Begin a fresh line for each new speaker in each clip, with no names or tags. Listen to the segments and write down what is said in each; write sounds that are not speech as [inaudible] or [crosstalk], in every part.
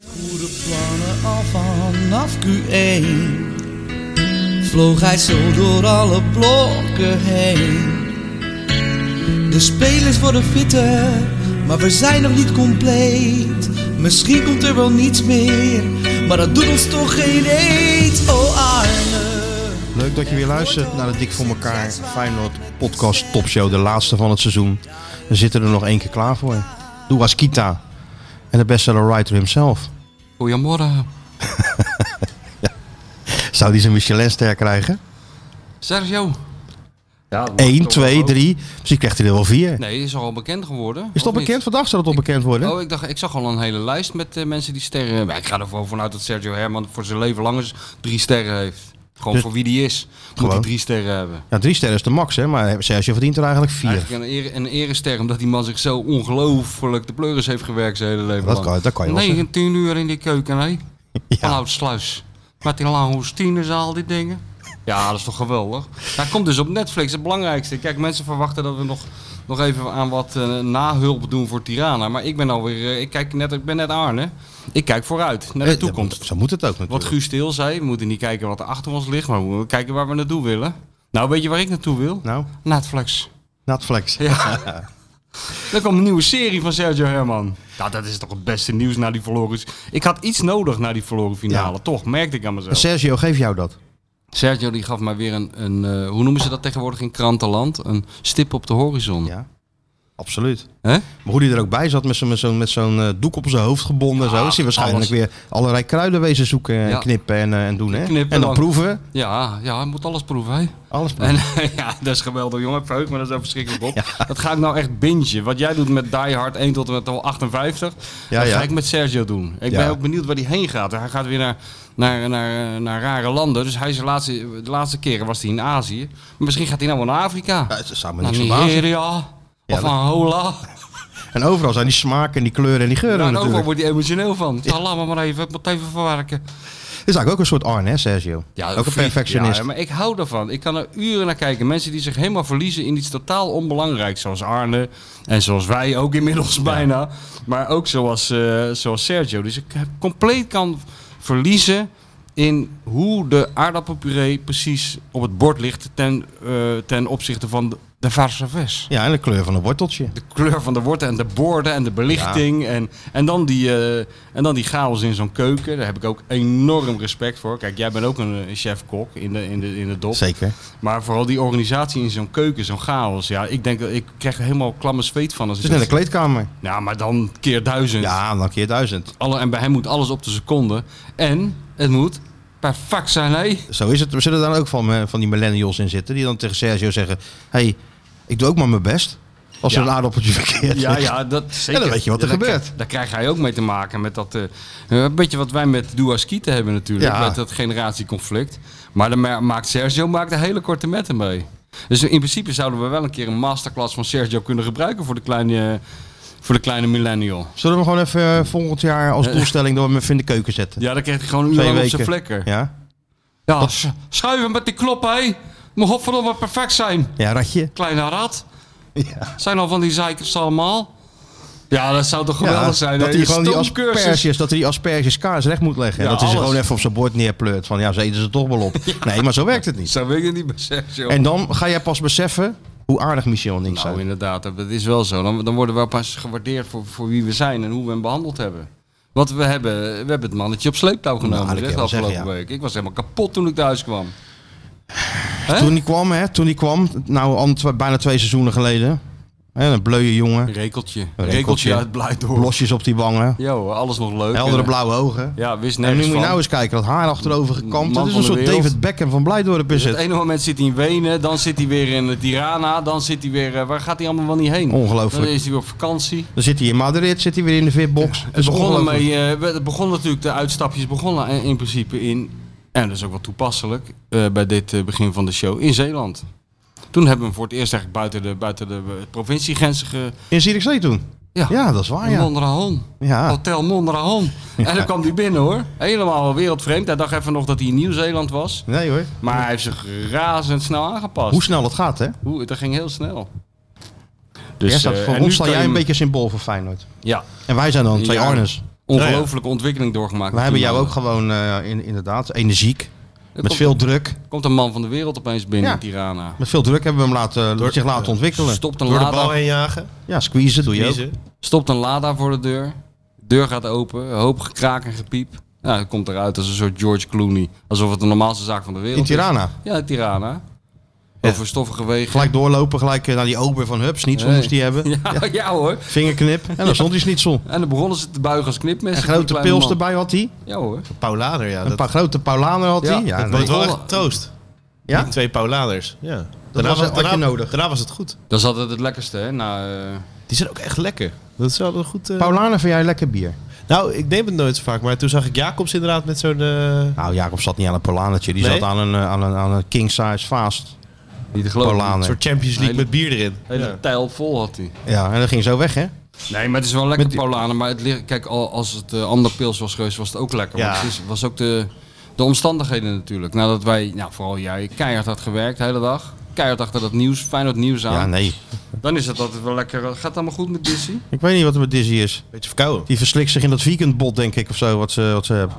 Goede plannen al vanaf Q1 Vloog hij zo door alle blokken heen De spelers worden fitter, maar we zijn nog niet compleet Misschien komt er wel niets meer, maar dat doet ons toch geen eet Oh Arne
Leuk dat je weer luistert naar de Dik voor elkaar Feyenoord podcast topshow, de laatste van het seizoen. We zitten er nog één keer klaar voor. Doe Kita en de bestseller writer himself.
Goedemorgen.
Zou die zijn Michelinster krijgen?
Sergio.
Ja,
1, 2, 3. Misschien krijgt hij er wel 4.
Nee, is al bekend geworden.
Is dat
of niet?
bekend? Vandaag zou dat onbekend worden.
Oh, ik, dacht, ik zag al een hele lijst met eh, mensen die sterren Maar Ik ga er wel vanuit dat Sergio Herman voor zijn leven lang eens drie sterren heeft. Gewoon
Dus-
voor wie die is, moet
Gewoon.
hij drie sterren hebben.
Ja, 3 sterren is de max, hè? maar Sergio verdient er eigenlijk 4.
Eigenlijk een, eer, een erester, omdat die man zich zo ongelooflijk de pleuris heeft gewerkt zijn hele leven
Dat
lang.
kan, dat kan je wel zeggen.
19 uur in die keuken, hè?
[laughs] Ja.
Vanuit Sluis. Met die langoustines en al die
[laughs]
dingen. Ja, dat is toch geweldig. Hij komt dus op Netflix, het belangrijkste. Kijk, mensen verwachten dat we nog, nog even aan wat eh, nahulp doen voor Tirana. Maar ik ben alweer, eh, ik, kijk net, ik ben net Arne. Ik kijk vooruit, naar de
Eh,
toekomst.
Zo moet het ook natuurlijk.
Wat Guus Stil zei, we moeten niet kijken wat er achter ons ligt, maar we moeten kijken waar we naartoe willen. Nou, weet je waar ik naartoe wil?
Nou,
Netflix.
Netflix.
Ja. [laughs] Er kwam een nieuwe serie van Sergio Herman. Nou, dat is toch het beste nieuws na die verloren... Ik had iets nodig na die verloren finale,
Ja.
toch? Merkte ik aan mezelf.
Sergio, geef jou dat.
Sergio die gaf mij weer een, een eh, hoe noemen ze dat tegenwoordig in krantenland? Een stip op de horizon.
Ja, absoluut.
Hè?
Maar hoe hij er ook bij zat, met zo'n met zo'n- met zo'n eh, doek op zijn hoofd gebonden. en zo,
Ah,
is hij waarschijnlijk
alles.
weer allerlei kruiden wezen zoeken en
Ja.
knippen en, eh, en doen. Hè?
Knippen
en dan
dan.
proeven.
Ja, ja, hij moet alles proeven. Hè?
Alles proeven.
En, [laughs] ja, dat is geweldig, jongen. Ik Verheug me daar zo verschrikkelijk op. Dat ga ik nou echt bingen. Wat jij doet met Die Hard 1 tot en met al 58,
Ja,
dat
ja.
ga ik met Sergio doen. Ik
Ja.
ben ook benieuwd waar hij heen gaat. Hij gaat weer naar, naar, naar, naar rare landen. Dus hij is de laatste, de laatste keren was hij in Azië. Maar misschien gaat hij nou wel naar Afrika.
Ja, het zou me
naar
niks verbazen.
Nigeria.
Ja,
Of
dat-
Angola. Nou,
En overal zijn die smaken en die kleuren en die geuren
Ja, en overal
natuurlijk.
wordt hij emotioneel van. Ja. Laat me maar even, ik moet even verwerken.
Het is eigenlijk ook een soort Arne, hè, Sergio? ook een
freak.
perfectionist.
Ja, maar ik hou daarvan. Ik kan er uren naar kijken. Mensen die zich helemaal verliezen in iets totaal onbelangrijks. Zoals Arne. En zoals wij ook inmiddels bijna. Maar ook zoals, eh, zoals Sergio. Die zich compleet kan verliezen in hoe de aardappelpuree precies op het bord ligt. Ten, eh, ten opzichte van de, de verse vis.
Ja, en de kleur van een worteltje.
De kleur van de wortel en de borden en de belichting. En, en, dan die, eh, en dan die chaos in zo'n keuken. Daar heb ik ook enorm respect voor. Kijk, jij bent ook een eh, chef-kok in de, in, de, in de dop.
Zeker.
Maar vooral die organisatie in zo'n keuken, zo'n chaos. Ja, ik denk dat ik krijg er helemaal klamme zweet van. Als
Het
ik
is net een
dat- dus-
kleedkamer.
Ja, maar dan keer duizend.
Ja, dan keer duizend.
Alle, en bij hem moet alles op de seconde. En het moet perfect zijn, hè?
Zo is het. We zullen daar ook van, eh, van die millennials in zitten. Die dan tegen Sergio zeggen... hey, ik doe ook maar mijn best. Als er
Ja.
een aardappeltje verkeerd
Ja,
ligt.
ja, dat zeker.
dan weet je wat er
Ja, daar
gebeurt.
krijg- Daar krijgt hij ook mee te maken met dat... eh, een beetje wat wij met Duaskite hebben natuurlijk.
Ja.
Met dat generatieconflict. Maar dan ma- maakt Sergio maakt een hele korte metten mee. Dus in principe zouden we wel een keer een masterclass van Sergio kunnen gebruiken voor de kleine, voor de kleine millennial.
Zullen we hem gewoon even eh, volgend jaar
[laughs]
als doelstelling... door hem even in de keuken zetten?
Ja, dan krijgt hij gewoon een uur
Twee
lang op
weken.
zijn vlekken. Ja,
Ja?
sch- schuiven met die knop, hé. Moet godverdomme perfect zijn.
Ja, ratje.
Kleine rat.
Ja.
Zijn al van die zeikers allemaal? Ja, dat zou toch geweldig
Ja,
zijn.
dat
hè?
hij
Een
gewoon die
stoomcursus.
asperges, dat hij die asperges kaas recht moet leggen.
Ja,
dat hij ze
alles.
gewoon even op zijn bord neerpleurt. Van ja, ze eten ze toch wel
[laughs]
op. Nee, maar zo werkt het niet.
Zo wil ik het niet bij Sergio.
En dan ga jij pas beseffen hoe aardig Michel en ik
nou,
zijn.
inderdaad, dat dat is wel zo. Dan, dan worden we pas gewaardeerd voor, voor wie we zijn en hoe we hem behandeld hebben. Want we hebben, we hebben het mannetje op sleeptouw genomen
Nou, dat
zeg,
kun je
de
wel
afgelopen
zeggen, ja.
week. Ik was helemaal kapot toen ik thuis kwam. Hè?
Toen die kwam, hè, toen die kwam, nou al tw- bijna twee seizoenen geleden. Hè, een bleuwe jongen,
Rekeltje.
Rekeltje.
Rekeltje, uit Blijdorp.
blosjes op die wangen,
Yo, alles nog leuk.
heldere
En,
blauwe ogen.
Ja, wist
en nu moet
nergens
je
van.
nou eens kijken, dat haar achterover gekamd.
Man
Dat is
van
een
de
soort
wereld.
David Beckham van Blijdorp is
het
het.
ene moment zit hij in Wenen, dan zit hij weer in eh, Tirana, dan zit hij weer... eh, waar gaat hij allemaal wel niet heen?
Ongelooflijk.
Dan is hij weer op vakantie.
Dan zit hij in Madrid, zit hij weer in de fitbox.
Het begon, mee, eh, we- het begon natuurlijk, de uitstapjes begonnen in, in principe in, en dat is ook wel toepasselijk eh, bij dit eh, begin van de show, in Zeeland. Toen hebben we hem voor het eerst eigenlijk buiten de, buiten de eh, provinciegrenzen ge...
In Zierikzee toen.
Ja,
Ja, dat is waar,
in
ja.
Mondragon.
Ja,
Hotel Mondragon. En dan kwam hij binnen hoor. Helemaal wereldvreemd. Hij dacht even nog dat hij in Nieuw-Zeeland was.
nee hoor.
Maar hij heeft zich razendsnel aangepast.
Hoe snel het gaat, hè?
Hoe, dat ging heel snel.
Jij staat
eh,
voor
en
ons
nu
sta
kan
jij
je
een
hem-
beetje symbool voor Feyenoord.
Ja,
En wij zijn dan twee
Ja.
Arnes.
ongelofelijke ontwikkeling doorgemaakt.
Wij hebben jou ook
Toenmalig.
gewoon eh, in, inderdaad energiek.
Er
Met
komt,
veel druk.
komt een man van de wereld opeens binnen
Ja.
in Tirana.
Met veel druk hebben we hem laten,
Door-
zich laten
ja.
ontwikkelen.
Stopt een,
Door de bal
lada,
heen jagen.
Ja, squeezen doe je ook.
Kiezen.
stopt een lada voor de deur. Deur gaat open. Een hoop gekraak en gepiep. Nou, het komt eruit als een soort George Clooney. Alsof het de normaalste zaak van de wereld
In Tirana.
is. Ja, in Tirana.
Ja.
Over stoffige wegen.
Gelijk doorlopen, gelijk eh, naar die ober van Hups. Niet,
Hey.
moest die hebben.
[laughs] Ja, ja. hoor.
Vingerknip. En dan stond die schnitzel.
En dan begonnen ze te buigen als knipmes.
En grote pils erbij had hij.
Ja hoor.
Paulaner, ja.
Een
Dat,
paar grote paulaner had
Ja,
hij. Ja, nee.
dat
dat was wel
Alle-
echt troost.
Ja?
Die twee Pauladers. Ja.
was- had je nodig.
daarna was het goed.
Dat is altijd het lekkerste hè. Nou, eh,
Die zijn ook echt lekker. Dat is wel een goed... eh,
Paulaner vind jij lekker bier?
Nou, ik neem het nooit zo vaak, maar toen zag ik Jacobs inderdaad met zo'n... eh,
Nou, Jacob zat niet aan een Paulanertje. Die
Nee?
zat aan een, eh, aan een, aan een king size fast
niet te geloven.
Paulaner.
soort Champions League
Hele-
met bier erin.
Hele
Ja.
tijl vol had hij.
Ja, en dat ging zo weg, hè?
Nee, maar het is wel lekker
Met die-
Paulaner. Maar het ligt- kijk, al- als het eh ander pils was geweest, was het ook lekker.
Ja.
Want het is- was ook de, de omstandigheden natuurlijk. Nadat wij, nou, vooral jij, keihard had gewerkt de hele dag. Keihard achter dat nieuws, Feyenoord nieuws aan.
Ja, nee.
Dan is het altijd wel lekker. Gaat het allemaal goed met Dizzy?
Ik weet niet wat er met Dizzy is.
Beetje verkouden.
Die verslikt zich in dat weekendbot, denk ik, of zo, wat ze, wat ze hebben.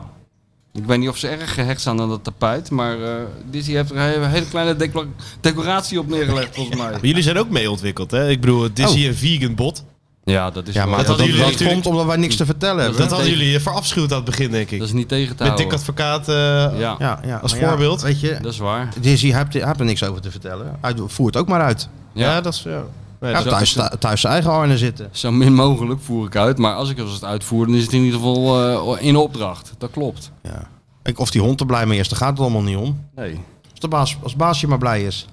Ik weet niet of ze erg gehecht zijn aan dat tapijt. Maar eh Dizzy heeft er een hele kleine decla- decoratie op neergelegd, volgens mij.
Maar jullie zijn ook mee ontwikkeld, hè? Ik bedoel, het is
Oh.
hier een vegan bot.
Ja, dat is
Ja,
wel-
maar
dat
dat, dat,
hadden jullie
dat
natuurlijk-
komt omdat wij niks te vertellen
Dat
hebben.
hadden jullie eh, verafschuwd aan het begin, denk ik.
dat is niet tegen te
Met Dick
houden.
Advocaat. eh,
Ja,
Ja, ja,
Als
maar ja,
voorbeeld.
weet je,
dat is waar.
Dizzy hij heeft, hij heeft er niks over te vertellen. Hij voert ook maar uit.
ja.
Ja.
dat is... Ja. Nee,
Hij
dat-
heeft thuis, thuis zijn eigen arne zitten.
Zo min mogelijk voer ik uit. Maar als ik het uitvoer, dan is het in ieder geval eh, in opdracht. Dat klopt.
Ja. Ik, of die hond er blij mee is, daar gaat het allemaal niet om.
Nee.
Als de baas, als baasje maar blij is,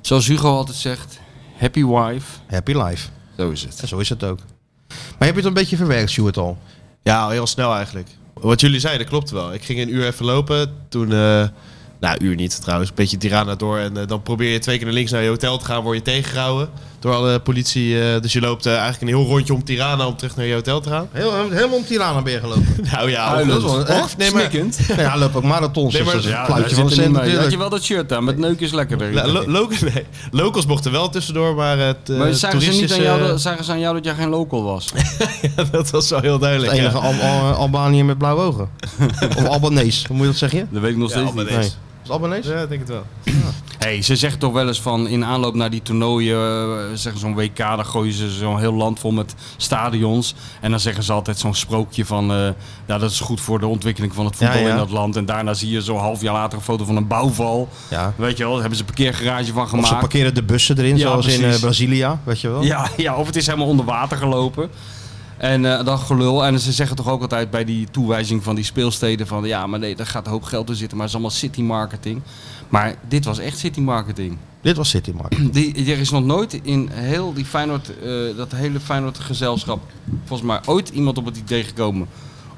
Zoals Hugo altijd zegt, happy wife.
happy life.
Zo is het.
En zo is het ook. Maar heb je het een beetje verwerkt, Stuart al?
Ja, heel snel eigenlijk. Wat jullie zeiden klopt wel. Ik ging een uur even lopen. Toen, eh nou, uur niet trouwens, een beetje Tirana door. En eh, dan probeer je twee keer naar links naar je hotel te gaan, word je tegengehouden door alle politie. eh, dus je loopt eh, eigenlijk een heel rondje om Tirana om terug naar je hotel te gaan.
Heel, helemaal om Tirana ben je gelopen.
[laughs] Nou ja,
Ah,
Huilend.
dat is wel-
Echt?
nee, maar,
[laughs] nee, hij loopt ook marathons,
Nee,
dus
maar-
dat is
ja,
een kluitje
Daar
van de
zit er
cent
niet mee. Had je
natuurlijk.
wel dat shirt aan, met neuk is lekkerder.
lo- lo- locals, nee. locals mochten wel tussendoor, maar het eh,
maar zagen ze, niet
toeristisch,
aan jou,
eh,
dat-
[laughs]
zagen ze aan jou dat jij geen local was?
dat was wel heel
Het
duidelijk. ja.
enige Al- Al- Albanië met blauwe ogen. of Albanees, hoe moet je dat zeggen?
Dat weet ik nog
Ja,
steeds
allemaal
niet.
deze.
Is het Albanees?
Ja, ik denk het wel.
Hey, ze zeggen toch wel eens van in aanloop naar die toernooien, eh, zeggen zo'n WK, dan gooien ze zo'n heel land vol met stadions. En dan zeggen ze altijd zo'n sprookje van, eh, ja, dat is goed voor de ontwikkeling van het voetbal
Ja, ja.
in dat land. En daarna zie je zo'n half jaar later een foto van een bouwval.
Ja.
Weet je wel, daar hebben ze een parkeergarage van
Of ze
gemaakt.
parkeren de bussen erin,
Ja,
zoals in
precies.
eh, Brazilia, weet je wel?
Ja, ja, of het is helemaal onder water gelopen. En eh, dat gelul. En ze zeggen toch ook altijd bij die toewijzing van die speelsteden van... ja, maar nee, daar gaat een hoop geld in zitten, maar het is allemaal city marketing. Maar dit was echt city marketing.
Dit was City Market.
Die, er is nog nooit in heel die Feyenoord, eh, dat hele Feyenoord gezelschap... volgens mij ooit iemand op het idee gekomen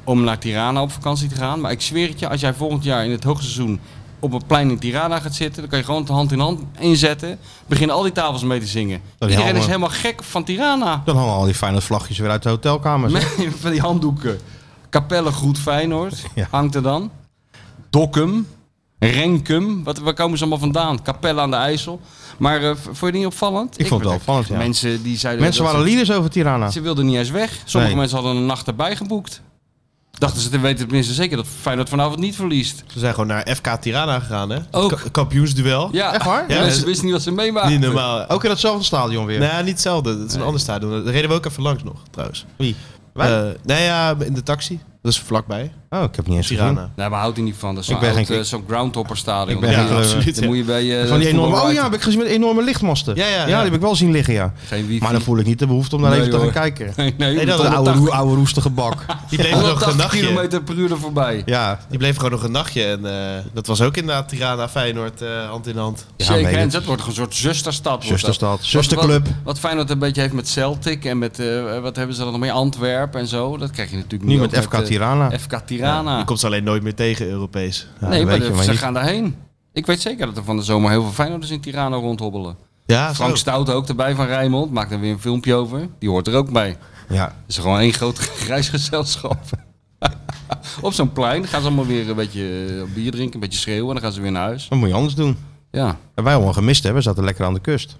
om naar Tirana op vakantie te gaan. Maar ik zweer het je, als jij volgend jaar in het hoogseizoen op een plein in Tirana gaat zitten... dan kan je gewoon de hand in hand inzetten. Beginnen al die tafels mee te zingen.
die
Iedereen
hangen.
is helemaal gek van Tirana.
Dan hangen al die fijne vlagjes weer uit de hotelkamers.
Met- [laughs] van die handdoeken. Capelle Groet Feyenoord
Ja.
hangt er dan. Dokkum. Renkum. Wat, waar komen ze allemaal vandaan? Capelle aan de IJssel. Maar eh, v- vond je het niet opvallend?
Ik vond het wel
werd-
opvallend, ja.
Mensen die zeiden...
Mensen
dat
waren
ze,
leaders over Tirana.
ze wilden niet eens weg. Sommige
Nee.
mensen hadden een nacht erbij geboekt. Dachten ze te weten tenminste zeker dat Feyenoord vanavond niet verliest.
Ze zijn gewoon naar FK Tirana gegaan, hè?
Ook.
Ka- kampioensduel.
Ja,
Echt waar?
Ja,
Ja,
ze
ze-
wisten niet wat ze meemaakten.
Niet normaal.
Ook in datzelfde stadion weer.
Ah. Nou, ja, niet hetzelfde. Het is een ander stadion. Daar reden we ook even langs nog, trouwens.
Wie?
Eh
Wij?
nee, ja, in de taxi. Dat is vlakbij.
oh, ik heb het niet eens gezien.
Tirana.
Nee, maar houdt hij niet van. Dat is
Ik
zo'n
ben
oud,
geen-
eh, zo'n groundhopper stadion.
Ik ben
Dan
geen
moet je-
geloof-
absoluut.
Dan moet je bij... eh,
Van die enorme,
voetbal-
oh ja, heb ik gezien met enorme lichtmasten.
Ja, ja, ja.
die heb ik wel zien liggen, ja.
Geen wifi.
Maar dan voel ik niet de behoefte om daar
Nee,
even te
hoor.
gaan kijken.
[laughs] Nee, nee,
Nee, dat
Dat
is
oude,
180
roe- oude roestige bak.
Die bleef nog een
180
nachtje.
kilometer per uur er voorbij.
ja.
Die bleef gewoon nog een nachtje. En eh, dat was ook inderdaad Tirana, Feyenoord, eh, hand in hand.
Ja,
Shake
nee, dat-
hands, dat wordt een soort zusterstad. wordt dat.
Zusterstad,
Wat-
zusterclub.
Wat, wat Feyenoord een beetje heeft met Celtic en met, eh, wat hebben ze dan nog meer, Antwerpen en zo. Dat krijg je natuurlijk
Nu
niet
met FK Tirana.
FK Tirana.
Die komt ze alleen nooit meer tegen, Europees.
Ah. Ja, dat
nee, maar
Nou, weet je
de-
maar
ze
niet.
gaan daarheen. Ik weet zeker dat er van de zomer heel veel Feyenoorders in Tirana rondhobbelen.
Ja,
Ah,
Frank
zo.
Stout ook erbij van Rijnmond, maakt er weer een filmpje over. Die hoort er ook bij. Het
Ja.
is gewoon één groot [laughs] grijs gezelschap. [laughs] Op zo'n plein gaan ze allemaal weer een beetje eh, bier drinken, een beetje schreeuwen en dan gaan ze weer naar huis.
Wat moet je anders doen?
Ja.
En wij allemaal gemist hebben, zaten lekker aan de kust.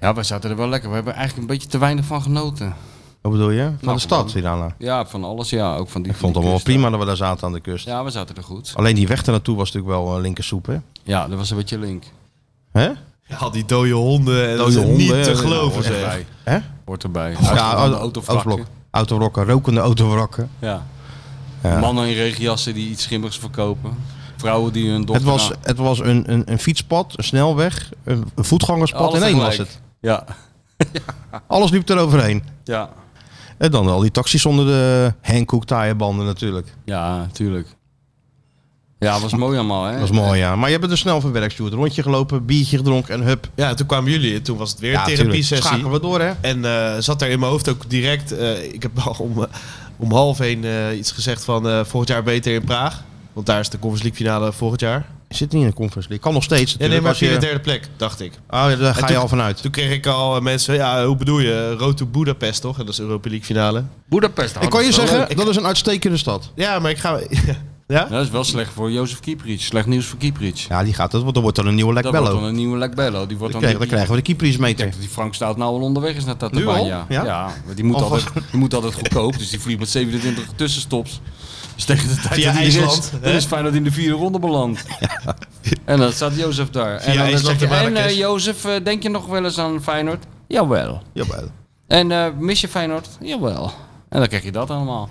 Ja, wij zaten er wel lekker. We hebben er eigenlijk een beetje te weinig van genoten.
Wat bedoel je? Van
Nou,
de stad,
gewoon.
Tirana.
Ja, van alles. Ja, ook van die
Ik vond het
van die
wel
kust.
prima dat we daar zaten aan de kust.
Ja, we zaten er goed.
Alleen die weg daar naartoe was natuurlijk wel eh, linkersoep, hè?
Ja, dat was een beetje link.
Hè?
Ja, al die dode honden. En dat
Dode
is
honden,
niet te
ja,
geloven,
Hoort
zeg.
erbij.
Hè?
Hoort erbij.
Ja, oh,
Uitgebrande
au-
autovrakken.
autowrokken. Autovrokken, rokende autovrakken.
Ja.
Ja.
Mannen in regenjassen die iets schimmigs verkopen. Vrouwen die hun
Het
dochter...
was,
aan-
het was een, een, een fietspad, een snelweg, een, een voetgangerspad.
Alles
in één was
tegelijk.
het.
Ja,
Alles liep eroverheen.
ja.
En dan al die taxis zonder de Hankook taaierbanden natuurlijk.
Ja, tuurlijk. Ja, was mooi allemaal, hè?
Dat is mooi, ja. Maar je hebt het er snel verwerkt, Sjoerd. Rondje gelopen, biertje gedronken en hup.
Ja, toen kwamen jullie. en Toen was het weer
Ja,
een
tuurlijk.
therapie-sessie.
Schakelen we door, hè?
En eh, zat daar in mijn hoofd ook direct. eh, ik heb al om, eh, om half heen eh, iets gezegd van eh, volgend jaar beter in Praag. Want daar is de Conference League finale volgend jaar.
Je zit niet in de conference league. Kan nog steeds
Ja, nee,
natuurlijk,
maar
als je-
via de derde plek, dacht ik.
Oh, ja, daar ga je
toen-
al vanuit.
Toen kreeg ik al eh, mensen, ja, hoe bedoel je? Road to Budapest, toch? En dat is Europa League finale.
Boedapest.
Oh, Ik kan je zeggen,
ik-
dat is een uitstekende stad.
Ja, maar ik ga... [laughs] ja?
Dat is wel slecht voor Jozef Kieprits. Slecht nieuws voor Kieprits.
Ja, die gaat het, want dan wordt dan een nieuwe Lek
Dat wordt dan
Bello.
een nieuwe Lekbello. Die wordt
Dan
dan
krijgen, dan
die-
krijgen we de Kypries mee.
Ik denk dat die Frank Stout nou al onderweg is naar
al?
Tatabania.
Ja?
Ja, ja want die moet,
Alvast.
altijd, die moet altijd goedkoop. Dus die vliegt met 27 tussenstops. Dus tegen de tijd
Via
dat hij er
IJsland,
is,
hè?
dan is Feyenoord in de vierde ronde beland. En dan staat Jozef daar. en dan
IJsland
zegt hij,
en
en
Marrakesh.
eh, Jozef, eh, denk je nog wel eens aan Feyenoord? Jawel.
Jawel.
En eh, mis je Feyenoord? Jawel. En dan krijg je dat allemaal.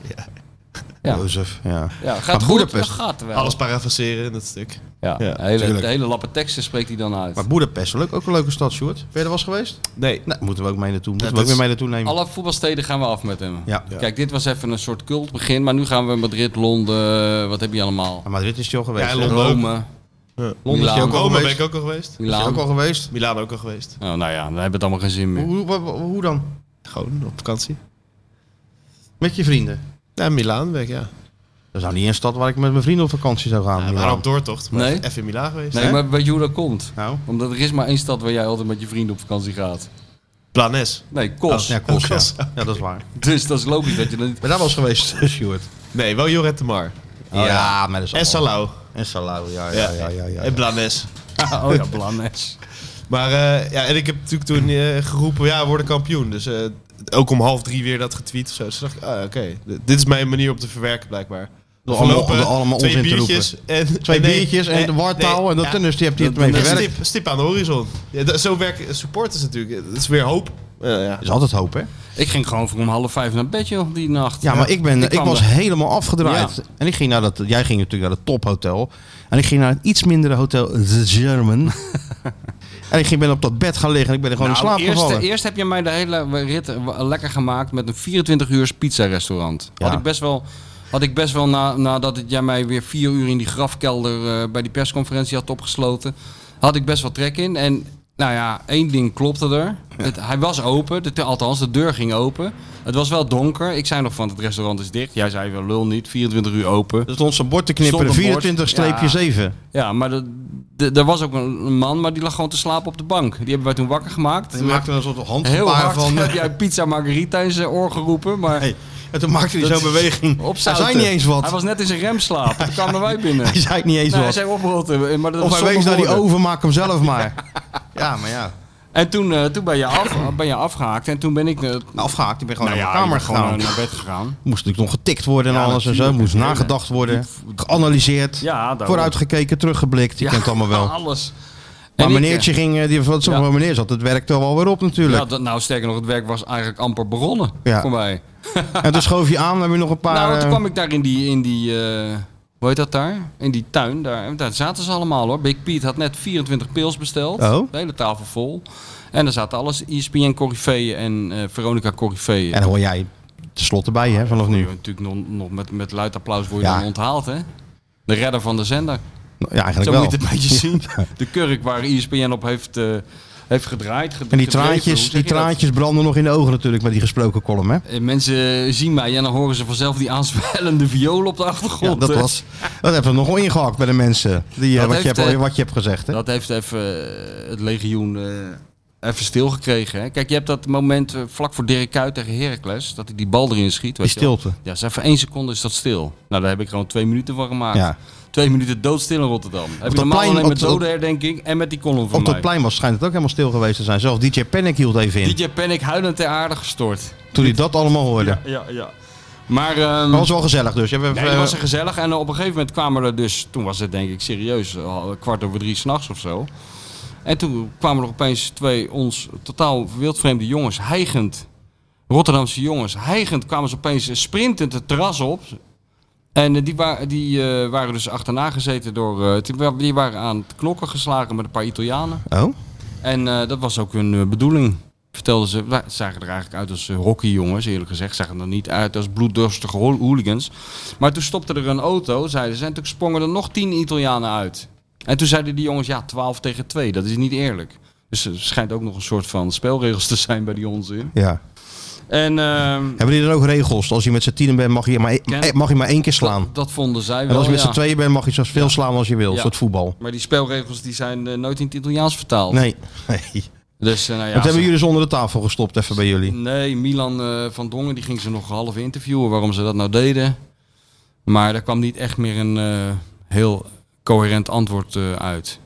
Ja.
Jozef, ja.
Ja, gaat
Maar
goed,
Boedapest-
dat gaat wel.
Alles parafraseren in dat stuk.
Ja,
Ja,
de hele,
tuurlijk.
de hele lappe teksten spreekt hij dan uit.
Maar Boedapest, leuk, ook een leuke stad, Sjoerd. Ben je er was geweest?
Nee.
Nee, moeten we ook mee naartoe. Moeten
Ja,
we ook
dat
weer mee
is-
naartoe nemen.
Alle voetbalsteden gaan we af met hem.
Hm. Ja.
Kijk, dit was even een soort cultbegin, maar nu gaan we Madrid, Londen, eh, wat heb je allemaal?
Maar Madrid is hij al geweest.
Ja,
Ja,
en
Londen,
Londen.
Rome,
is hij
Milaan.
ook al
Rome ben
geweest.
ik ook al geweest.
Is hij
Milaan.
ook al geweest.
Milaan ook al geweest.
Oh, nou ja, dan hebben we het allemaal geen zin meer.
Hoe, hoe, hoe- hoe dan?
Gewoon op vakantie.
Met je vrienden?
Ja, Milaan ben ik, ja.
Dat is nou niet een stad waar ik met mijn vrienden op vakantie zou gaan.
ja
Milaan.
maar op doortocht. Maar
Nee.
Even in Milaan geweest.
Nee,
Hè?
maar weet je hoe dat komt?
Nou,
Omdat er is maar één stad waar jij altijd met je vrienden op vakantie gaat.
Planes.
Nee, Kos.
ja, Kos, ja.
Kos,
ja, dat is waar.
Dus dat is logisch dat je dat niet...
Ben daar wel eens geweest, [laughs] Sjoerd?
Nee, wel Jorrit de Mar.
ja. maar dat is
En
allemaal-
Salau.
En Salau, ja, Oh. ja,
Ja.
ja. ja, ja,
En Blanes.
[laughs] Oh ja, Blanes.
Maar eh, ja, en ik heb natuurlijk toen eh, geroepen, ja, we worden kampioen. Dus eh, ook om half drie weer dat getweet of zo. Dus toen dacht ik, ah, oké, d- dit is mijn manier om te verwerken blijkbaar.
Door allemaal-
Afgelopen
door allemaal
twee
onzin te
biertjes en
Twee
nee,
biertjes en
nee,
de wartaal
nee,
en dat
ja,
tennis, die hebt hij het
dat-
mee
dat-
verwerkt.
stip, stip aan de horizon. Ja, dat- zo werken supporters natuurlijk. Het is weer hoop. Eh, ja.
is altijd hoop, hè?
Ik ging gewoon voor om half vijf naar bed, joh, die nacht.
Ja, maar ik, ben, ik
kwam
was
er-
helemaal afgedraaid.
Ja.
En ik ging naar dat, jij ging natuurlijk naar het tophotel. En ik ging naar het iets mindere hotel, The German. [laughs] en ik ging, ben op dat bed gaan liggen en ik ben er gewoon in
Nou,
slaap
eerst,
gevallen.
eerst heb je mij de hele rit eh, lekker gemaakt met een 24 uur pizza restaurant.
Ja.
Had ik best wel, had ik best wel na, nadat het jij mij weer vier uur in die grafkelder eh, bij die persconferentie had opgesloten, had ik best wel trek in. En nou ja, één ding klopte er. Het, hij was open, de, althans de deur ging open. Het was wel donker. Ik zei nog van het restaurant is dicht. Jij zei wel lul niet, 24 uur open.
Er stond zo'n bord te
Stond een
knipperen,
bord.
24-7.
Ja, maar dat- d- er was ook een een man, maar die lag gewoon te slapen op de bank. Die hebben wij toen wakker gemaakt.
Die maakte een soort
Heel
handgebaar
hard
[laughs] van...
heb jij pizza margarita in zijn oor geroepen, maar
Hey, en toen maakte hij zo'n beweging.
op
Hij zei niet eens
Hij
wat.
was net in zijn remslaap, toen kwamen wij binnen.
[laughs] Hij zei niet eens
Nee, Nou, hij
wat.
zei oprotten, maar dat was
Of hij
zonder
wees naar die
woorden.
oven, maak hem zelf
[laughs]
maar. ja, maar ja.
En toen, eh, toen ben, je af, ben je afgehaakt en toen ben ik eh,
Nou, afgehaakt, ik ben gewoon
nou
naar
ja,
mijn kamer
ik ben gewoon,
gegaan.
eh, naar bed gegaan.
Moest natuurlijk nog getikt worden en
Ja,
alles en zo.
natuurlijk.
Moest
Ja,
nagedacht worden, geanalyseerd,
Ja, daarom.
vooruitgekeken, teruggeblikt. Je
Ja,
kent het allemaal wel.
Alles.
Maar
En ik,
meneertje ging, eh, die wat zo'n
Ja.
meneer zat, het werkte wel weer op
eh,
natuurlijk.
ja, dat, nou, sterker nog, het werk was eigenlijk amper begonnen
Ja.
voor mij.
En toen schoof je aan, dan heb je nog een paar...
nou, toen
eh,
kwam ik daar in die, in die eh, hoe heet dat daar? In die tuin, daar, en daar zaten ze allemaal hoor. Big Pete had net 24 pils besteld,
Oh.
de hele tafel vol. En daar zaten alles, E ESPN Corifeeën en eh, Veronica Corifeeën.
En dan hoor jij tenslotte bij, hè, vanaf nu.
Natuurlijk nog, nog met, met luid applaus word je
Ja.
dan onthaald hè. De redder van de zender.
Nou, Ja,
Zo
eigenlijk
moet
wel.
je het
[laughs]
een beetje zien. De kurk waar E ESPN op heeft, eh, heeft gedraaid. ged-
En die
gedreven, hoe
traantjes,
zeg
die
je dat?
traantjes branden nog in de ogen natuurlijk met die gesproken column, hè.
Eh, Mensen zien mij en dan horen ze vanzelf die aanspelende viool op de achtergrond.
Ja, dat,
Eh,
was, dat hebben we nog wel ingehakt bij de mensen, die, eh,
Dat
wat, je
heeft,
hebt,
eh,
wat je hebt gezegd. Hè?
Dat heeft even eh, het legioen eh even stilgekregen. Hè? Kijk, je hebt dat moment eh, vlak voor Dirk Kuyt tegen Heracles. Dat hij die bal erin schiet.
Die
Weet je wel.
stilte.
Ja, is even één seconde is dat stil. Nou, daar heb ik gewoon twee minuten van gemaakt.
Ja.
Twee minuten doodstil in Rotterdam. Heb je
dat
normaal
plein-
alleen
op
met
dat-
dodenherdenking en met die column van
Op dat
mij.
plein was schijnt het ook helemaal stil geweest te zijn. Zelfs DJ Panic hield even in.
DJ Panic huilend ter aarde gestort.
Toen hij dat allemaal hoorde.
Ja, ja. Maar ehm,
Dat was wel gezellig dus. Je hebt
ja,
even-
het was er gezellig. En eh, op een gegeven moment kwamen er dus... Toen was het denk ik serieus eh, al kwart over drie s'nachts of zo. En toen kwamen er opeens twee ons totaal wildvreemde jongens heigend. Rotterdamse jongens heigend kwamen ze opeens sprintend het terras op. En eh, die, wa- die eh, waren dus achterna gezeten door... eh, die wa- die waren aan het knokken geslagen met een paar Italianen.
Oh?
En eh, dat was ook hun eh, bedoeling. Vertelden ze, wij zagen er eigenlijk uit als eh, hockeyjongens, eerlijk gezegd. Zagen er niet uit als bloeddorstige ho- hooligans. Maar toen stopte er een auto, zeiden ze. En toen sprongen er nog tien Italianen uit. En toen zeiden die jongens, ja, 12 tegen 2, dat is niet eerlijk. Dus er schijnt ook nog een soort van spelregels te zijn bij die onzin.
Ja.
En ehm,
Hebben die dan ook regels? Als je met z'n tienen bent, mag je maar,
Ken-
eh, mag je maar één keer slaan.
dat, dat vonden zij
En
wel,
als je met z'n
ja.
tweeën bent, mag je zoveel slaan als je wil.
Ja.
Soort voetbal.
Maar die spelregels die zijn eh, nooit in het Italiaans vertaald.
Nee. nee.
Dus, eh, nou ja,
dat
ze-
hebben jullie dus onder de tafel gestopt, even bij jullie.
Nee, Milan eh, van Dongen die ging ze nog half interviewen waarom ze dat nou deden. Maar daar kwam niet echt meer een eh, heel coherent antwoord eh, uit.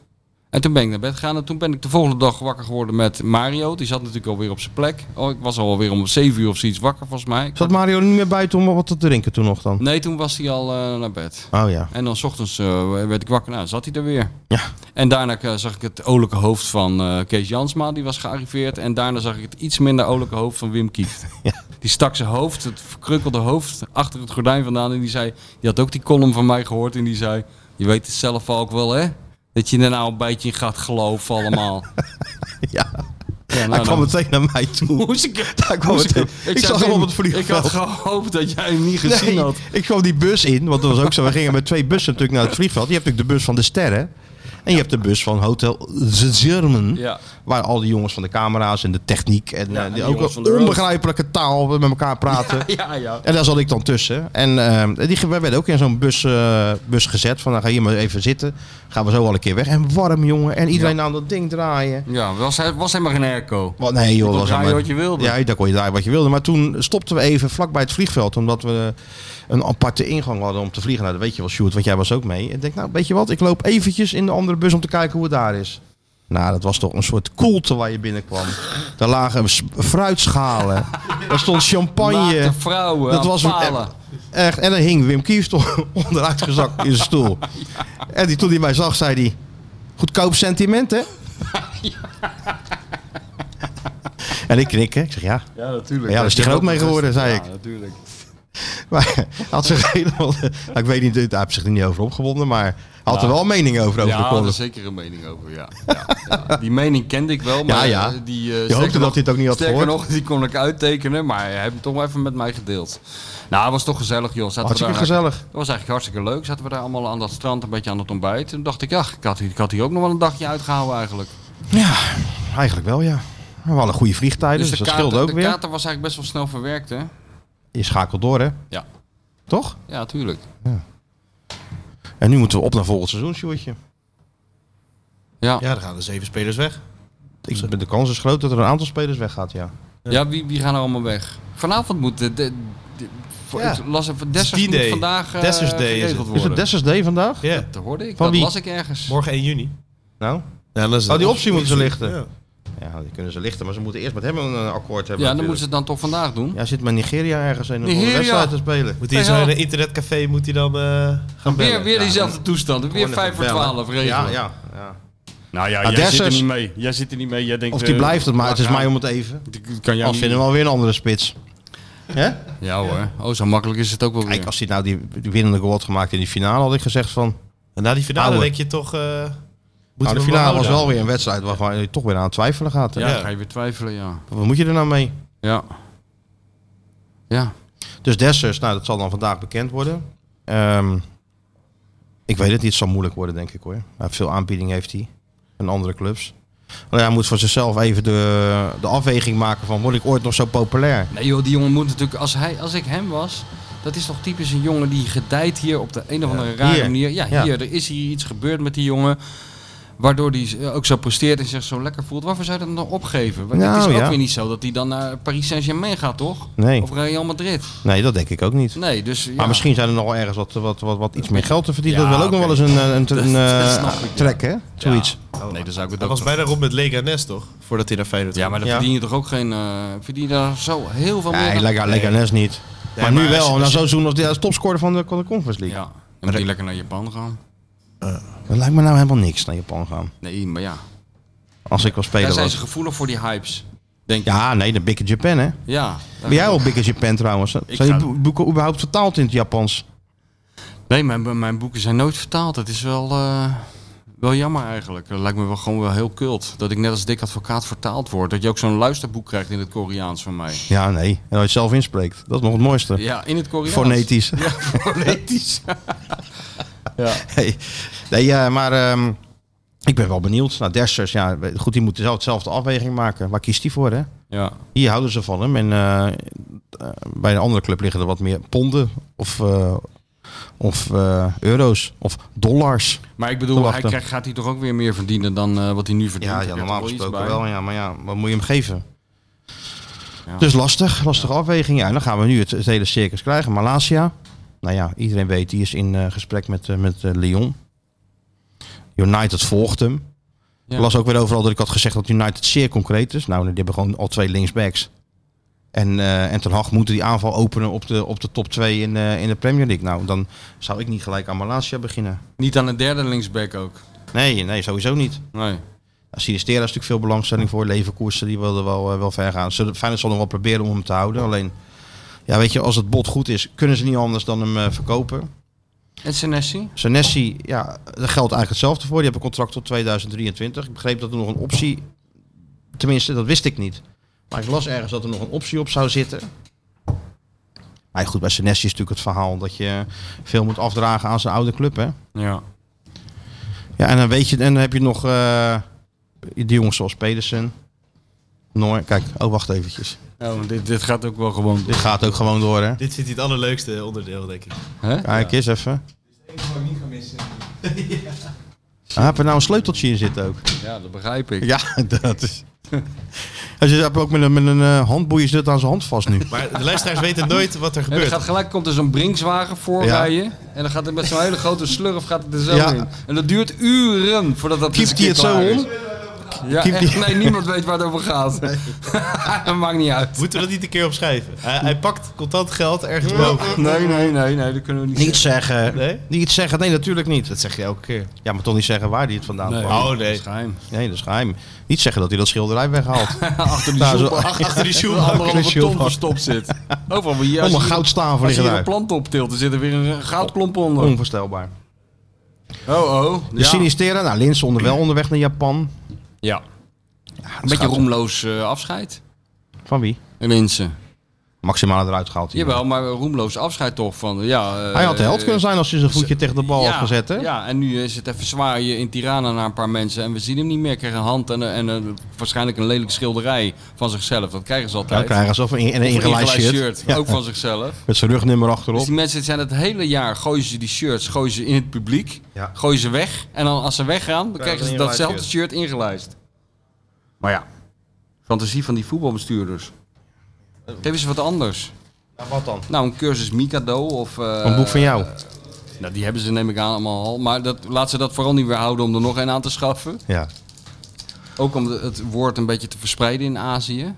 En toen ben ik naar bed gegaan en toen ben ik de volgende dag wakker geworden met Mario. Die zat natuurlijk alweer op zijn plek. Oh, ik was alweer om 7 uur of zoiets wakker volgens mij.
Zat Mario niet meer buiten om wat te drinken toen nog dan?
Nee, toen was hij al eh, naar bed.
Oh ja.
En dan 's ochtends eh, werd ik wakker, nou zat hij er weer.
Ja.
En daarna eh, zag ik het olijke hoofd van eh, Kees Jansma, die was gearriveerd. En daarna zag ik het iets minder olijke hoofd van Wim Kieft.
[laughs] Ja.
Die stak zijn hoofd, het verkrukkelde hoofd, achter het gordijn vandaan. En die zei, die had ook die column van mij gehoord. En die zei, je weet het zelf ook wel hè? Dat je er nou een beetje in gaat geloven allemaal.
[laughs] Ja.
Ja, nou,
Hij kwam
dan-
meteen naar mij toe.
Moest ik,
Daar kwam
moest ik,
meteen-
ik
ik
zei,
zag hem
Wim,
op het vliegveld.
Ik had gehoopt dat jij hem niet gezien
Nee,
had.
ik kwam die bus in, want dat was ook zo. We gingen met twee bussen natuurlijk naar het vliegveld. Je hebt natuurlijk de bus van de sterren. En je hebt de bus van Hotel Zermen.
Ja. [laughs]
Waar al die jongens van de camera's en de techniek en, eh,
en
die
die
ook
jongens van de road.
onbegrijpelijke taal met elkaar praten.
Ja, ja.
En daar zat ik dan tussen. En eh, die, wij werden ook in zo'n bus, eh, bus gezet. Van, nou, ga hier maar even zitten. Gaan we zo al een keer weg. En warm, jongen. En iedereen aan dat ding draaien.
Ja, was, hij- was helemaal geen airco.
Wat, nee, joh.
kon
was
draaien
helemaal-
wat je wilde.
Ja, daar kon je draaien wat je wilde. Maar toen stopten we even vlakbij het vliegveld. Omdat we een aparte ingang hadden om te vliegen. Nou, dat weet je wel, Sjoerd. Want jij was ook mee. En ik denk, nou, weet je wat? Ik loop eventjes in de andere bus om te kijken hoe het daar is. Nou, dat was toch een soort koelte waar je binnenkwam. Daar lagen s- fruitschalen. Daar stond champagne.
Naakte vrouwen
eh, Dat
aan
was een-
palen.
Echt, en dan hing Wim Kieft [laughs] onderuit gezakt in zijn stoel. En die, toen hij mij zag, zei hij... Goedkoop sentiment, [laughs] hè? En ik knikken. Ik zeg ja.
Ja, natuurlijk.
Ja, daar is hij groot mee geworden, zei ik. [laughs]
Ja, natuurlijk.
Maar hij had zich helemaal... [laughs] nou, ik weet niet, hij heeft zich er niet over opgewonden, maar hij had er wel een mening over. over de
Ja, daar
column.
is zeker een mening over, ja. ja, ja. Die mening kende ik wel, maar
Ja, ja.
eh, die... eh,
Je
sterker
hoopte dat
nog-
hij het ook niet had
Sterker
gehoord.
nog, die kon ik uittekenen, maar hij heeft hem toch wel even met mij gedeeld. Nou, het was toch gezellig, joh. Zaten we
Hartstikke
daar-
gezellig.
Dat was eigenlijk hartstikke leuk. Zaten we daar allemaal aan dat strand een beetje aan het ontbijt. Toen dacht ik, ja, ik had, hier- ik had hier ook nog wel een dagje uitgehouden eigenlijk.
Ja, eigenlijk wel, ja. We hadden goede vliegtijden, dus,
de,
dat scheelde
kater-
ook
de
weer.
kater was eigenlijk best wel snel verwerkt, hè?
Je schakelt door, hè?
Ja.
Toch?
Ja, tuurlijk.
En nu moeten we op naar volgend seizoen, Sjoerdje.
Ja, ja.
Ja, dan gaan er zeven spelers weg.
Ik- De kans is groot dat er een aantal spelers weggaat, ja.
wie, wie gaan er allemaal weg? Vanavond moet... De, de, de- voor-
Ja.
Ik las even, Dessers
die
moet
day.
vandaag eh,
Dessers day is
geregeld
het. Is
Is het
worden.
Dessers Day vandaag?
Ja,
Dat hoorde ik.
Van
dat
wie?
las ik ergens.
morgen 1 juni.
Nou?
Ja, dan is het
Oh, die optie moeten ze lichten.
Ja.
Ja, die kunnen ze lichten, maar ze moeten eerst met hem een eh, akkoord hebben.
Ja, dan
natuurlijk.
moeten ze het dan toch vandaag doen.
Ja, zit met Nigeria ergens in een
Nigeria.
wedstrijd te spelen.
Moet hij in
Ja.
zo'n eh, internetcafé moet hij dan eh, gaan bellen?
Weer, weer
Ja.
diezelfde toestand. Weer 5 voor 12 regelen.
Ja, ja, ja.
Nou ja,
Ah,
jij zit er
Dessers.
niet mee. Jij zit er niet mee. Jij denkt,
Of die
eh,
blijft het, maar het is
laat
mij
gaan.
om het even.
Die Kan jou
Als
niet...
vinden we alweer een andere spits. Hè?
Ja hoor. Oh, zo makkelijk is het ook wel weer.
Kijk, als hij nou die, die winnende goal had gemaakt in die finale, had ik gezegd van...
En na die finale
Ouwe.
denk je toch... eh
Nou,
moeten
de
we
finale was
houden.
wel weer een wedstrijd waarvan je toch weer aan het twijfelen gaat. hè?
ja,
ja.
ga je weer twijfelen, ja.
Wat moet je er nou mee?
Ja. Ja.
Dus Dessers, nou, dat zal dan vandaag bekend worden. Ehm, ik weet het niet, het zal moeilijk worden, denk ik hoor. Hij heeft veel aanbieding heeft hij van andere clubs. Maar ja, hij moet voor zichzelf even de, de afweging maken van word ik ooit nog zo populair?
Nee joh, die jongen moet natuurlijk... Als, hij, als ik hem was... Dat is toch typisch een jongen die gedijt hier op de een of andere rare
Hier.
manier. Ja,
Ja.
hier. Er is hier iets gebeurd met die jongen. Waardoor hij ook zo presteert en zich zo lekker voelt. Waarvoor zou je dat dan opgeven? Want het
Nou,
is ook
ja.
weer niet zo dat hij dan naar Paris Saint-Germain gaat, toch?
Nee.
Of Real Madrid.
Nee, dat denk ik ook niet.
Nee, dus ja.
Maar misschien zijn er nog wel ergens wat, wat, wat, wat iets meer geld te verdienen.
Ja,
dat wil ook nog
oké.
wel eens een, eh, een, een,
[laughs] dat
eh,
snap ik, ja.
trek, hè? Zoiets.
Nee, dan zou ik het
Dat
ook
was
toch-
bijna rond met Leganes, toch? Voordat hij naar Feyenoord
Ja, maar dan
Oh. Ja.
verdien je toch ook geen... eh, verdien je daar zo heel veel meer
Nee,
aan?
lekker, lekker Nes niet.
Nee,
maar, nu
maar als
wel, na
je- als je-
zo'n seizoen als de als topscorer van de, van de Conference League.
Ja, dan moet hij lekker naar Japan gaan.
Dat lijkt me nou helemaal niks naar Japan gaan.
Nee, maar ja.
Als ik wel
Daar
speler
zijn ze
was.
gevoelig voor die hypes. Denk ik.
Ja, nee, de Big in Japan, hè?
Ja.
Ben jij al Big in Japan trouwens? Zijn
ga-
je bo- boeken überhaupt vertaald in het Japans?
Nee, mijn, mijn boeken zijn nooit vertaald. Dat is wel, eh, wel jammer eigenlijk. Dat lijkt me wel gewoon wel heel kult. Dat ik net als dik advocaat vertaald word. Dat je ook zo'n luisterboek krijgt in het Koreaans van mij.
Ja, nee. En dat je het zelf inspreekt. Dat is nog het mooiste.
Ja, in het Koreaans.
Fonetisch. [laughs]
Ja, [laughs] fonetisch.
Nee, nee eh, maar ehm, ik ben wel benieuwd. Nou, Dessers, ja, goed, die moeten zelf hetzelfde afweging maken. Waar kiest hij voor, hè?
ja.
Hier houden ze van hem. En eh, eh, bij een andere club liggen er wat meer ponden of, eh, of eh, euro's of dollars.
Maar ik
Te
bedoel, hij
wachten.
krijgt, gaat hij toch ook weer meer verdienen dan eh, wat hij nu verdient?
Ja,
Daar
ja
zit
normaal
toch iets
gesproken
bij?
wel. Ja, maar ja, wat moet je hem geven?
Ja.
Dus lastig, lastige afweging. Ja, en dan gaan we nu het, het hele circus krijgen. Malasia, nou ja, iedereen weet, die is in eh, gesprek met, eh, met eh, Lyon. United volgt hem.
Ja.
Ik las ook weer overal dat ik had gezegd dat United zeer concreet is. Nou, die hebben gewoon al twee linksbacks. En, eh en Ten Hag moet die aanval openen op de, op de top 2 in, eh, in de Premier League. Nou, dan zou ik niet gelijk aan Malasia beginnen.
Niet aan een derde linksback ook.
Nee, nee, sowieso niet.
Nee.
Nou, Sinistera is natuurlijk veel belangstelling voor. Leverkusen, die wilde wel, eh, wel ver gaan. Ze, Feyenoord zal nog wel proberen om hem te houden. Alleen, ja, weet je, als het bod goed is, kunnen ze niet anders dan hem eh, verkopen.
En Senesi?
Senesi, ja, daar geldt eigenlijk hetzelfde voor. Die hebben een contract tot 2023. Ik begreep dat er nog een optie, tenminste, dat wist ik niet. Maar ik las ergens dat er nog een optie op zou zitten. Maar goed, bij Senesi is natuurlijk het verhaal dat je veel moet afdragen aan zijn oude club, hè?
Ja.
Ja, en dan weet je, en dan heb je nog eh die jongens zoals Pedersen. Noor, kijk, oh wacht eventjes.
Oh, dit, dit gaat ook wel gewoon.
Dit gaat ook gewoon door, hè?
Dit vindt hij het allerleukste onderdeel, denk ik.
Hè?
Kijk eens even. Ah, heb er nou een sleuteltje in zitten ook?
[laughs]
Ja, dat begrijp ik.
Ja, dat [laughs] is. Als je hebt ook met een, met een eh, handboeien zit aan zijn hand vast nu.
Maar de luisteraars weten nooit wat er
En er
gebeurt.
gaat gelijk komt er zo'n Brinkswagen voorrijden. En dan gaat het met zo'n hele grote slurf gaat het er zo
Ja.
in. En dat duurt uren voordat dat
Kiept hij het zo om?
om? Ja,
Kiept
echt,
hij-
nee, niemand weet waar het over gaat. [laughs] dat maakt niet uit.
Moeten we dat niet een keer opschrijven? Hij, hij pakt contant geld ergens boven.
Nee, nee, nee, nee, dat kunnen we niet.
Niet zeggen.
Nee?
Niet zeggen, nee, natuurlijk niet.
Dat zeg je elke keer.
Ja, maar toch niet zeggen waar hij het vandaan
Nee.
kwam.
Oh nee.
Schijn.
Nee, dat is geheim. Niet zeggen dat hij dat schilderij weghaalt.
[laughs]
Achter die
Nou, zo-
soep, achter
[laughs]
die soep
Achter
anderhalve
die
ton
soep.
verstopt zit. Overal waar je, als
Allemaal
je-
goudstaven
Als je
liggen
hier een
daar.
plant optilt, er zit er weer een goudklomp onder. Oh,
Onvoorstelbaar.
oh.
De Sinistera, nou, Linz onder wel onderweg naar Japan.
Ja. Een
dat
beetje
gaat-
roemloos eh, afscheid. eh.
Van wie?
Mensen.
Maximaal eruit gehaald. hier.
Jawel, maar roemloos afscheid toch van, ja... eh,
Hij had de held kunnen zijn als hij zijn voetje tegen de bal had gezet, hè?
Ja, en nu is het even zwaaien in Tirana naar een paar mensen en we zien hem niet meer. Krijgen een hand en, een- en een- waarschijnlijk een lelijke schilderij van zichzelf. Dat krijgen ze
Dan
altijd.
krijgen ze een, een
Of
ingelijst shirt. Ja.
Ook van zichzelf.
Met zijn rugnummer
Dus
achterop.
die mensen zijn het hele jaar, gooien ze die shirts, gooien ze in het publiek,
Ja.
gooien ze weg. En dan als ze weggaan, dan krijgen
ze
ze
een
datzelfde
ingelijst
shirt ingelijst. Maar ja, fantasie van die voetbalbestuurders. Geef ze wat anders.
wat dan?
Nou, een cursus Mikado of... eh,
Een boek van jou.
nou, die hebben ze neem ik aan allemaal al. Maar dat, laat ze dat vooral niet weer houden om er nog een aan te schaffen.
Ja.
Ook om de- het woord een beetje te verspreiden in Azië.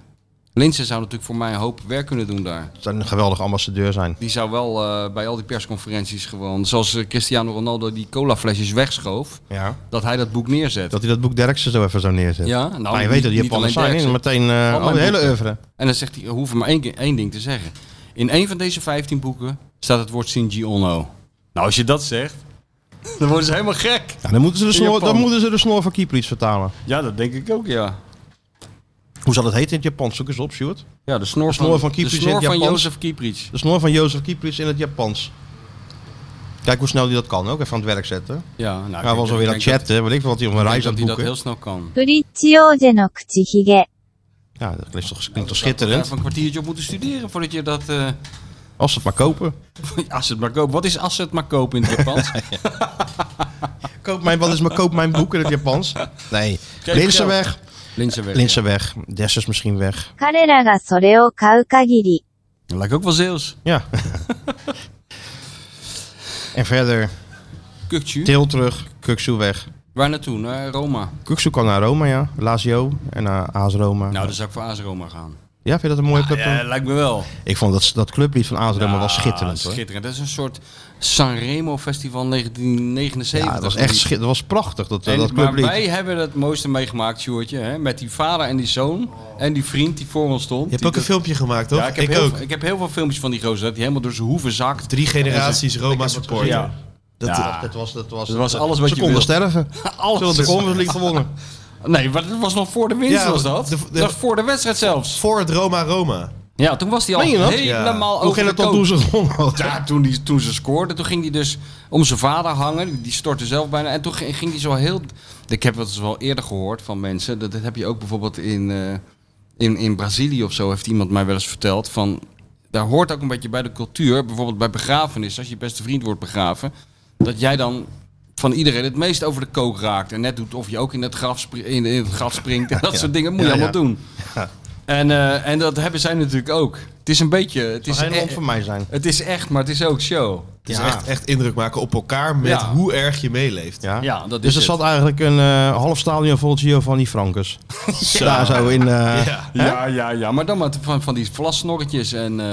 Linsen zou natuurlijk voor mij een hoop werk kunnen doen daar.
Het zou een geweldig ambassadeur zijn.
Die zou wel eh, bij al die persconferenties gewoon... Zoals eh, Cristiano Ronaldo die colaflesjes wegschoof.
Ja.
Dat hij dat boek neerzet.
Dat hij dat boek Derksen zo even zo neerzet.
Ja, nou,
maar je
niet-
weet dat die
niet
Japanners
alleen
zijn. in
Derksen.
meteen eh,
Al
al de
mijn
hele
boeken.
oeuvre.
En dan zegt hij, we hoeven maar één, keer- één ding te zeggen. In één van deze 15 boeken staat het woord Shinji Ono. Nou, als je dat zegt, [laughs] dan worden ze helemaal gek.
Ja, dan, moeten ze de
In
snor,
Japan.
dan moeten ze de snor van Kieplitz vertalen.
Ja, dat denk ik ook, ja.
Hoe zal het heten in het Japans? Zoek eens op, Stuart.
Ja, de snor,
De snor van Kieprits
de snor
in het
van
Japans.
Jozef Kieprits.
De snor van Jozef Kieplitz in het Japans. Kijk hoe snel hij dat kan. Ook even aan het werk zetten.
Ja, nou, ik
Hij
denk-
was alweer
ik
aan
denk
het chatten. Weet ik veel wat hij op een
dat- ik denk
reis aan
dat
het
hij dat
boeken.
heel snl kan.
ブリッジ王子の口ひげ。
Ja, dat klinkt toch, klinkt toch
Daar
schitterend.
even een kwartiertje op moeten studeren voordat je dat... eh [laughs]
Als ze het maar kopen. [laughs]
asset maar kopen. Wat is asset maar kopen in het Japans?
koop mijn, wat is mijn, koop mijn boek in het
[laughs]
Japans? Nee, Linsenweg.
Linsenweg.
Linsenweg. Dessers misschien weg.
彼らがそれを買う限り、
Dat lijkt ook wel Zeeuws.
Ja.
[laughs]
en verder,
Kukju.
Til terug, Kuksu weg.
Waar naartoe? Naar Roma.
Kuksu kan naar Roma, ja. Lazio en naar AS Roma.
Nou, dan zou ik voor AS Roma gaan.
Ja, vind je dat een mooie club? dan?
Ja, lijkt me wel.
Ik vond dat, dat clublied van AS Roma
Ja,
was schitterend. Hoor.
Schitterend. Dat is een soort Sanremo Festival 1979.
Ja, dat was echt schitterend. Dat was prachtig, dat,
En-
dat
maar
clublied.
wij hebben het mooiste meegemaakt, Sjoertje. Hè? Met die vader en die zoon. En die vriend die voor ons stond.
Je hebt
Die
ook een
dat-
filmpje gemaakt, toch?
Ja, ik heb, heel, veel- ik heb heel veel filmpjes van die gozer. Dat hij helemaal door zijn hoeven zakt.
Drie generaties Roma supporter.
Ja.
Dat,
Ja.
Dat was, dat was,
Dat was alles wat
ze
je
konden
wilde.
sterven. Ze
Alles.
hadden de Conference League gewonnen.
Nee, maar dat was nog voor de winst
Ja,
was dat.
de- de-
dat was voor de wedstrijd zelfs.
Voor het Roma-Roma.
Ja, toen was hij al
Meen je dat? Hoe
helemaal
ging
over
het
de
dan
koop.
toen ze gewonnen hadden?
Ja, toen, die, toen ze scoorde, toen ging hij dus om zijn vader hangen. Die stortte zelf bijna. En toen ging, ging hij zo heel... Ik heb dat dus wel eerder gehoord van mensen. Dat, dat heb je ook bijvoorbeeld in, eh, in, in Brazilië of zo. Heeft iemand mij wel eens verteld van... Daar hoort ook een beetje bij de cultuur. Bijvoorbeeld bij begrafenis. Als je beste vriend wordt begraven. Dat jij dan van iedereen het meest over de kook raakt. En net doet of je ook in het graf, spri- in, in het gat
[laughs]
springt. En dat soort dingen moet je
Ja, ja.
allemaal doen. En, eh, en dat hebben zij natuurlijk ook. Het is een beetje... Het
Het
is
zou helemaal
e-
voor mij zijn.
het is echt, maar het is ook show.
Het is
Ja.
echt, echt indruk maken op elkaar met
Ja.
hoe erg je meeleeft.
Ja.
Ja, dat
dus
is
er
het.
zat eigenlijk een eh, half stadion vol Giovanni Francus. Daar zo in... eh,
Ja.
Ja, ja, ja. Maar dan met van, van die vlassnorretjes en... eh,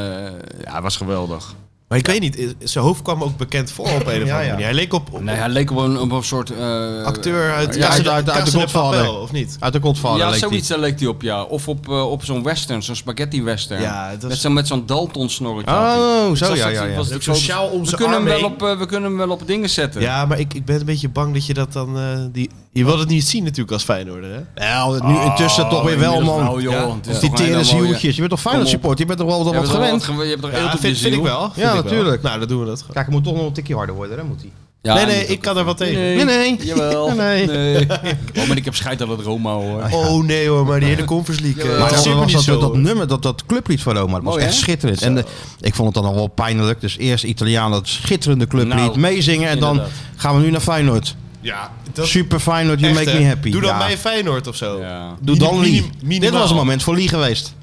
ja, het was geweldig.
Maar ik weet niet, eh, zijn hoofd kwam ook bekend voor op een of andere
Ja, ja.
manier. Hij leek op, op
Nee, hij leek op een, op een soort... eh,
acteur Oh, uit,
Ja, uit- uit-
Casa-
uit de
Casa de
Godfather.
Papel, of niet?
Uit de Godfather
Ja,
leek die.
zoiets daar leek hij op, ja. Of op, eh, op zo'n western, zo'n spaghetti western.
Ja, het was-
met, zo'n, met zo'n Dalton snorretje.
Oh,
had hij. Ik
zo,
zag
ja,
dat-
ja,
ik
ja.
was
Ook
die
zo'n
foto-
sjaal om
we
zijn
kunnen hem
arm
wel
heen.
op, eh, We kunnen hem wel op dingen zetten.
Ja, maar ik, ik ben een beetje bang dat je dat dan... eh, die, je wil het niet zien natuurlijk als Feyenoorder, hè?
Wel, nu
Ah,
intussen toch weer wel, man.
Oh, joh,
Ja.
het is
Dus die
toch een
tere
hele mooie-
zieltjes. Je bent toch
Kom
Feyenoord
op.
support? Je bent toch wel wat,
Je hebt
wat
toch wel
gewend?
wat gewe- Je hebt toch
Ja,
heel
vind, vind ik wel. vind
Ja,
ik wel.
natuurlijk.
Nou, dan doen we dat gewoon.
Kijk, hij moet toch nog een tikje harder worden, hè? Moet hij.
nee, nee, ik kan er wel tegen.
Nee, nee.
Jawel.
Nee.
[laughs]
Oh, maar ik heb scheid aan het Roma, hoor.
Oh nee hoor, maar die hele Conference League. eh,
Ja,
Maar
dat
dat,
zit me
was
niet
dat,
zo.
dat, nummer, dat, dat clublied van Roma, dat was
Mooi,
echt
hè?
schitterend. En de- ik vond het dan al wel pijnlijk. Dus eerst Italiaan, dat schitterende clublied,
Nou,
meezingen. En dan
inderdaad.
gaan we nu naar Feyenoord.
Ja, dat
Super Feyenoord, you
echt,
make
hè.
me happy.
Doe dan
Ja.
bij Feyenoord of zo.
Ja.
Doe dan
Minim-
Lee.
minimaal.
Dit was een moment voor Lee geweest.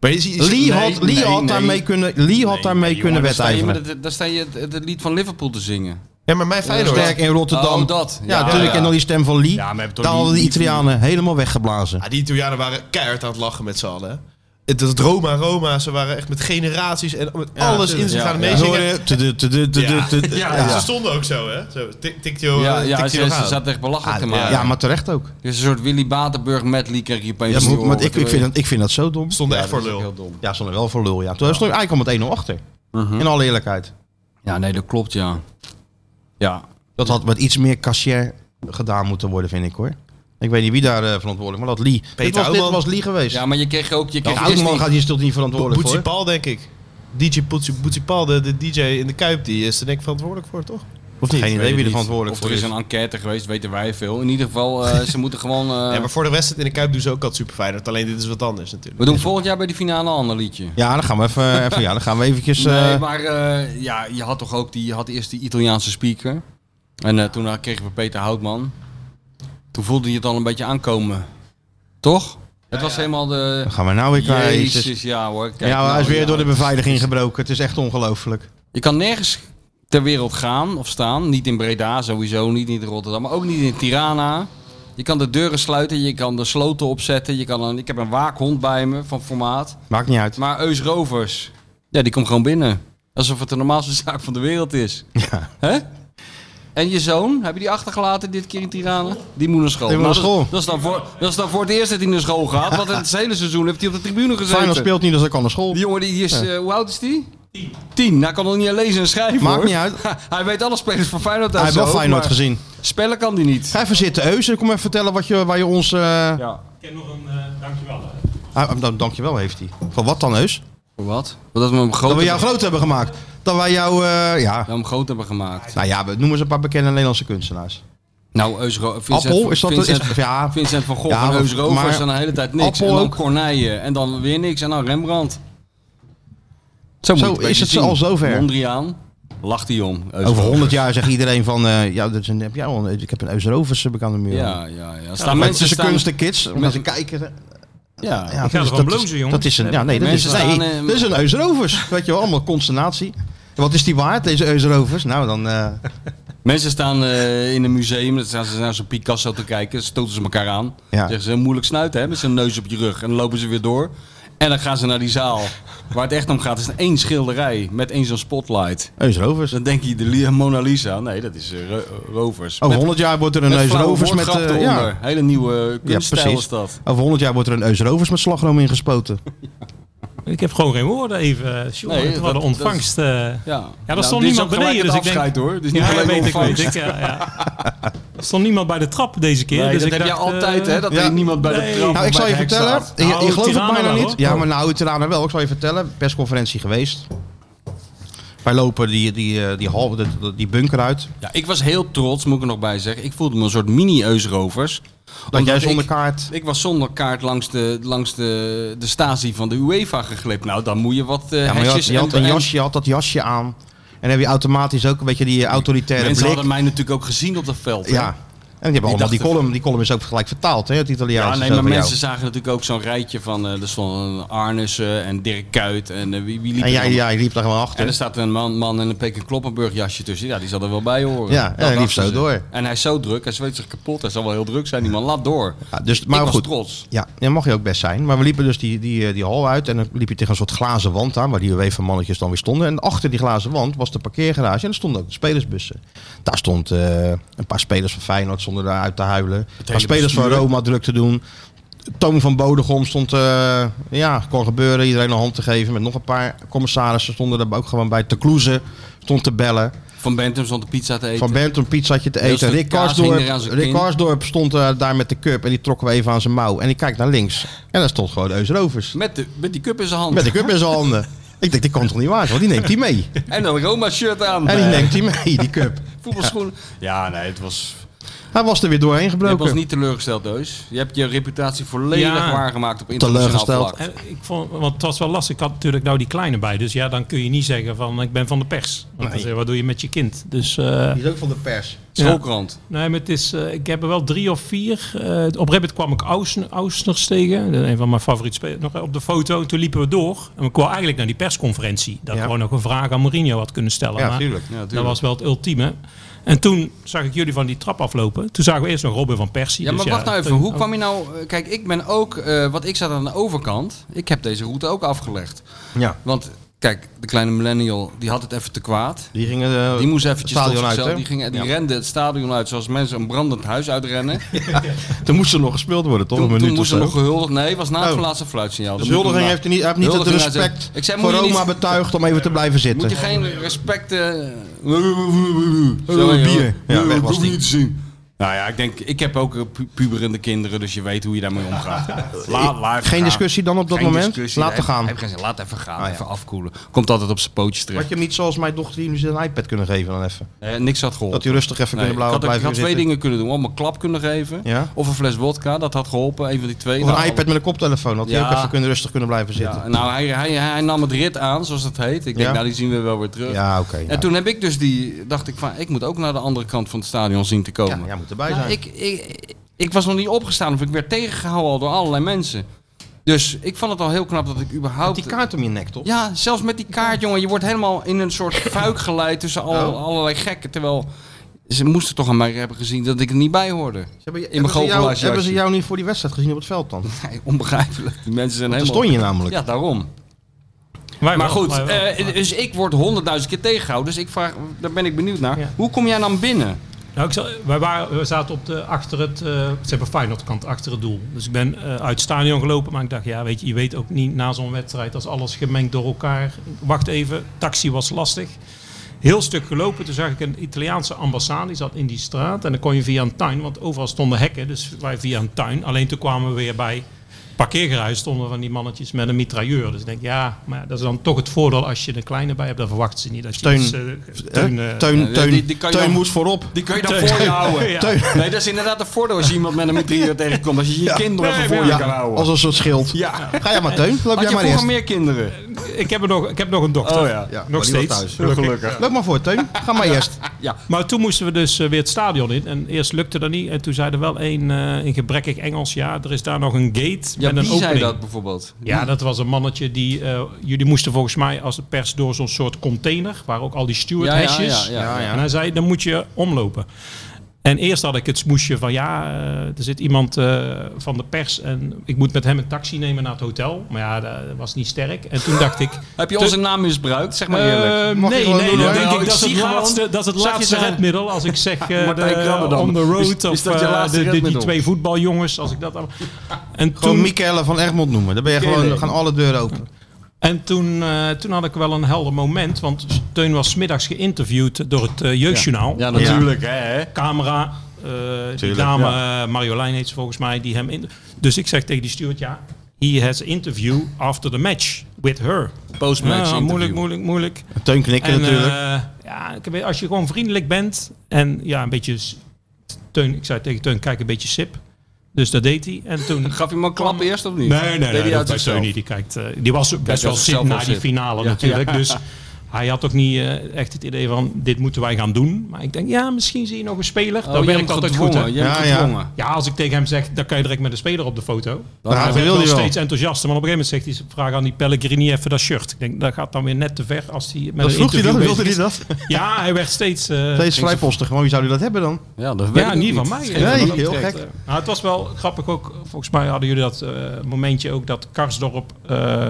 Maar je ziet-
Lee
Nee,
had, Lee
nee,
had
nee.
daarmee kunnen, Lee had daarmee kunnen
Daar sta, je met
wedijveren.
het, daar sta je het, het lied van Liverpool te zingen.
Ja, maar mijn Feyenoord.
Sterk in Rotterdam.
Oh, dat.
Ja,
Ja,
natuurlijk.
ja.
En dan die stem van Lee.
Ja, maar we hebben toch
Daar hadden de
die- die-
Italianen helemaal weggeblazen.
Ja, Ah, die Italianen waren keihard aan het lachen met z'n allen. hè. Het is Roma, Roma. Ze waren echt met generaties en met alles in zich
Ja,
aan het
ja.
meezingen.
Hoorde- tudu, tudu, tudu,
Ja.
tudu.
Ja,
Ja.
ze stonden ook zo, hè? Zo, tik- tiktio,
ja,
eh,
ja
tiktio
ze, ze
aan.
zat echt belachelijk te
Ja,
maken.
Ah, ja, maar terecht ook.
Dus een soort Willy Batenburg met Lee kreeg je
Ja,
opeens
maar,
te
maar
horen.
ik, ik, vind dat, ik vind dat zo dom.
stonden
Ja,
echt
dat
voor
is ook
lul.
heel dom.
Ja, stond er wel voor lul, ja. Toen stond ik eigenlijk om het 1-0 achter. In alle eerlijkheid.
Ja, nee, dat klopt, ja. Ja.
Dat had met iets meer cashier gedaan moeten worden, vind ik hoor. Ik weet niet wie daar eh, verantwoordelijk, maar dat Lee. dit, was, dit
Ouwman.
was Lee geweest.
ja,
Ja,
maar je kreeg ook... Je kreeg
Houtman
Disney-
gaat hier stil niet verantwoordelijk
Boetsie
voor.
Paul, denk ik. DJ Boetsie Boetsie Paul, de, de DJ in de Kuip, die is er denk ik verantwoordelijk voor, toch? Of niet?
Geen idee wie er
Of
verantwoordelijk
er
voor
is
is.
een enquête geweest, weten wij veel. In ieder
[laughs]
geval, eh, ze moeten gewoon... eh,
Ja, maar voor de wedstrijd in de Kuip doen ze ook altijd super Feyenoord. Alleen dit is wat anders natuurlijk.
We doen volgend jaar bij de finale een ander liedje.
Ja, dan gaan we even, even, ja, dan gaan we eventjes... eh,
Nee, maar eh, ja, je had toch ook die, je had eerst die Italiaanse speaker. En eh, toen eh, kregen we Peter Houtman. Toen voelde je het al een beetje aankomen. Toch? het was helemaal de...
Dan gaan we nou weer kwijt.
Jezus, ja hoor. Kijk
ja, hij
nou,
is weer
ja.
door de beveiliging gebroken. Het is echt ongelooflijk.
Je kan nergens ter wereld gaan of staan. Niet in Breda sowieso, niet in Rotterdam, maar ook niet in Tirana. Je kan de deuren sluiten, je kan de sloten opzetten. Je kan een, ik heb een waakhond bij me van formaat.
Maakt niet uit.
Maar Eus Rovers, ja, die komt gewoon binnen. Alsof het de normaalste [laughs] zaak van de wereld is.
Ja.
Hè? En je zoon, heb je die achtergelaten dit keer in Tirana? Die moet naar school.
Die moet naar
Nou, dat is-
school.
Dat is, dan voor, dat is dan voor het eerst dat hij naar school gaat. Want het hele seizoen heeft hij op de tribune gezeten.
Feyenoord speelt niet, dus dat kan naar school.
Die jongen, die, die is, eh, hoe oud is die? Tien. Tien. Nou, hij kan nog niet lezen en schrijven
Maakt
hoor.
niet uit.
[laughs] hij weet alle spelers van Feyenoord uit
Hij heeft
zijn
wel
hoofd,
Feyenoord gezien.
maar Spellen kan hij niet.
Ga even zitten, Eus. En kom even vertellen wat je, waar je ons... eh
Ja.
Ik heb nog een eh, dankjewel. hè.
ah, dan- dankjewel heeft hij. Van wat dan, Eus?
Voor wat? Dat we hem groot,
Dat we
hebben,
jou groot hebben gemaakt. Dat wij jou... eh, ja.
dat we hem groot hebben gemaakt.
Nou ja, we noemen ze een paar bekende Nederlandse kunstenaars.
Nou, Eus Ro- Vincent,
Appel, is dat-
Vincent,
is- ja.
Vincent van Gogh
Ja,
en
maar-
Eus Rovers
maar-
en de hele tijd niks.
Appel
en dan
ook.
Corneille en dan weer niks en dan Rembrandt. Zo, moet je
is
beetje
het
zien.
al zover.
Mondriaan. Lacht hij om.
Over 100 jaar zegt iedereen van, eh, ja, dat is een, heb jij al een- ik heb een Euserovers heb ik aan de muur.
Ja, ja, ja. Staan
Maar
mensen
tussen
staan-
kunst en kids, om naar te
mensen-
kijken. eh,
Ja,
dat
ga
is-
ervan
dat
blozen,
is-
jongen.
Dat is een, ja, nee, dat is,
Mensen staan,
nee,
eh,
dat is een Euserovers. [laughs] Weet je wel, allemaal consternatie. En Wat is die waard, deze Euserovers? Nou, dan... eh,
Mensen staan eh, in een museum, dan staan ze naar zo'n Picasso te kijken, stoten ze elkaar aan.
Ja.
Zeggen ze moeilijk snuiten, hè, met zijn neus op je rug. En dan lopen ze weer door. En dan gaan ze naar die zaal. Waar het echt om gaat, is één schilderij met één zo'n spotlight.
Eusrovers.
Dus dan denk je, de Li- Mona Lisa. Nee, dat is eh, Ro- Rovers.
Over
Met-
100 jaar wordt er een
met flauwe
Eusrovers Oh, met...
woordgrap
eh,
eronder.
ja,
Hele nieuwe
ja,
kunststijl
precies.
is dat.
Over 100 jaar wordt er een Eusrovers met slagroom
[laughs]
ingespoten.
Ik heb gewoon geen woorden even. Sjoe,
Nee,
het was de
dat-
ontvangst. eh.
Ja,
daar
Nou,
stond
dit is
niemand
ook gelijk
beneden,
het
dus ik denk-
afscheid, hoor. Het is niet
ja,
alleen
dat weet ik, weet
ontvangst.
ik. Ja, ja. Er stond niemand bij de trap deze keer.
Nee,
dus
dat
ik
heb je
dacht,
altijd,
eh,
hè? Dat
ja.
er niemand bij
Nee.
de trap
Nou, ik
bij
zal je
de hek
vertellen.
staat.
Je, je
Nou,
gelooft het
Tirana
bijna
wel,
niet.
hoor.
Ja, maar nou, Tirana wel. Ik zal je vertellen. Persconferentie geweest. Wij lopen die, die, eh, die, hal, die, die bunker uit.
Ja, ik was heel trots, moet ik er nog bij zeggen. Ik voelde me een soort mini-Eusrovers.
Dat jij zonder
ik,
kaart...
ik was zonder kaart langs de, langs de, de statie van de UEFA geglept. Nou, dan moet je wat eh
Ja, maar je had,
hesjes
je had
en-
een
en-
jasje, je had dat jasje aan. En dan heb je automatisch ook een beetje die eh, autoritaire
Mensen
blik.
hadden mij natuurlijk ook gezien op dat veld. hè?
Ja. En die hebben allemaal die
dachten-
column. Die column is ook gelijk vertaald, hè? Het Italiaans.
Ja,
is
nee,
zo
maar
van jou.
mensen zagen natuurlijk ook zo'n rijtje van... eh, er stonden Arnissen en Dirk Kuyt en eh, wie, wie liep
En
er
jij,
allemaal?
jij liep daar gewoon achter.
En er staat een man, man in een Peking Kloppenburg jasje tussen. Ja, die zal er wel bij horen.
Ja, en
Dat
hij liep
dachten
zo
ze.
door.
En hij is zo druk, hij zweet zich kapot. Hij zal wel heel druk zijn, die man. Laat door.
Ja, dus, maar
ik was
goed.
trots.
Ja, dat mag je ook best zijn. Maar we liepen dus die, die, eh, die hal uit en dan liep je tegen een soort glazen wand aan, waar die UEFA-mannetjes dan weer stonden. En achter die glazen wand was de parkeergarage en er stonden ook de spelersbussen. Daar stond eh, een paar spelers van Feyenoord zonder daar uit te huilen. Een paar spelers van Roma druk te doen. Toon van Bodegom stond, eh, ja, kon gebeuren, iedereen een hand te geven. Met nog een paar commissarissen stonden daar ook gewoon bij. Te kloezen stond te bellen.
Van Bentham stond de pizza te eten.
Van Benton pizzaatje te
Heel
eten.
stuk
Rick
kaas hing
Karsdorp,
eraan zijn
Rick
kin.
Karsdorp stond eh, daar met de cup en die trokken we even aan zijn mouw. En ik kijk naar links en daar stond gewoon Eus Rovers.
Met, de, met die cup in zijn hand.
Met de cup in zijn handen. Ik denk, dit kan toch niet waar zijn, want die neemt die mee.
En een Roma-shirt aan.
En die
Eh,
neemt die mee, die cup.
Voetbalschoenen. Ja, nee, het was...
Hij was er weer doorheen
Je
gebroken.
was niet teleurgesteld, Deus. Je hebt je reputatie volledig
Ja.
waargemaakt op internationaal
Teleurgesteld.
vlak.
En eh, ik vond, want het was wel lastig. Ik had natuurlijk nou die kleine bij. Dus ja, dan kun je niet zeggen van ik ben van de pers. Want dan
Nee.
zeg je, wat doe je met je kind? Dus eh,
Die is ook van de pers.
Schoolkrant.
nee, maar het is, eh, ik heb er wel drie of vier. eh, op Reddit kwam ik Ausner- Ausners tegen. Een van mijn favoriete spelers. Nog op de foto. En toen liepen we door. En ik kwam eigenlijk naar die persconferentie.
Ja.
Dat ik gewoon nog een vraag aan Mourinho had kunnen stellen.
Ja,
maar
tuurlijk.
Ja, tuurlijk.
dat was wel het ultieme. En toen zag ik jullie van die trap aflopen. Toen zagen we eerst nog Robin van Persie.
Ja,
Dus
maar wacht nou even.
toen-
Hoe kwam je nou... Kijk, ik ben ook... eh wat ik zat aan de overkant. Ik heb deze route ook afgelegd.
Ja.
Want, kijk, de kleine millennial, die had het even te kwaad.
Die gingen eh,
Die moest
het
eventjes tot
stadion uit,
zichzelf.
hè?
Die, ging, die
Ja.
rende het stadion uit zoals mensen een brandend huis uitrennen.
Toen moest er nog gespeeld worden, toch?
toen
een
toen
minuut of
moest er
zo.
nog gehuldigd. Nee, was na het
Oh.
laatste fluitsignaal.
Dus
Dat moet
Huldiging
hem
heeft, er niet, heeft niet het
Huldiging zei-
respect
Ik zei,
voor
moet je
Roma
niet-
betuigd om even te blijven
Moet je
zitten.
geen respect. eh,
Zo,
eh,
bier. Ja, weg
dat
was
hoef
die.
niet te zien. Nou ja, ik denk, ik heb ook eh, pu- puberende kinderen, dus je weet hoe je daarmee
[laughs]
omgaat. Laat, laat even
Geen
gaan.
discussie dan op dat
Geen
moment?
discussie.
Laat
Heb-
gaan.
heb geen zin. Laat even gaan,
Ah, ja.
even afkoelen. Komt altijd op zijn pootjes
Had
terecht.
je hem niet zoals mijn dochter die nu zijn iPad kunnen geven dan even?
Eh, niks had geholpen.
Dat hij rustig even kunnen
Nee, ik
blauwen
had, ik
blijven
had twee
zitten.
dingen kunnen doen. Om een klap kunnen geven.
Ja.
Of een fles wodka. Dat had geholpen. Een van die twee.
Of een
Nou,
iPad met een koptelefoon, had hij
Ja.
ook even kunnen, rustig kunnen blijven zitten.
Ja, nou, hij, hij, hij nam het rit aan, zoals dat heet. Ik denk,
Ja.
nou, die zien we wel weer
Ja,
terug.
oké. ja.
En toen heb ik dus die, dacht ik van, ik moet ook naar de andere kant van het stadion zien te komen.
ja, jij moet erbij
Nou,
zijn.
ik, ik, ik was nog niet opgestaan of ik werd tegengehouden al door allerlei mensen. Dus ik vond het al heel knap dat ik überhaupt...
die kaart om je nek, toch?
Ja, zelfs met die kaart, jongen. Je wordt helemaal in een
[coughs]
soort fuik geleid tussen al,
Oh.
allerlei gekken. Terwijl ze moesten toch aan mij hebben gezien dat ik er niet bij hoorde.
Hebben, hebben
mijn
ze jou,
goochelaars
hebben ze
jasje.
jou niet voor die wedstrijd gezien op het veld dan?
[laughs] Nee, onbegrijpelijk. Die mensen zijn
Daar
helemaal...
stond je namelijk.
Ja, daarom.
Oh, Wij
Maar
wel,
goed,
wij wel.
eh, dus ik word honderdduizend keer tegengehouden. Dus ik vraag, daar ben ik benieuwd naar.
Ja.
Hoe kom jij dan binnen?
Nou, ik zal- wij waren, we zaten op de, achter het, eh ze hebben Feyenoordkant achter het doel. Dus ik ben eh, uit het stadion gelopen, maar ik dacht, ja, weet je, je weet ook niet na zo'n wedstrijd, als alles gemengd door elkaar. Wacht even, taxi was lastig. Heel stuk gelopen, toen zag ik een Italiaanse ambassade, die zat in die straat. En dan kon je via een tuin, want overal stonden hekken, dus wij via een tuin. Alleen toen kwamen we weer bij parkeergarage, stonden van die mannetjes met een mitrailleur. Dus ik denk, ja, maar dat is dan toch het voordeel als je een kleine bij hebt, dan verwachten ze niet dat je
Steun.
iets, eh, steun,
Hè?
eh,
Teun,
ja,
teun,
die- die kan je
teun
dan-
moest voorop.
Die kun je dan [laughs] voor je houden.
Ja.
Teun,
Nee, dat is inderdaad een voordeel als je iemand met een mitrailleur tegenkomt. Als je je kinderen even voor je
ja,
kan houden.
als een soort schild.
ja.
Ga jij maar, Teun. Loop
Had
jij
je
maar
vroeger
eerst.
meer kinderen?
ik, heb er nog, ik heb nog een dochter.
Oh ja.
Ja, maar
nog
die was
steeds.
thuis.
Heel gelukkig.
Loop maar voor, Teun. Ga maar eerst.
Maar toen moesten we dus eh, weer het stadion in. En eerst lukte dat niet. En toen zei er wel een eh, in gebrekkig Engels. Ja, er is daar nog een gate
Ja,
met een
wie
opening.
zei dat bijvoorbeeld?
Ja, dat was een mannetje die... eh, jullie moesten volgens mij als de pers door zo'n soort container... waar ook al die stewardhesjes...
Ja, ja.
En hij zei, dan moet je omlopen. En eerst had ik het smoesje van ja, eh, er zit iemand eh, van de pers en ik moet met hem een taxi nemen naar het hotel. Maar ja, dat was niet sterk. En toen dacht ik.
[laughs] Heb je onze naam misbruikt? Zeg maar eerlijk.
eh,
Mag ik
nee,
wel
nee,
doen,
dan
hoor.
denk
Nou,
ik
ik
dat is
zie
het
gewoon-
laatste, dat is het
Zag je
laatste
ze-
redmiddel. Als ik
[laughs]
zeg eh,
Martijn
de-
Krabbe dan.
on the
Is-
road
is
of
dat je
eh,
laatste
de- de- die
redmiddel?
twee voetbaljongens. Als ik dat allemaal- en
Gewoon
toen,
Michele van Egmond noemen. Dan ben je gewoon,
Kele.
gaan alle deuren open.
en toen, eh, toen had ik wel een helder moment, want Teun was 's middags geïnterviewd door het eh, Jeugdjournaal.
ja, natuurlijk. Hè, hè.
camera. eh, die
Tuurlijk,
dame, eh, Marjolein heet ze volgens mij, die hem in. Dus ik zeg tegen die steward, ja, he has interview after the match with her.
Postmatch
Ja,
interview.
moeilijk, moeilijk, moeilijk.
Teun knikken
En,
natuurlijk.
eh, ja, ik weet, als je gewoon vriendelijk bent en ja, een beetje, s- teun, ik zei tegen Teun, kijk een beetje sip. Dus dat deed hij. En
[laughs]
toen
Gaf je hem een klap eerst of niet?
Nee, nee, nee,
Deed hij uit
dat bij
zichzelf?
Tony, die kijkt, eh, die was best
uit
wel
zichzelf
zit na
wel
die
zit.
finale
Ja.
natuurlijk. Dus hij had ook niet eh, echt het idee van, dit moeten wij gaan doen. Maar ik denk, ja, misschien zie je nog een speler.
Oh, jij
Dan ben ik
hebt
altijd goed,
gedwongen,
hè?
jij hebt
Ja, ja.
gedwongen.
Ja, als ik tegen hem zeg, dan kan je direct met een speler op de foto.
Nou,
hij
dat
werd
wil
wel
hij wel.
steeds enthousiaster. Maar op een gegeven moment zegt hij, vraag aan die Pellegrini even dat shirt. Ik denk, dat gaat dan weer net te ver als hij met
Dat
een
vroeg hij
interview
dan?
bezig
Wilde hij
is.
dat?
Ja, hij werd steeds... eh,
Deze vrijpostig. Gewoon, wie zou die dat hebben dan?
Ja, dat weet
ja,
ik
niet van mij.
Geen-
hè.
Nee,
Van dat
heel
betreft,
gek.
eh. Nou, het was wel grappig ook. Volgens mij hadden jullie dat eh, momentje ook dat Karsdorp eh,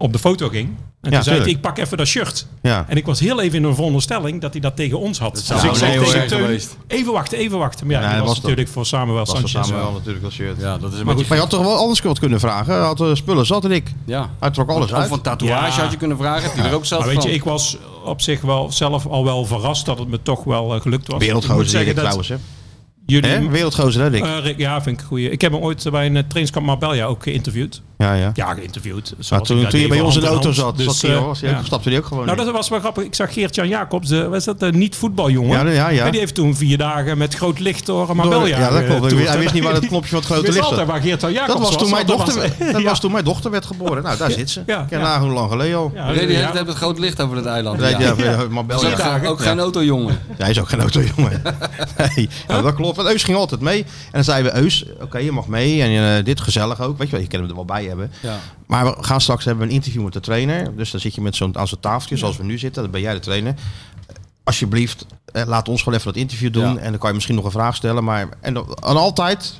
op de foto ging. En toen zei hij,
tuurlijk.
ik pak even dat shirt.
Ja.
En ik was heel even in een veronderstelling dat hij dat tegen ons had.
zou
dus ik
een
zei
heel
tegen
erg
Teun,
geweest.
even wachten, even wachten. Maar ja,
Nee,
die
dat
was
was
natuurlijk voor Samuel
Dat was
Sanchez. eh.
samen wel natuurlijk dat shirt.
Ja, dat is een
Maar,
beetje...
je had toch wel anders wat kunnen vragen? Hij had eh, spullen zat en ik.
Ja.
Hij trok alles
Of
uit.
een tatoeage
Ja.
had je kunnen vragen. Heb je er ook zelf
Maar weet
van?
je, ik was op zich wel zelf al wel verrast dat het me toch wel eh, gelukt was. Ik moet
Wereldgozer
zeggen
Rick
dat
trouwens. Hè?
Jullie,
Hè? Wereldgozer hè Rick?
eh, Rick, ja, vind ik een goeie. Ik heb hem ooit bij een eh, trainingskamp Marbella ook geïnterviewd.
ja, ja.
Ja, geïnterviewd. zoals
Maar
ik
toen,
dat
toen je
deed
bij
voor
ons in de
hand
auto
hand.
zat,
Dus,
zat hij,
eh,
hoor, was hij-
ja.
stapte hij ook gewoon
Nou,
in.
dat was wel grappig. Ik zag Geert-Jan Jacobs, de, was dat de niet-voetbaljongen?
Ja, ja, ja.
En die heeft toen vier dagen met groot licht door Marbella
Ja, dat
eh,
klopt.
toerd.
Hij wist
[laughs]
niet waar het knopje van het
Hij
grote
wist
licht
altijd
zat.
waar Geert-Jan Jacobs
Dat was toen mijn dochter, dat
Ja.
was toen mijn dochter werd geboren. Nou, daar zit ze.
Ja,
Ken
ja.
haar hoe lang geleden al.
Ja,
Reden heeft
ja.
het het groot licht over het eiland.
Ja, ja, maar bel
Ook
ja.
geen- Ook geen autojongen.
Hij is ook geen auto, [laughs] jongen. Nee, nou, dat klopt. Want Eus ging altijd mee. En dan zeiden we, Eus, oké, je mag mee. En eh, dit gezellig ook. Weet je wel, je kan hem er wel bij hebben. [laughs]
Ja.
Maar we gaan straks hebben we een interview met de trainer. Dus dan zit je met zo'n aan zo'n tafeltje, zoals we nu zitten. Dan ben jij de trainer. Alsjeblieft, eh, laat ons gewoon even dat interview doen.
Ja.
En dan kan je misschien nog een vraag stellen. Maar en, dan- en altijd,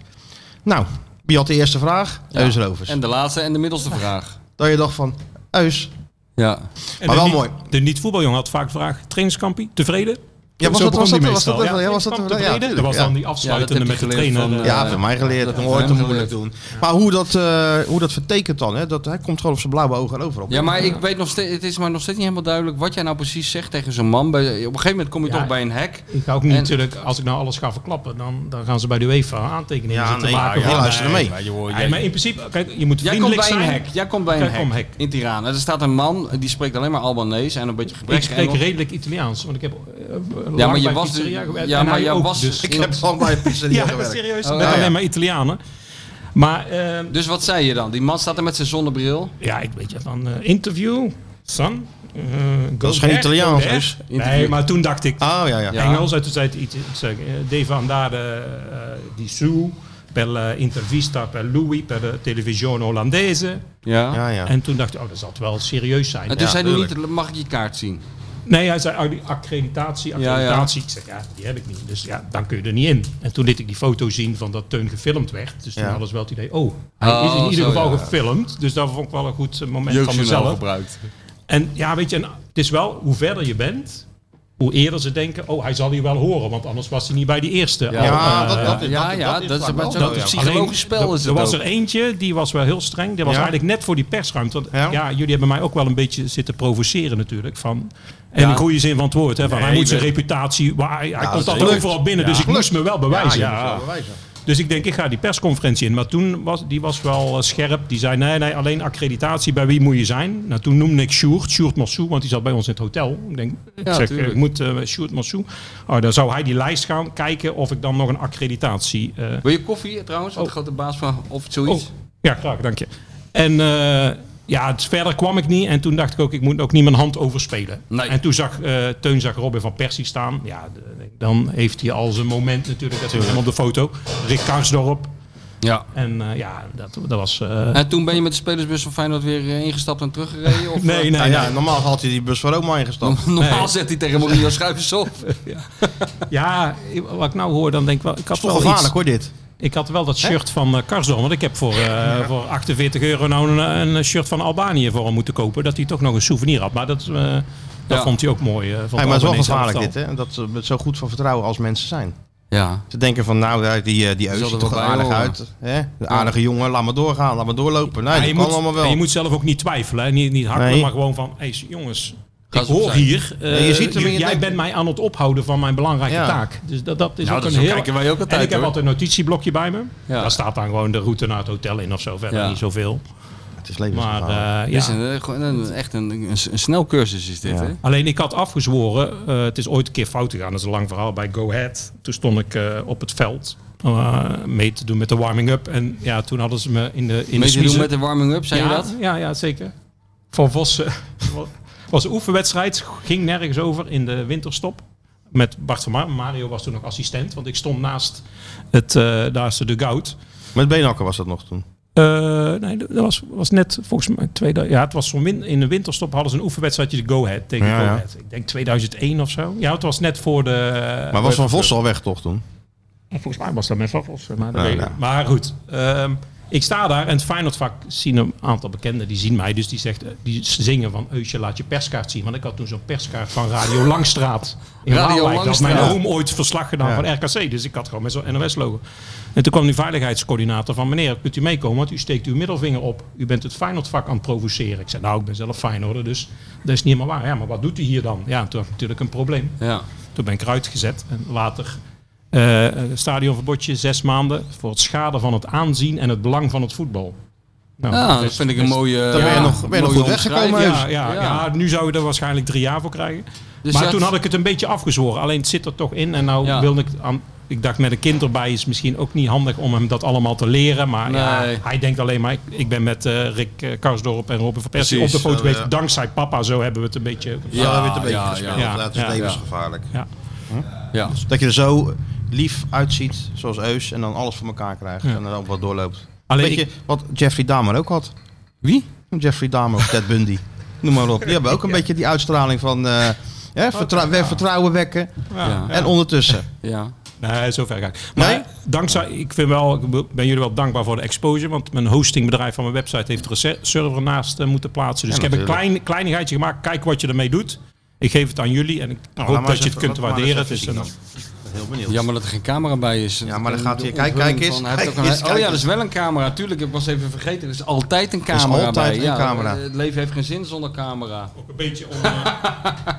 nou, wie had de eerste vraag? Eus Rovers.
En de laatste en de middelste vraag.
Dat je dacht van, Eus.
Ja.
En
maar
de
wel
niet-
mooi.
De niet-voetbaljongen had vaak de vraag, trainingskampie, tevreden?
Ja, was
Zo
dat, was
begon
dat,
die
was dat,
meestal.
ja, was dat,
trainingskamp
ja,
tevreden? Dat
tuurlijk,
was
ja.
dan die afsluitende
Ja, dat
met
heb
de
je geleerd
trainer.
van,
eh,
Ja,
Eh,
van mij geleerd.
dat
Nooit te
hem
moeilijk doen. Maar hoe dat, eh, hoe dat vertekent dan, hè? Dat, hij komt gewoon op zijn blauwe ogen en overal.
Ja, maar ik weet nog steeds, het is maar nog steeds niet helemaal duidelijk wat jij nou precies zegt tegen zo'n man. Bij, op een gegeven moment kom je
Ja.
toch bij een hek.
Ik ga ook niet
En-
natuurlijk, als ik nou alles ga verklappen, dan, dan gaan ze bij de UEFA aantekeningen
Ja,
zitten
nee,
maken.
ja,
van,
ja, luisteren
nee,
mee.
maar je hoort- Nee, maar in principe, kijk,
Jij
je moet
komt
vriendelijk
bij een
zijn.
hek. Jij komt bij een
Kijk,
hek.
kom hek.
In Tirana. Er staat een man, die spreekt alleen maar Albanees en een beetje
Ik
gebrekkig
spreek
Engels.
redelijk Italiaans, want ik heb eh, lang
Ja, maar je
bij
was dus-
pizzeria gewerkt
ja,
en
maar
hij
jij
ook,
was dus-
dus.
Ik heb gewoon bij een
[laughs]
pizzeria
Ja,
gewerkt.
serieus,
Oh,
met
ja.
alleen maar Italianen. Maar eh,
Dus wat zei je dan? Die man staat er met zijn zonnebril.
ja, ik weet je van eh, interview, son. eh, go
Dat is geen
there,
Italiaans,
go there.
dus.
Nee, maar toen dacht ik,
Oh, ja, ja.
Ja.
Engels. En toen zei hij iets, ik zeg, eh, Dave Andare eh, di su, per la intervista per lui, per de televisione Hollandese.
Ja.
ja, ja.
En toen dacht ik, oh, dat zal het wel serieus zijn.
En toen
Ja,
zei hij
tuurlijk.
niet, mag ik je kaart zien?
Nee, hij zei oh, die accreditatie,
ja.
accreditatie. Ik zeg, ja, die heb ik niet. Dus ja, dan kun je er niet in. En toen liet ik die foto zien van dat Teun gefilmd werd. Dus toen
Ja.
hadden ze wel het idee, oh, hij
Oh,
is in ieder
zo,
geval
ja.
gefilmd. Dus dat vond ik wel een goed eh, moment van
Jeugdjournaal
mezelf.
gebruikt.
En ja, weet je, en het is wel, hoe verder je bent, hoe eerder ze denken, oh, hij zal hier wel horen. Want anders was hij niet bij die eerste.
Ja,
Al,
Ja,
eh,
dat- dat-
Ja, ja,
is
dat is
vaak
met
wel
zo'n
zo, ja.
psychologisch
Alleen,
spel is
Er
het
was
ook.
er eentje, die was wel heel streng. Die was
Ja.
eigenlijk net voor die persruimte. Want
Ja.
ja. jullie hebben mij ook wel een beetje zitten provoceren natuurlijk. Van, en
Ja.
in goede zin van het woord. Hè, van, hij
Nee,
moet zijn
we-
reputatie... waar hij hij komt
dat
altijd
lukt.
overal binnen, dus ik moest me wel bewijzen.
Ja, je
Ja.
moet wel bewijzen.
Dus ik denk, ik ga die persconferentie in. Maar toen was die was wel eh, scherp. Die zei, nee, nee, alleen accreditatie. Bij wie moet je zijn? Nou, toen noemde ik Sjoerd. Sjoerd Massou, want die zat bij ons in het hotel. Ik denk, ik
Ja,
zeg,
tuurlijk.
ik moet eh Sjoerd Massou. Oh, dan zou hij die lijst gaan kijken of ik dan nog een accreditatie... eh,
Wil je koffie trouwens? Wat de grote baas van of zoiets?
Oh, ja, graag, dank je. En eh, ja, dus verder kwam ik niet. En toen dacht ik ook, ik moet ook niet mijn hand overspelen.
Nee.
En toen zag eh, Teun zag Robin van Persie staan. Ja, de- dan heeft hij al zijn moment natuurlijk. Dat is helemaal op de foto. Rick Karsdorp.
Ja.
En eh, ja, dat, dat was... eh,
En toen ben je met de spelersbus van Feyenoord weer eh, ingestapt en teruggereden? Of,
[laughs] nee, nee,
Nou ja,
nee.
normaal had hij die bus van Roma
eh,
ingestapt.
[laughs] Normaal zegt hij tegen Mourinho, schuif eens op.
Ja, ik- wat ik nou hoor, dan denk ik wel... Ik had
Toch
wel
gevaarlijk
iets-
hoor dit.
Ik had wel dat shirt van eh, Karsdorp. Want ik heb voor, eh, voor 48 euro nou een, een shirt van Albanië voor hem moeten kopen. Dat hij toch nog een souvenir had. Maar dat, eh, dat
Ja.
vond hij ook mooi. eh, van
Hey, maar het is wel
Albanese
gevaarlijk dit,
elftal.
hè? en Dat ze het zo goed van vertrouwen als mensen zijn.
Ja.
Ze denken van, nou, ja, die, eh, die Eus
zal
ziet
er
toch
wel bij
aardig
horen.
uit. Hè? De aardige jongen, laat maar doorgaan, laat maar doorlopen. Nee,
Maar
dat
je,
kan
moet,
allemaal wel.
en je moet zelf ook niet twijfelen. Hè? Niet, niet hakken,
Nee.
maar gewoon van... Hey, jongens,
Gas
ik hoor
opzij.
hier. eh,
Nee, je ziet hem in je
jij
nek.
bent mij aan het ophouden van mijn belangrijke
Ja.
taak. Dus dat, dat is
Nou,
ook
dat
een
zo
heel...
kijken wij ook altijd,
en ik heb
hoor.
altijd een notitieblokje bij me.
Ja.
Daar staat dan gewoon de route naar het hotel in of zo. Verder
Ja.
niet zoveel.
het is
Maar
levensgevaarlijk.
eh,
Dit
ja.
is een, eh, gewoon een- echt een, een, een snelcursus is dit,
Ja.
hè?
Alleen ik had afgezworen, eh, het is ooit een keer fout gegaan, dat is een lang verhaal, bij Go Ahead. Toen stond ik eh, op het veld eh, mee te doen met de warming-up. En ja, toen hadden ze me in de in
Mee
de
te doen
smiezen-
met de warming-up, zei
ja,
je dat?
Ja, ja, zeker. Van Vossen. was een oefenwedstrijd, ging nergens over in de winterstop. Met Bart van Mar. Mario was toen nog assistent, want ik stond naast het, eh naast de dugout.
Met Beenhakker was dat nog toen.
Eh, nee, dat was, was net volgens mij 2000. Ja, het was zo'n win- in de winterstop hadden ze een oefenwedstrijdje de Go Ahead tegen
Ja,
Go
ja.
Ahead. Ik denk 2001 of zo. Ja, het was net voor de.
Maar was Van Vos al weg toch toen?
Volgens mij was dat met Vaffels. Maar, dat
Ja,
weet ik
ja.
niet. maar goed, ehm, ik sta daar en het Feyenoordvak zien een aantal bekenden. Die zien mij, dus die, zegt, eh, die zingen van Eusje laat je perskaart zien. Want ik had toen zo'n perskaart van Radio Langstraat in
Radio
Waalwijk. Dat had mijn
Langstraat.
oom ooit verslag gedaan
Ja.
van RKC. Dus ik had gewoon met zo'n NOS-logo. En toen kwam die veiligheidscoördinator van meneer, kunt u meekomen? Want u steekt uw middelvinger op. U bent het Feyenoordvak aan het provoceren. Ik zei nou, ik ben zelf Feyenoorder, dus dat is niet helemaal waar. Ja, maar wat doet u hier dan? Ja, toen had ik natuurlijk een probleem.
Ja.
Toen ben ik eruit gezet en later eh stadionverbodje zes maanden voor het schade van het aanzien en het belang van het voetbal. Nou,
Ja, Ah, dat
best-
vind ik een
best-
mooie...
Dan ben je nog- ben je nog
mooie
goed weggekomen,
omschrijving.
Ja, ja, ja. nu zou je er waarschijnlijk drie jaar voor krijgen.
Dus
maar
je
toen
had-
had ik het een beetje afgezworen. Alleen het zit er toch in en nou
Ja.
wilde ik aan... Ik dacht met een kind erbij is misschien ook niet handig om hem dat allemaal te leren. Maar ja,
Nee.
hij denkt alleen maar, ik, ik ben met eh, Rick eh, Karsdorp en Robin van Persie op
Precies,
de foto
zo,
geweest.
ja.
Dankzij papa, zo hebben we het een beetje...
Ja,
dus- Ja, weer een beetje
ja,
gespeeld.
ja.
dat is
Ja.
levensgevaarlijk.
Ja.
Ja.
Dat je er zo lief uitziet, zoals Eus, en dan alles voor elkaar krijgt. En dan ook wat doorloopt.
Alleen
Weet je,
ik-
wat Jeffrey Dahmer ook had.
Wie?
Jeffrey Dahmer of Ted
[laughs]
Bundy. Noem maar op. Die hebben ook een beetje die uitstraling van eh, hè, vertrou- we- vertrouwen wekken.
Ja.
En ondertussen.
Ja.
Nee, zover ga ik. Maar
Nee?
dankzij, ik, vind wel, ik ben jullie wel dankbaar voor de exposure. Want mijn hostingbedrijf van mijn website heeft er een se- server naast eh, moeten plaatsen. Dus
Ja,
ik heb een
natuurlijk.
klein, kleinigheidje gemaakt. Kijk wat je ermee doet. Ik geef het aan jullie en ik
Nou, laat
hoop
maar
dat je
eens
het
even-
kunt
laat maar eens
waarderen. Het
even
is
zien
een,
dan. Ik ben Heel benieuwd.
Jammer dat er geen camera bij is.
Ja, maar dan gaat hij-
De
kijk,
onthulling
kijk eens,
van- hij heeft
kijk
ook een-
eens, kijk
oh ja, er is
eens.
wel een camera. Tuurlijk, ik was even vergeten. Er is altijd een
is
camera
altijd
bij.
een
ja,
camera.
Het leven heeft geen zin zonder camera.
ook een beetje om, eh,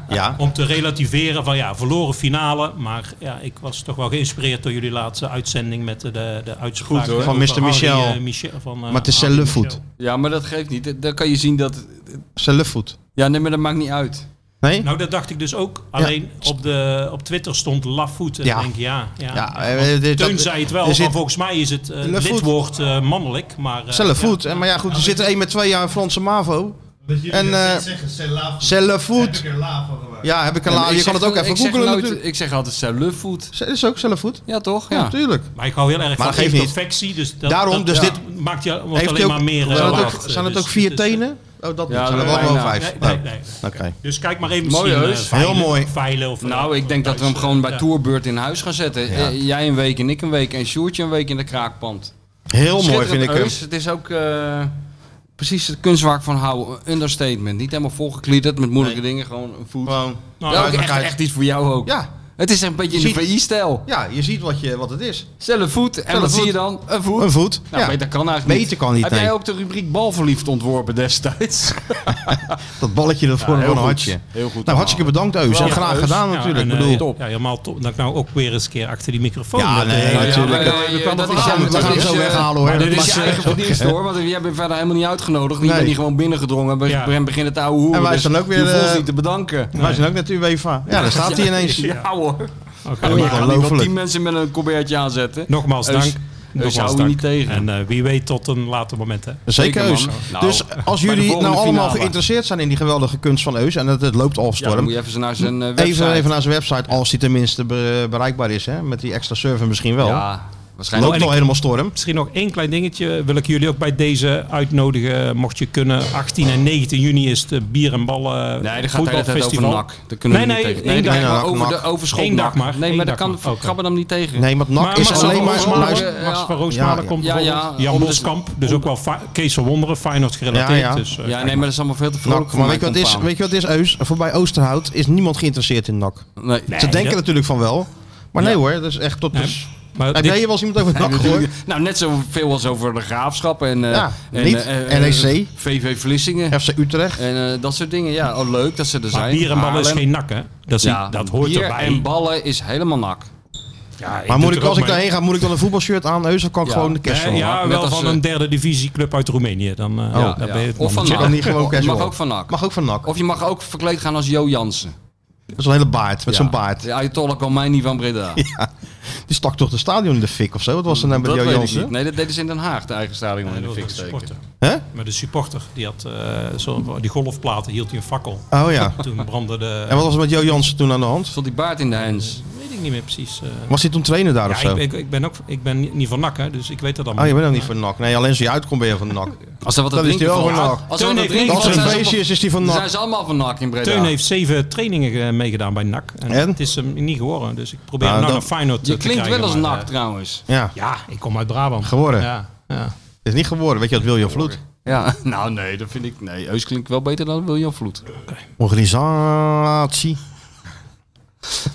Ja.
om te relativeren van ja, verloren finale. Maar ja, ik was toch wel geïnspireerd door jullie laatste uitzending met de, de, de uitspraak
hoor.
over
Van Mr.
Harry,
Michel.
eh, Michel van, eh,
Maar het is zijn
Harry
lufvoet.
Michel.
Ja, maar dat geeft niet. Dan kan je zien dat...
Zijn lufvoet.
Ja, nee, maar dat maakt niet uit.
Nee?
Nou, dat dacht ik dus ook. Alleen op, de, op Twitter stond lafvoet. En
Ja.
ik denk ja. ja,
Ja,
Want
eh, dit-
Teun
dat-
zei het wel,
er
maar
zit-
volgens mij is het eh,
Lafvoet.
lidwoord eh, mannelijk. Maar, eh,
Zijn lafvoet.
ja.
En Maar ja, goed, er zit er één met twee jaar Franse MAVO. En eh, zijn lafvoet. Ja, heb ik een la.
Ik
Je kan
zeg
het ook
dan-
even
ik zeg
googlen
nooit-
natuurlijk.
Ik zeg altijd cellufood.
Ze- Is ook zelfvoet?
Ja, toch?
Ja,
Ja.
tuurlijk.
Maar ik hou heel erg
dat
van
geeft niet.
imperfectie. Dus dat,
Daarom,
dat-
dus
ja,
dit-
maakt je, wordt
Heeft
alleen
hij ook-
maar meer eh,
zijn, het
laat.
ook, zijn het
Dus
ook vier
het is, eh,
tenen? Oh, dat
Ja,
zijn er
dat
wel
bijna.
vijf.
Nee,
Nee.
nee, nee.
Oké.
Dus kijk maar even
Mooi,
misschien eh,
heus.
Heel
veilen-
mooi.
veilen of, eh,
Nou, ik denk dat we hem
thuis,
gewoon
eh,
bij
ja.
Tourbeurt in huis gaan zetten.
Ja.
Eh, jij een week en ik een week en Sjoertje een week in de kraakpand.
Heel mooi vind ik hem.
Schitterend heus. Het is ook eh, precies het kunstwerk van houden. Understatement. Niet helemaal volgekliederd met moeilijke dingen. Gewoon een voet.
Gewoon.
Nou,
ja, ook
uit
echt,
elkaar.
echt iets voor jou ook.
Ja.
Het is echt een beetje in de
Ziet-
VI-stijl.
Ja, je ziet wat, je, wat het is.
Stel een voet en
een
wat
voet.
zie je dan? Een voet.
Een voet.
Nou,
ja.
beter kan eigenlijk
Beter kan niet,
Heb
nee.
jij ook de rubriek balverliefd ontworpen
[laughs]
destijds?
Dat balletje dat voor
heel
een
goed.
hartje.
Heel goed
Nou, hartstikke bedankt Eus. En
Ja,
graag
heus.
gedaan
Ja,
natuurlijk.
en,
Ik
eh,
bedoel,
top.
Ja, helemaal top. Dat ik nou ook weer eens een keer achter die microfoon...
Ja,
dat, eh,
nee,
ja,
natuurlijk.
ja,
maar, eh,
we kwamen
dat is
vanavond
jouw-
we gaan hem
dat
zo
is, eh,
weghalen, hoor.
maar
Dat
Dit
mag
is je
je
eigen
zeggen. [laughs]
verdienst hoor, want jij bent verder helemaal niet uitgenodigd. Je
Nee.
bent hier gewoon binnengedrongen en
Ja.
ja. begint het oude hoeren.
En wij
dus
zijn ook weer,
Je hoeft ons
eh,
niet te bedanken.
wij zijn ook net UEFA. Ja, daar staat hij ineens.
[laughs] Ja hoor.
Oké,
Oh,
maar
je gaat niet wel
Ongelooflijk.
tien mensen met een colbertje aanzetten.
Nogmaals
Heus.
dank.
Dus
was
hou je
dank.
niet tegen.
En eh, wie weet tot een later moment, hè.
Zeker
Zeker,
Eus.
man. Nou,
dus als
bij de
jullie nou
volgende
allemaal
finale.
geïnteresseerd zijn in die geweldige kunst van Eus... en het, het loopt al
Ja, dan
storm...
moet je even naar zijn eh, website.
even, even naar zijn website, als die tenminste be- bereikbaar is. Hè? Met die extra server misschien wel.
Ja, waarschijnlijk.
loopt al helemaal storm.
Misschien nog één klein dingetje wil ik jullie ook bij deze uitnodigen. Mocht je kunnen, 18 en 19 juni is de Bier en Ballen eh,
Nee, dat gaat de hele tijd over
voetbalfestival.
NAC. Daar kunnen we
Nee,
niet
nee,
tegen.
één
daar
dag
gaan we
maar.
over
NAC.
de overschot.
Eén dag maar.
Nee,
Eén
maar daar
dag
kan
maar. Oké.
krabben hem niet tegen.
Nee, want NAC
Maar
is
Max
alleen
van
maar...
Roosmalen-
luister-
Max van Roosmalen
Ja, ja.
komt
Ja, ja.
bijvoorbeeld. Jan
Om de-
Boskamp, dus ook wel fa- Kees van Wonderen, Feyenoord gerelateerd.
Ja, ja.
Dus, eh,
Ja, nee, maar dat is allemaal veel te
NAC,
vrolijk. voor
maar
mijn
Nou, weet je, wat is,
compaan.
weet je wat is, Eus? Voorbij Oosterhout is niemand geïnteresseerd in NAC.
Nee.
Ze
Nee,
denken
dat-
natuurlijk van wel. Maar nee hoor, dat is echt tot...
Nee,
dus-
maar
Heb
dit-
jij hier wel eens iemand over
[laughs]
NAC gehoord?
Nou, net zoveel als over de graafschap en, eh,
Ja,
en
niet. E
eh, eh,
NEC.
VV Vlissingen.
FC Utrecht.
En eh, dat soort dingen. Ja, oh, leuk dat ze er
maar
zijn.
bier en ballen is
Haarlem.
geen nak, hè? Dat, is- dat hoort
bier
erbij.
en ballen is helemaal nak.
Ja,
Maar
doe
moet
er
ik, als
ook
ik
mee.
daarheen ga, moet ik dan een voetbalshirt aan, Eus? Of kan ik
Ja.
gewoon de
Eh,
kerst
ja,
Net
wel
als,
van
eh,
een derde divisieclub uit Roemenië. Dan, eh,
Oh.
Ja,
dan
ja.
ben je het
Of van
nog
Zit dan
niet.
NAC. [laughs]
niet gewoon
Je
casual?
mag ook van NAC.
Mag ook van NAC.
Of je mag ook verkleed gaan als Jo Jansen.
Dat is een hele baard, met
Ja.
zo'n baard.
De Ayatollah Khomeini
[laughs]
van Breda.
Die stak toch de stadion in de fik of zo? Wat was er nou met
dat
Jo
weet ik
Janssen?
niet. Nee, dat deden ze in Den Haag, de eigen stadion in de
Dat
fik
was de
steken.
supporter.
Hè?
Maar de supporter, die had eh, zo, die golfplaten, hield hij een fakkel.
Oh ja.
Toen brandde de...
En wat was er met Jo Jansen toen aan de hand?
Stond die baard in de hens.
Weet ik niet meer precies. eh.
Was hij toen trainer daar
ja,
of zo?
ik, ben, ik, ik ben ook, ik ben ni- niet van NAC, hè, dus ik weet dat allemaal.
Oh, je bent ook niet van NAC. Nee, alleen als je uitkomt ben je van NAC.
Als er wat
Dan is die wel
valt-
van NAC.
Als er wat
Toen
te
heeft
drinken
niemand-
Als
valt,
er een
zijn ze
feestje
allemaal-
is, is die van
dan zijn
NAC.
ze allemaal van NAC in Breda.
Teun heeft zeven trainingen eh, meegedaan bij NAC. En,
En?
het is hem niet geworden, dus ik probeer
Nou,
nou,
dan-
naar Feyenoord
Je
eh, te
klinkt wel
krijgen,
als
maar,
NAC
eh,
trouwens.
Ja,
Ja, ik kom uit Brabant.
Geworden.
Ja, ja.
is niet geworden. Weet je wat William Vloed?
Ja, [laughs] nou nee, dat vind ik... Nee, Eus klinkt wel beter dan William Vloed.
Organisatie.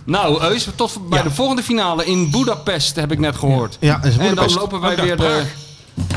Nou, Eus, tot bij de volgende finale in Budapest, heb ik net gehoord.
Ja, dat is
en dan
Boedapest.
lopen wij weer de...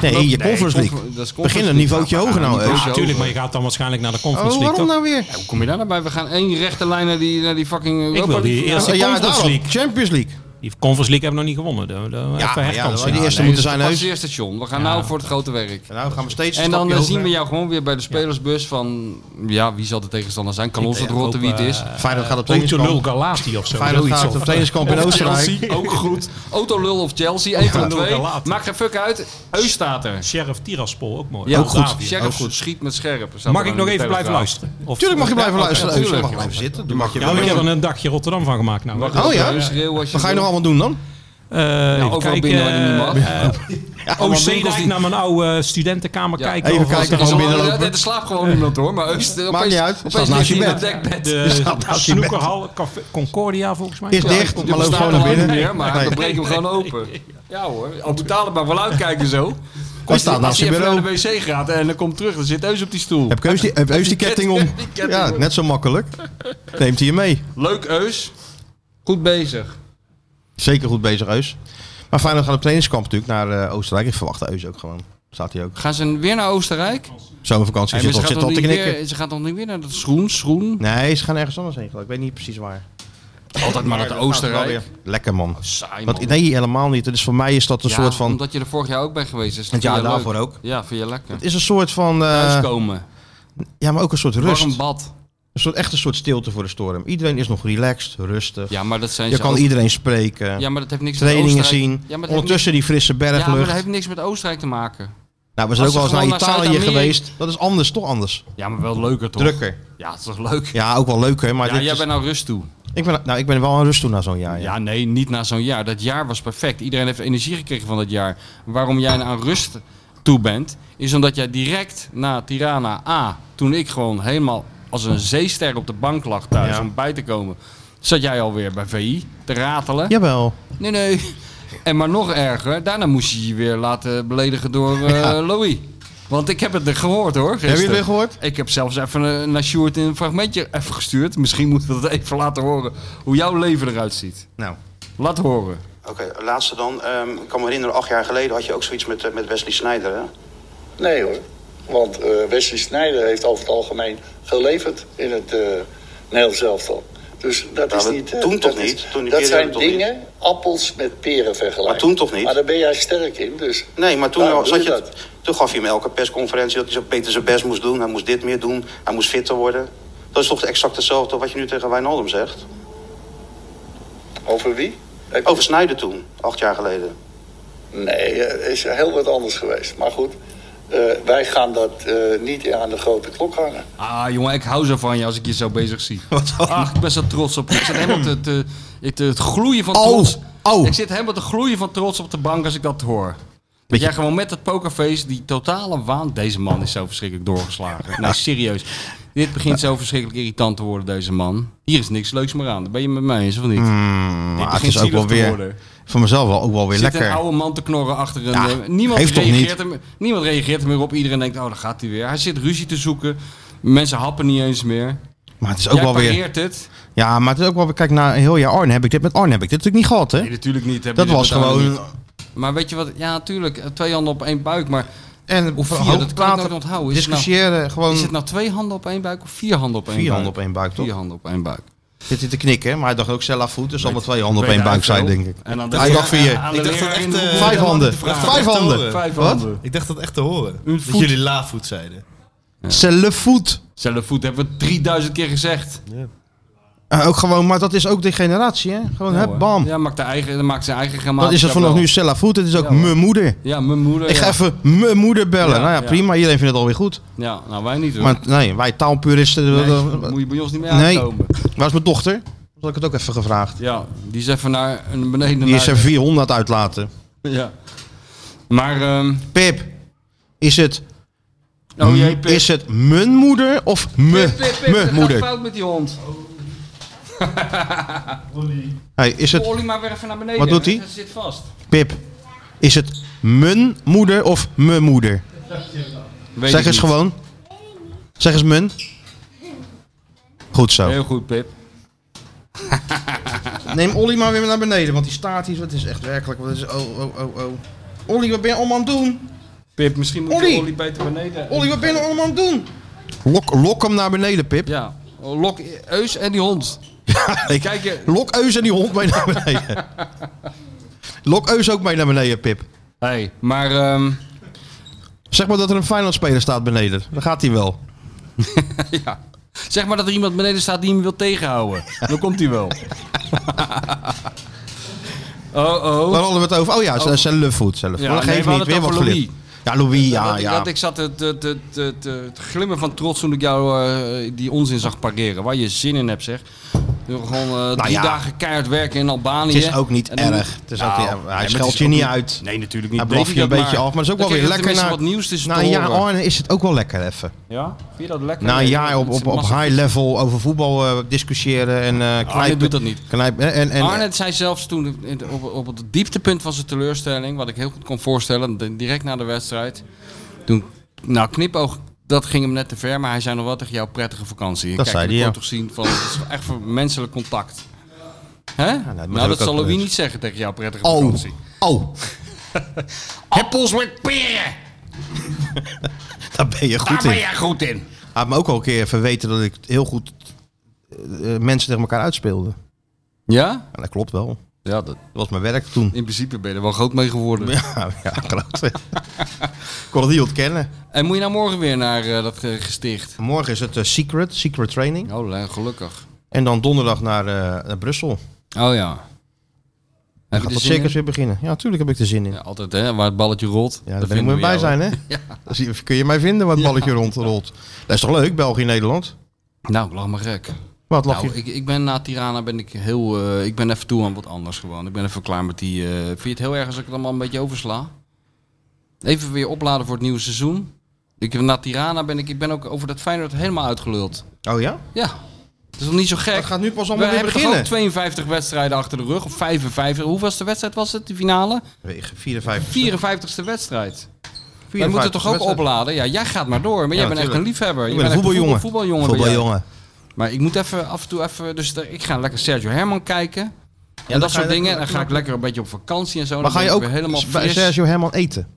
Nee, je
Nee,
Conference League.
confer- dat is Conference
Begin
League.
een niveautje hoger nou,
niveau-
Eus.
Ja,
Tuurlijk,
over.
maar je gaat dan waarschijnlijk naar de
Oh,
Conference League,
waarom
toch?
nou weer?
Hoe kom je daar nou bij? We gaan één rechte lijn naar die, naar die fucking...
wil
Europa
die
League.
eerste-
Ja, ja,
Conference
daarom.
League.
Champions League.
Die Conference League hebben we nog niet gewonnen. Daar- daar-
nou? Ja,
even
ja, dat
herkans,
was die eerste
Nee,
moeten
dus
zijn,
dat
Eus.
is het eerste station. We gaan nou voor het grote werk.
Nou, gaan we steeds
En dan eh, zien we
je.
jou gewoon weer bij de spelersbus van... Ja, wie zal de tegenstander zijn? Kan ons het rotte wie het is.
Feyenoord gaat op
Otolul
trainingskamp.
Galati of zo.
Feyenoord
zoiets,
gaat op
of-
trainingskamp in Oostenrijk.
Chelsea, ook
[laughs]
goed. Autolul of Chelsea, één van de
Lul
twee.
kan later.
Maakt geen fuck uit. Eus staat er.
Sheriff Tiraspol, ook mooi.
Ja,
Moldavië.
goed. Sheriff goed. Schiet met scherp. Staat
Mag
er
ik
dan
nog
in de
even blijven
Telegraaf. eh,
luisteren? Of-
Tuurlijk mag je blijven
Ja,
luisteren. Eus. Je
tuurlijk.
mag blijven zitten. Dan mag je
Ja, maar ik heb
wel.
er een dagje Rotterdam van gemaakt nou.
Mag
Eh,
ik
Oh ja?
even schreeuwen
Wat ga
als
je nog
wil?
allemaal doen dan?
even
overal
kijken,
binnen waar je niet mag.
[laughs] eh,
allemaal
OC
winkels
Dijk
die-
naar mijn oude eh, studentenkamer
Ja,
kijken.
even
of was-
kijken.
Is
Gewoon
al-
binnenlopen.
ja, Er slaapt gewoon iemand hoor, maar Eus... opeens-
niet uit.
opeens
Staat naast je
ligt hij
bed.
in het [laughs] dekbed.
De
naast je
snoekerhal, Café Concordia volgens mij.
Is
Ja.
dicht,
Die
maar loop
bestaat
gewoon naar
al lang
binnen.
niet Meer, maar
Nee.
dan breek hem gewoon open. [laughs] Ja hoor, al betalen maar wel uitkijken zo. Als
staat
hij-
naast
als hij
je
even
bureau.
naar de wc gaat en dan komt terug, dan zit Eus op die stoel.
Heb Keus die, heb Eus die ketting om?
ketting- die ketting
Ja,
om.
net zo makkelijk. Neemt hij je mee.
Leuk Eus, goed bezig.
Zeker goed bezig, Eus. Maar Feyenoord gaat op trainingskamp natuurlijk naar eh, Oostenrijk. Ik verwacht Eus ook gewoon. Staat hij ook.
Gaan ze weer naar Oostenrijk?
Zomervakantie
Hey,
zit
maar
al,
ze, gaat
zit al
toch
te
niet eh,
knikken.
weer, ze gaat dan niet weer naar dat Schroen, Schroen.
Nee, ze gaan ergens anders heen geloof ik. Ik weet niet precies waar.
Altijd maar naar
dat
het
gaat wel
Oostenrijk.
weer. Lekker man.
Saai man.
Want, nee, helemaal niet. Dus voor mij is dat een
Ja,
soort van...
Omdat je er vorig jaar ook bij geweest is.
Het jaar
Vind je
daarvoor
leuk.
ook.
Ja, vind je lekker.
Het is een soort van... eh,
Thuiskomen,
ja, maar ook een soort rust.
warm bad.
Een soort, echt een soort stilte voor de storm. Iedereen is nog relaxed, rustig.
Ja, maar dat zijn
je
ze
kan
ook-
iedereen spreken.
Ja, maar dat heeft niks met
trainingen zien.
Oostenrijk- Ja, maar dat heeft niks-
Ondertussen die frisse
Ja, maar dat
berglucht.
heeft niks met Oostenrijk te maken.
Nou, we zijn ook
Als
wel
ze
eens naar
gewoon naar
Italië
Zuid-Amerika-
geweest. Dat is anders, toch anders.
Ja, maar wel leuker toch?
Drukker.
Ja, het is toch leuk?
Ja, ook wel leuker. Maar
Ja,
dit
jij
is-
bent nou rust toe.
ik, ben, nou, ik ben wel aan rust toe na zo'n jaar.
Ja,
Ja.
nee, niet na zo'n jaar. Dat jaar was perfect. Iedereen heeft energie gekregen van dat jaar. Waarom jij aan rust toe bent, is omdat jij direct na Tirana A, toen ik gewoon helemaal als een zeester op de bank lag thuis
Ja.
om bij te komen, zat jij alweer bij VI te ratelen.
Jawel.
Nee, nee. En maar nog erger, daarna moest je je weer laten beledigen door eh, Louis. Want ik heb het er gehoord hoor. Gisteren.
Heb je het weer gehoord?
Ik heb zelfs even eh, naar Sjoerd een fragmentje even gestuurd. Misschien moeten we dat even laten horen. Hoe jouw leven eruit ziet.
Nou,
Laat horen.
Oké, laatste dan. Ehm, ik kan me herinneren, acht jaar geleden had je ook zoiets met, eh, met Wesley Sneijder, hè?
Nee hoor. Want eh, Wesley Sneijder heeft over het algemeen geleverd in het eh Nederlands elftal. Dus dat
Nou,
is
dat
niet... eh,
toen
dat
toch
is-
niet? Toen die
dat
keer
zijn
hebben we toch
dingen, appels met peren vergelijken.
Maar toen toch niet?
Maar daar ben jij sterk in, dus...
Nee, maar toen,
waarom
al-
doe
zat je,
dat?
toen gaf je hem elke persconferentie dat hij zo beter zijn best moest doen. Hij moest dit meer doen. Hij moest fitter worden. Dat is toch exact hetzelfde wat je nu tegen Wijnaldum zegt?
Over wie? Heb je-
Oh. Over Sneijder toen, acht jaar geleden.
Nee, eh, is heel wat anders geweest. Maar goed, eh, wij gaan dat eh, niet aan de grote klok hangen.
Ah, jongen, ik hou zo van je als ik je zo bezig zie. Ach, ik ben zo trots op je. Ik
[clears throat]
zit helemaal te, te, ik- te- het gloeien van
Au,
trots.
au.
Ik zit helemaal te gloeien van trots op de bank als ik dat hoor. Dat
Weet je-
jij gewoon met dat pokerface, die totale waan... Deze man is zo verschrikkelijk
[laughs]
doorgeslagen. Nee, serieus. Dit begint zo verschrikkelijk irritant te worden, deze man. Hier is niks leuks meer aan. Daar ben je met mij eens, of niet?
Mm, Maar
Dit
het
begint
is ook
zielig
wel
te
weer
worden.
van mezelf wel, ook wel weer
Er zit
lekker.
een oude man te knorren achter een...
Ja,
eh, niemand,
heeft toch
reageert
niet?
hem, niemand reageert er meer op. Iedereen denkt, oh, daar gaat hij weer. Hij zit ruzie te zoeken. Mensen happen niet eens meer.
Maar het is ook
Jij
wel weer.
pareert het.
Ja, maar het is ook wel weer. Kijk, na een heel jaar Arne heb ik dit met Arne heb ik dit natuurlijk niet gehad,
Nee,
hè?
natuurlijk niet. Heb je
Dat
dit
was
met Arne
gewoon.
niet. Maar weet je wat? Ja, natuurlijk. Twee handen op één buik. Maar
En
Of vier,
hoog
dat kan ik
praten,
nooit onthouden. Is het nou-
Discussiëren, gewoon
is het nou twee handen op één buik of vier handen op één
vier
buik?
handen op één buik, toch?
Vier handen op één buik.
Zit hij te knikken, maar hij dacht ook Cella voet, dus allemaal twee handen op
Weet
één
hij
buik zijn,
veel.
denk ik.
En aan de-
Hij dacht vier.
aan de
Ik dacht
leer-
dat echt,
in de-
eh,
Vijf handen. Vijf
Echt
handen.
horen.
Vijf
Wat?
handen.
Ik dacht dat echt te horen.
Een
Dat
voet.
jullie laafvoet zeiden.
Celle voet.
Zelf voet hebben we 3000 keer gezegd.
Eh, ook gewoon, maar dat is ook de generatie, hè? Gewoon,
Ja,
hè,
hoor.
bam.
Ja, maakt, de eigen, maakt zijn eigen grammatica.
dat is het vanaf
wel.
nu Cella voet, het is ook
Ja, hoor.
mijn moeder.
Ja, mijn moeder.
Ik ga
ja.
even mijn moeder bellen.
Ja,
nou ja,
ja.
prima, iedereen vindt het alweer goed.
Ja, nou wij niet hoor.
Maar nee, wij taalpuristen,
Nee,
eh,
moet je bij ons niet meer
Nee.
aankomen.
Waar is mijn dochter? Had ik het ook even gevraagd.
Ja, die is even naar een beneden.
Die is
naar-
er 400 uitlaten.
Ja. Maar, ehm
Pip, is het,
oh jee, Pip.
is het mijn moeder of me,
Pip, Pip, Pip,
me
er gaat
moeder?
fout met die hond.
Hey, is het,
Ollie maar weer even naar beneden.
Wat doet hij?
Hij zit vast.
Pip, is het mijn moeder of me moeder?
Weet
Zeg
ik
eens
niet.
gewoon. Zeg eens mijn. Goed zo.
Heel goed, Pip.
Neem Olly maar weer naar beneden, want die staat hier. Het is echt werkelijk. Wat is, oh, oh, oh, oh. Olly, wat ben je allemaal aan het doen?
Pip, misschien moet
Ollie!
je Olly beter beneden.
Olly, wat ben je allemaal aan het doen? Lok, lok hem naar beneden, Pip.
Ja, lok Eus en die
[laughs]
hond. Kijk je.
Lok Eus en die hond mee naar beneden. [laughs] Lok Eus ook mee naar beneden, Pip.
Hey, maar ehm, [laughs]
Zeg maar dat er een Feyenoord-speler staat beneden. Dan gaat hij wel.
ja. zeg maar dat er iemand beneden staat die hem wil
[laughs]
tegenhouden. Dan komt hij wel. oh, oh.
Waar hadden we het over? Oh ja, zijn Luffoot zelf.
Ja,
maar dat
nee,
geeft
we
niet.
hadden
Weer
het
wat
over Louis.
geleerd. Ja, Louis, ja,
Want-
ja.
want ik zat te, te, te, te, te- te glimmen van trots toen ik jou eh, die onzin zag pareren. Waar je zin in hebt, zeg. Door gewoon eh, drie
Nou ja.
dagen keihard werken in Albanië.
Het is ook niet
En dan- Nou,
erg. Het is ook niet- hij
maar het
scheldt
is
je
ook
niet uit.
Nee, natuurlijk niet.
Hij blaft
Deed
je een
dat
beetje af, maar het is ook
Dan
wel weer
kreeg je
lekker na-
tenminste wat nieuws te
Na een jaar
horen.
Arne is het ook wel lekker even.
Ja? Vind je dat lekker?
Na een
Nee,
jaar Nou, op,
het is
op, op
massa-
high level over voetbal eh, discussiëren en eh knijpen.
doet dat niet.
Knijpen, en, en,
Arne zei zelfs toen in de- op, op het dieptepunt van zijn teleurstelling, wat ik heel goed kon voorstellen, di- direct na de wedstrijd. Toen, nou, knipoog, dat ging hem net te ver, maar hij zei nog wel tegen jou prettige vakantie.
Dat zei
je
hij,
kon
ja.
toch zien van, het is echt voor menselijk contact. Hè?
dat heb
nou,
ik
dat
ook
zal Louis
gelezen.
niet zeggen tegen jou prettige
oh,
vakantie.
oh,
[laughs] Appels met peren,
[laughs] daar ben je
daar
goed in.
ben
Hij
jij goed in.
had me ook al een keer verweten dat ik heel goed eh, eh, mensen tegen elkaar uitspeelde.
Ja?
En dat klopt wel.
Ja, dat,
Dat was mijn werk toen. [laughs]
in principe ben je er wel groot mee geworden.
Ja, ja klopt. [laughs] ik kon het niet ontkennen.
En moet je nou morgen weer naar eh, dat eh, gesticht?
Morgen is het eh, Secret, Secret Training.
Oh, le- gelukkig.
En dan donderdag naar, eh, naar Brussel.
Oh ja.
Dan gaat
Heb je er
dat
zin in?
circus weer beginnen. Ja, natuurlijk heb ik er zin in.
Ja, altijd hè, waar het balletje rolt.
Ja, daar
dat
ben ik
vinden
moet
we
bij
jou.
zijn, hè? Dan zie je- kun je mij vinden waar het balletje rondrolt. Dat is toch leuk, België-Nederland?
Nou, ik lach maar gek.
Wat lag
Nou,
je?
ik, ik ben na Tirana ben ik heel, eh, ik ben even toe aan wat anders gewoon. Ik ben even klaar met die, eh, vind je het heel erg als ik het allemaal een beetje oversla? Even weer opladen voor het nieuwe seizoen. Ik, heb- na Tirana ben ik, ik ben ook over dat Feyenoord helemaal uitgeluld.
Oh ja?
Ja, het is nog niet zo gek.
Dat gaat nu pas
We
allemaal weer
hebben toch ook
beginnen.
52 wedstrijden achter de rug, of 55. Hoeveelste wedstrijd was het, de finale?
Wegen 54.
54ste wedstrijd. Wij
54
moeten toch ook
wedstrijden.
opladen? Ja, jij gaat maar door. Maar jij
Ja,
bent echt een
tuurlijk.
liefhebber.
Ik
Je
ben
bent
een
echt
voetbaljongen.
voetbal- voetbaljongen. ben jij.
Voetbaljongen.
Maar ik moet even af en toe even... Dus er- ik ga lekker Sergio Herman kijken. En
dan
dat
ga je
soort dingen.
lekker-
En dan ga ik lekker een beetje op vakantie en zo.
Maar
Dan
ga je
ben ik
ook
weer helemaal
bij
fris
Sergio Herman eten?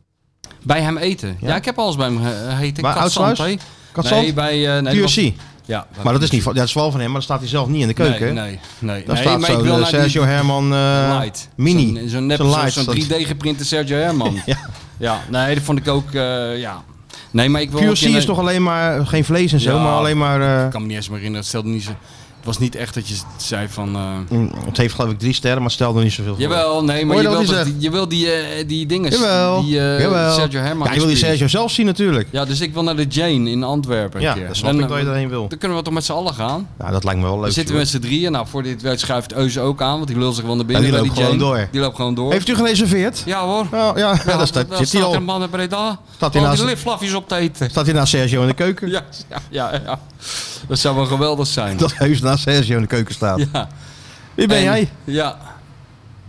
bij hem eten? Ja?
Ja,
ik heb alles bij hem eh, gegeten.
Bij Oudsluis?
Katzand, hè?
Katzand?
Nee, bij... eh, nee, dat
QFC.
was- ja,
Maar dat is, niet, van- ja, dat is wel van hem, maar dat staat hij zelf niet in de
Nee,
keuken.
Nee, nee.
Daar
nee,
staat
maar
zo'n
ik wil
eh,
naar die
Sergio Herman eh,
light.
mini.
Zo'n zo'n nep,
Zo'n
zo'n
light,
zo'n
dat-
3D geprinte Sergio Herman.
[laughs] Ja.
ja. Nee, dat vond ik ook... eh, ja. Nee, maar ik wil... ook
QFC
in-
is toch alleen maar geen vlees en zo,
Ja.
maar alleen maar... eh,
Ik kan me niet eens meer herinneren. Het stelde niet zo. Het was niet echt dat je zei van... eh,
Mm, Het heeft geloof ik drie sterren, maar stel er niet zoveel voor.
Jawel, nee, maar
Hoor
je
je dat
wil,
hij
dat-
zegt?
je wil die, eh, die dingen,
Jawel.
die eh,
jawel.
Sergio Herman.
Ja, je wil die
inspireren.
Sergio zelf zien natuurlijk.
Ja, dus ik wil naar de Jane in Antwerpen. een
Ja,
keer.
dat snap
Dan,
ik dat je
eh,
daarheen wil.
Dan kunnen we toch met z'n allen gaan?
Nou, dat lijkt me wel leuk.
Dan zitten we
joh.
met z'n drieën. Nou, voor dit werd schuift Eus ook aan, want die lul zich wel naar binnen.
Ja, die
bij
loopt gewoon
Jane.
door.
Die loopt gewoon door.
Heeft u gereserveerd?
Ja hoor.
Nou ja, [laughs]
Ja,
dat staat, zit
dan
hij
staat een
al.
man in Breda.
Staat hij
om die
naast-
lipflafjes op te
[laughs]
eten.
Staat hij naast Sergio in de keuken?
Ja, ja, ja, ja. Dat zou wel geweldig zijn.
Dat heus naast Sergio in de keuken staat.
Ja.
Wie ben
En-
jij?
Ja.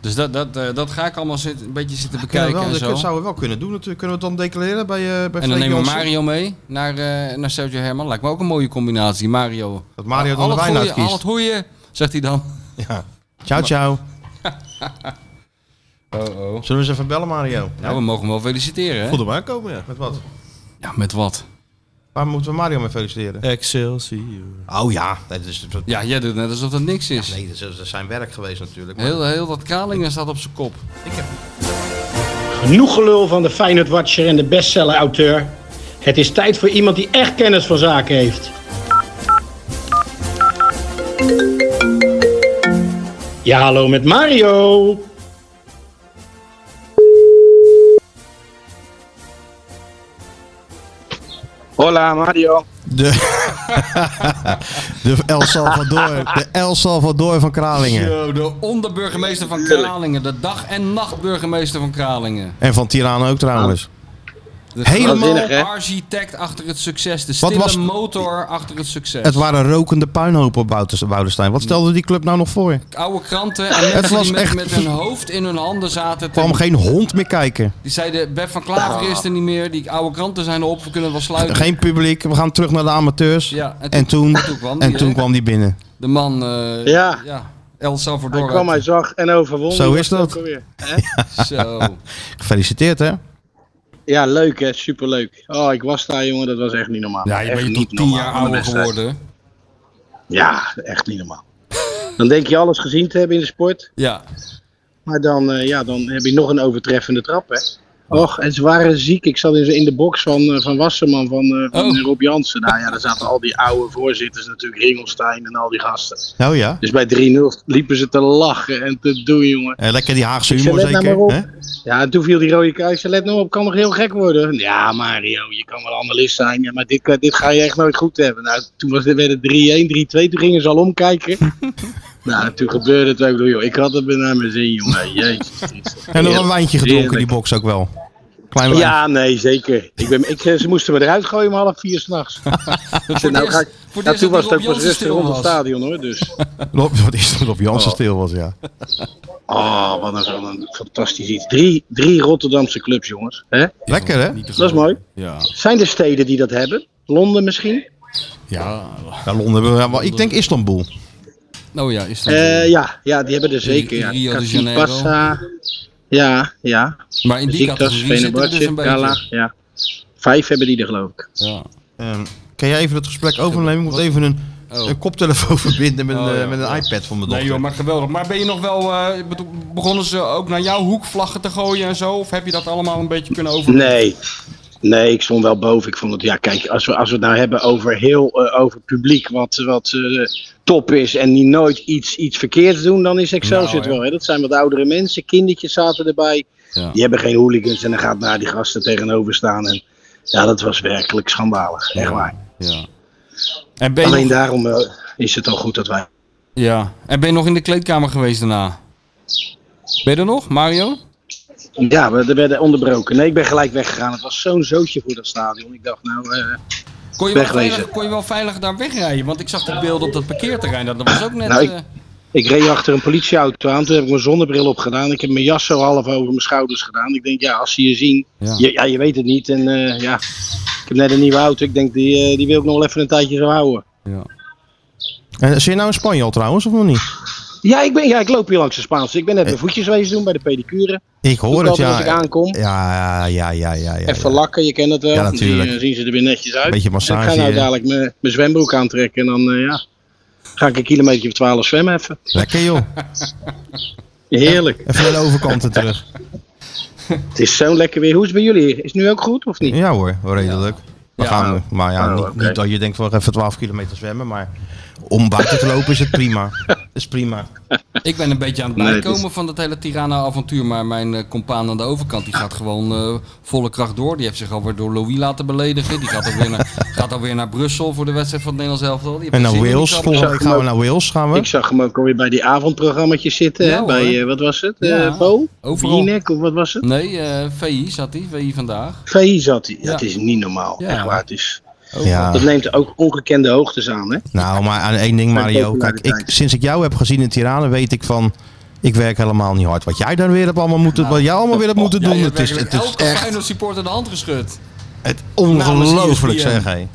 Dus dat, dat, eh, dat ga ik allemaal zit- een beetje zitten
Kunnen
bekijken
we wel,
en
dat
zo.
zouden we wel kunnen doen natuurlijk. Kunnen we het dan declareren bij, eh bij Freek
En dan nemen we
Jansen?
Mario mee naar, eh, naar Sergio Herman. Lijkt me ook een mooie combinatie. Mario.
Dat Mario dan
Al
de
het
wijn
goeie, Al
uitkiest.
het goeie, zegt hij dan.
Ja. Ciao, ciao.
[laughs] Oh, oh.
Zullen we eens even bellen, Mario?
Nou, we mogen hem wel feliciteren, hè?
Voelde maar komen, ja.
Met wat?
Ja, met wat?
Waar moeten we Mario mee feliciteren?
Excelsior.
Oh ja, dat is, dat-
Ja, jij doet net alsof dat niks is.
nee, dat is, dat is zijn werk geweest natuurlijk. maar-
Heel, heel dat Kralingen staat op zijn kop.
Genoeg gelul van de Feyenoord Watcher en de bestseller-auteur. Het is tijd voor iemand die echt kennis van zaken heeft. Ja, hallo met Mario.
Hola Mario.
De, de El Salvador, [laughs] de El Salvador van Kralingen.
Zo, de onderburgemeester van Kralingen. De dag- en nachtburgemeester van Kralingen.
En van Tirana ook trouwens.
De
Helemaal-
Waanzinnig, hè?
architect achter het succes. De
Wat
stille
was-
motor achter het succes.
Het waren rokende puinhopen op Bouten- Woudenstein. Wat stelde die club nou nog voor? Er
Oude kranten en mensen
was
die met,
echt-
met hun hoofd in hun handen zaten. te-
kwam geen hond meer kijken.
Die zeiden, Beb van Klaver is er niet meer. Die oude kranten zijn erop, we kunnen wel sluiten.
Geen publiek. We gaan terug naar de amateurs.
Ja, en toen-
en toen,
toen kwam die,
en toen
hè?
kwam die binnen.
De man, eh,
Ja.
El
Hij
Salvador.
kwam, hij zag en overwon.
Zo
Hoe
is
was het
dat.
ook alweer?
Zo.
eh, Gefeliciteerd hè.
Ja, leuk hè, superleuk. Oh, ik was daar jongen, dat was echt niet normaal.
Ja, je
Echt
bent
niet
tot tien
normaal
jaar
van de
ouder
wedstrijd.
geworden.
Ja, echt niet normaal. Dan denk je alles gezien te hebben in de sport,
Ja.
maar dan, eh, ja, dan heb je nog een overtreffende trap hè. Och, en ze waren ziek. Ik zat in, in de box van, eh, van Wasserman, van, eh, van
Oh.
Rob Jansen. Nou ja, daar zaten al die oude voorzitters natuurlijk, Ringelstein en al die gasten.
Oh ja.
Dus bij 3-0 liepen ze te lachen en te doen, jongen.
Eh, lekker die Haagse
Dus
humor
let nou
zeker.
maar op.
hè?
Ja, en toen viel die rode kaars. Let nou op, kan nog heel gek worden. Ja, Mario, je kan wel analist zijn, ja, maar dit, kan- dit ga je echt nooit goed hebben. Nou, toen was, werd het 3-1, 3-2, toen gingen ze al omkijken. nou, toen gebeurde het ook. Joh. Ik had het bijna naar mijn zin, jongen. Jezus. Christus.
En nog een wijntje gedronken die
Heerlijk.
box ook wel. Klein wijntje.
Ja, nee, zeker. Ik ben, ik, eh, ze moesten me eruit gooien om half vier s'nachts.
[laughs] Voor
Nou,
het
ga
eerst- voor het
ik- nou,
eerst
toen
dat
was het
Rob
ook pas
Jansen
rustig
stil
rond
was.
het stadion, hoor. Dus.
Lop- Wat is dat op Jansen stil was ja.
Oh, wat een, wat een fantastisch iets. Drie, drie Rotterdamse clubs, jongens. Hè?
Lekker hè?
Dat is mooi.
Ja.
Zijn er steden die dat hebben? Londen misschien?
Ja.
Ja, Londen. ja, maar Ik denk Istanbul.
Nou ja, is dat...
Eh, ja, ja, die hebben er zeker.
Rio de
Ja.
Janeiro.
Katipassa. Ja, ja.
maar in die
Ziektas,
categorie zitten we dus
Venebartje,
een
Kala.
beetje.
Ja. Vijf hebben die er geloof ik.
Ja.
Ehm, kan jij even het gesprek overnemen? Ik moet even een,
Oh.
een koptelefoon verbinden met, een,
Oh, ja.
eh, met een iPad van mijn
Nee
dochter.
joh, maar geweldig. Maar ben je nog wel... eh, ik bedoel, begonnen ze ook naar jouw hoek vlaggen te gooien en zo? Of heb je dat allemaal een beetje kunnen over?
Nee. Nee, ik stond wel boven. Ik vond het, ja, kijk, als we, als we het nou hebben over heel eh, over publiek wat, wat eh, top is en die nooit iets, iets verkeerds doen, dan is Excelsior
Nou,
het
hè.
wel. Hè? Dat zijn wat oudere mensen, kindertjes zaten erbij.
Ja.
Die hebben geen hooligans en dan gaat naar die gasten tegenover staan. En, ja, dat was werkelijk schandalig, echt waar.
Ja. En ben je
Alleen
nog-
daarom eh, is het al goed dat wij.
Ja. En ben je nog in de kleedkamer geweest daarna? Ben je er nog, Mario?
Ja, we er werden onderbroken. Nee, ik ben gelijk weggegaan. Het was zo'n zootje voor dat stadion. Ik dacht, nou, eh,
Kon je, wel
Wegwezen.
veilig, kon je wel veilig daar wegrijden? Want ik zag de beelden op dat parkeerterrein. Dat dat was ook net...
Nou, ik-
eh,
Ik reed achter een politieauto aan. Toen heb ik mijn zonnebril opgedaan. Ik heb mijn jas zo half over mijn schouders gedaan. Ik denk, ja, als ze je zien.
Ja.
Ja, je, ja, je weet het niet. En eh, ja, ik heb net een nieuwe auto. Ik denk, die, eh, die wil ik nog wel even een tijdje zo houden.
En zit je nou in Spanje al trouwens, of nog niet?
Ja, ik, ben, ja, ik loop hier langs de Spaanse. Ik ben net mijn voetjes wezen doen bij de pedicure.
Ik hoor
Doe
het,
ik altijd Als ik
ja.
aankom.
Ja, ja, ja, ja, ja. ja,
Even lakken, je kent het wel.
Ja,
Dan zie je-
natuurlijk.
zien ze er weer netjes uit.
Beetje
En ik
massage. eh.
ga nou
hè.
dadelijk mijn mijn zwembroek aantrekken. En dan eh, ja, ga ik een kilometer of twaalf zwemmen even.
Lekker
[laughs]
joh.
Heerlijk.
Even naar de overkant en terug.
Het is zo lekker weer. Hoe is het bij jullie? Is het nu ook goed of niet?
Ja hoor, wel redelijk. We
Ja.
gaan, maar ja,
Oh,
niet,
oké.
niet dat je denkt van even 12 kilometer zwemmen, maar om buiten te lopen is het
[laughs]
prima. Is prima.
Ik ben een beetje aan het
Nee, het
bijkomen van dat hele Tirana-avontuur. Maar mijn eh, compaan aan de overkant die gaat gewoon eh, volle kracht door. Die heeft zich alweer door Louis laten beledigen. Die gaat alweer naar,
[laughs]
gaat alweer naar Brussel voor de wedstrijd van het Nederlands elftal. Die heeft
En naar
zin in die
Wales.
klap.
Volgende week gaan we naar Wales. Gaan
Ik
we.
zag hem ook alweer bij die avondprogramma's zitten.
Ja,
hè?
hoor.
Bij, eh, wat was het?
Ja.
Eh, Bo?
Overal.
Jinek, of wat was het?
Nee, eh, VI zat hij. VI vandaag.
VI zat hij.
Ja.
Dat is niet normaal.
Ja.
Echt waar. Het is,
Ja.
Dat neemt ook ongekende hoogtes aan. Hè?
Nou, maar aan één ding Mario. Kijk, ik, sinds ik jou heb gezien in Tirana weet ik van... Ik werk helemaal niet hard. Wat jij daar weer hebt allemaal moeten, wat jij allemaal weer hebt moeten
Nou, oh, Ja,
doen.
je hebt
Het is, het
werkelijk
is
elke
echt
Feyenoord supporter de hand geschud.
het
Nou,
ongelooflijk,
Namens
zeg
ESPN.
hé.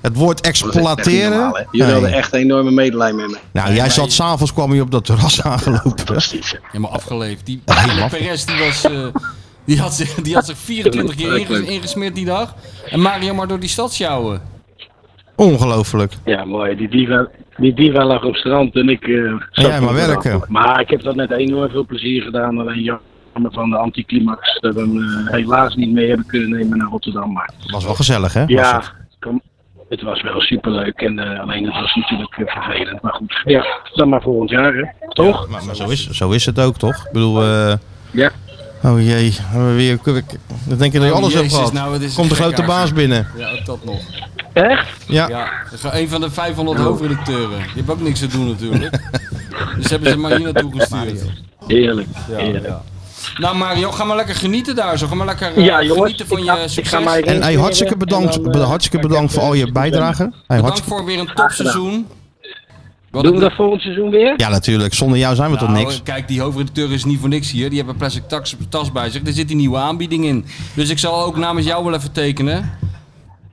Het woord
Oh, Dat is echt niet normaal,
exploiteren.
hè? Jullie
Nee.
hadden echt enorme medelijden met me.
Nou, jij zat s'avonds, kwam je op dat terras aangelopen.
Helemaal afgeleefd. Die
Helemaal.
Pele Perez die was, eh, die, had zich, die had
[laughs]
zich 24 keer inges- ingesmeerd die dag. En Mario maar door die stad sjouwen.
Ongelooflijk.
Ja, mooi. Die diva, die diva lag op strand en ik... eh, zat
jij maar
op de
werken.
dag. Maar ik heb dat met enorm veel plezier gedaan. Alleen jammer van de anticlimax dat we hem eh, helaas niet mee hebben kunnen nemen naar Rotterdam. Maar
was wel gezellig, hè? Was
Ja,
het?
kom- het was wel superleuk. En, eh, alleen het was natuurlijk eh, vervelend. Maar goed, ja, dan maar volgend jaar, hè. Toch?
Ja, maar, maar zo, is, zo is het ook, toch? Ik bedoel, eh,
Ja.
oh jee, hebben we weer, dan denk je dat je
Oh,
alles hebt
Jezus,
gehad.
nou, het is
Komt de
een
grote
gekhuis.
baas binnen.
Ja, ook dat nog.
Echt?
Ja.
Een van de 500 hoofdredacteuren. Die hebben ook niks te doen natuurlijk.
[laughs]
dus hebben ze maar hier naartoe gestuurd.
Heerlijk,
Ja,
heerlijk.
ja. Nou Mario, ga maar lekker genieten daar zo. Ga maar lekker eh,
Ja, jongens,
genieten van
ik
je
ga- ik ga
succes.
mij
En eh, hey, hartstikke bedankt, be- hartstikke bedankt voor al je bijdrage. Hey,
eh, Bedankt
hartstikke-
voor weer een topseizoen.
Doen we dat volgend seizoen weer?
ja, natuurlijk. Zonder jou zijn we toch
Nou,
niks.
Kijk, die hoofdredacteur is niet voor niks hier. Die hebben een plastic tas, tas bij zich. Er zit die nieuwe aanbieding in. Dus ik zal ook namens jou wel even tekenen.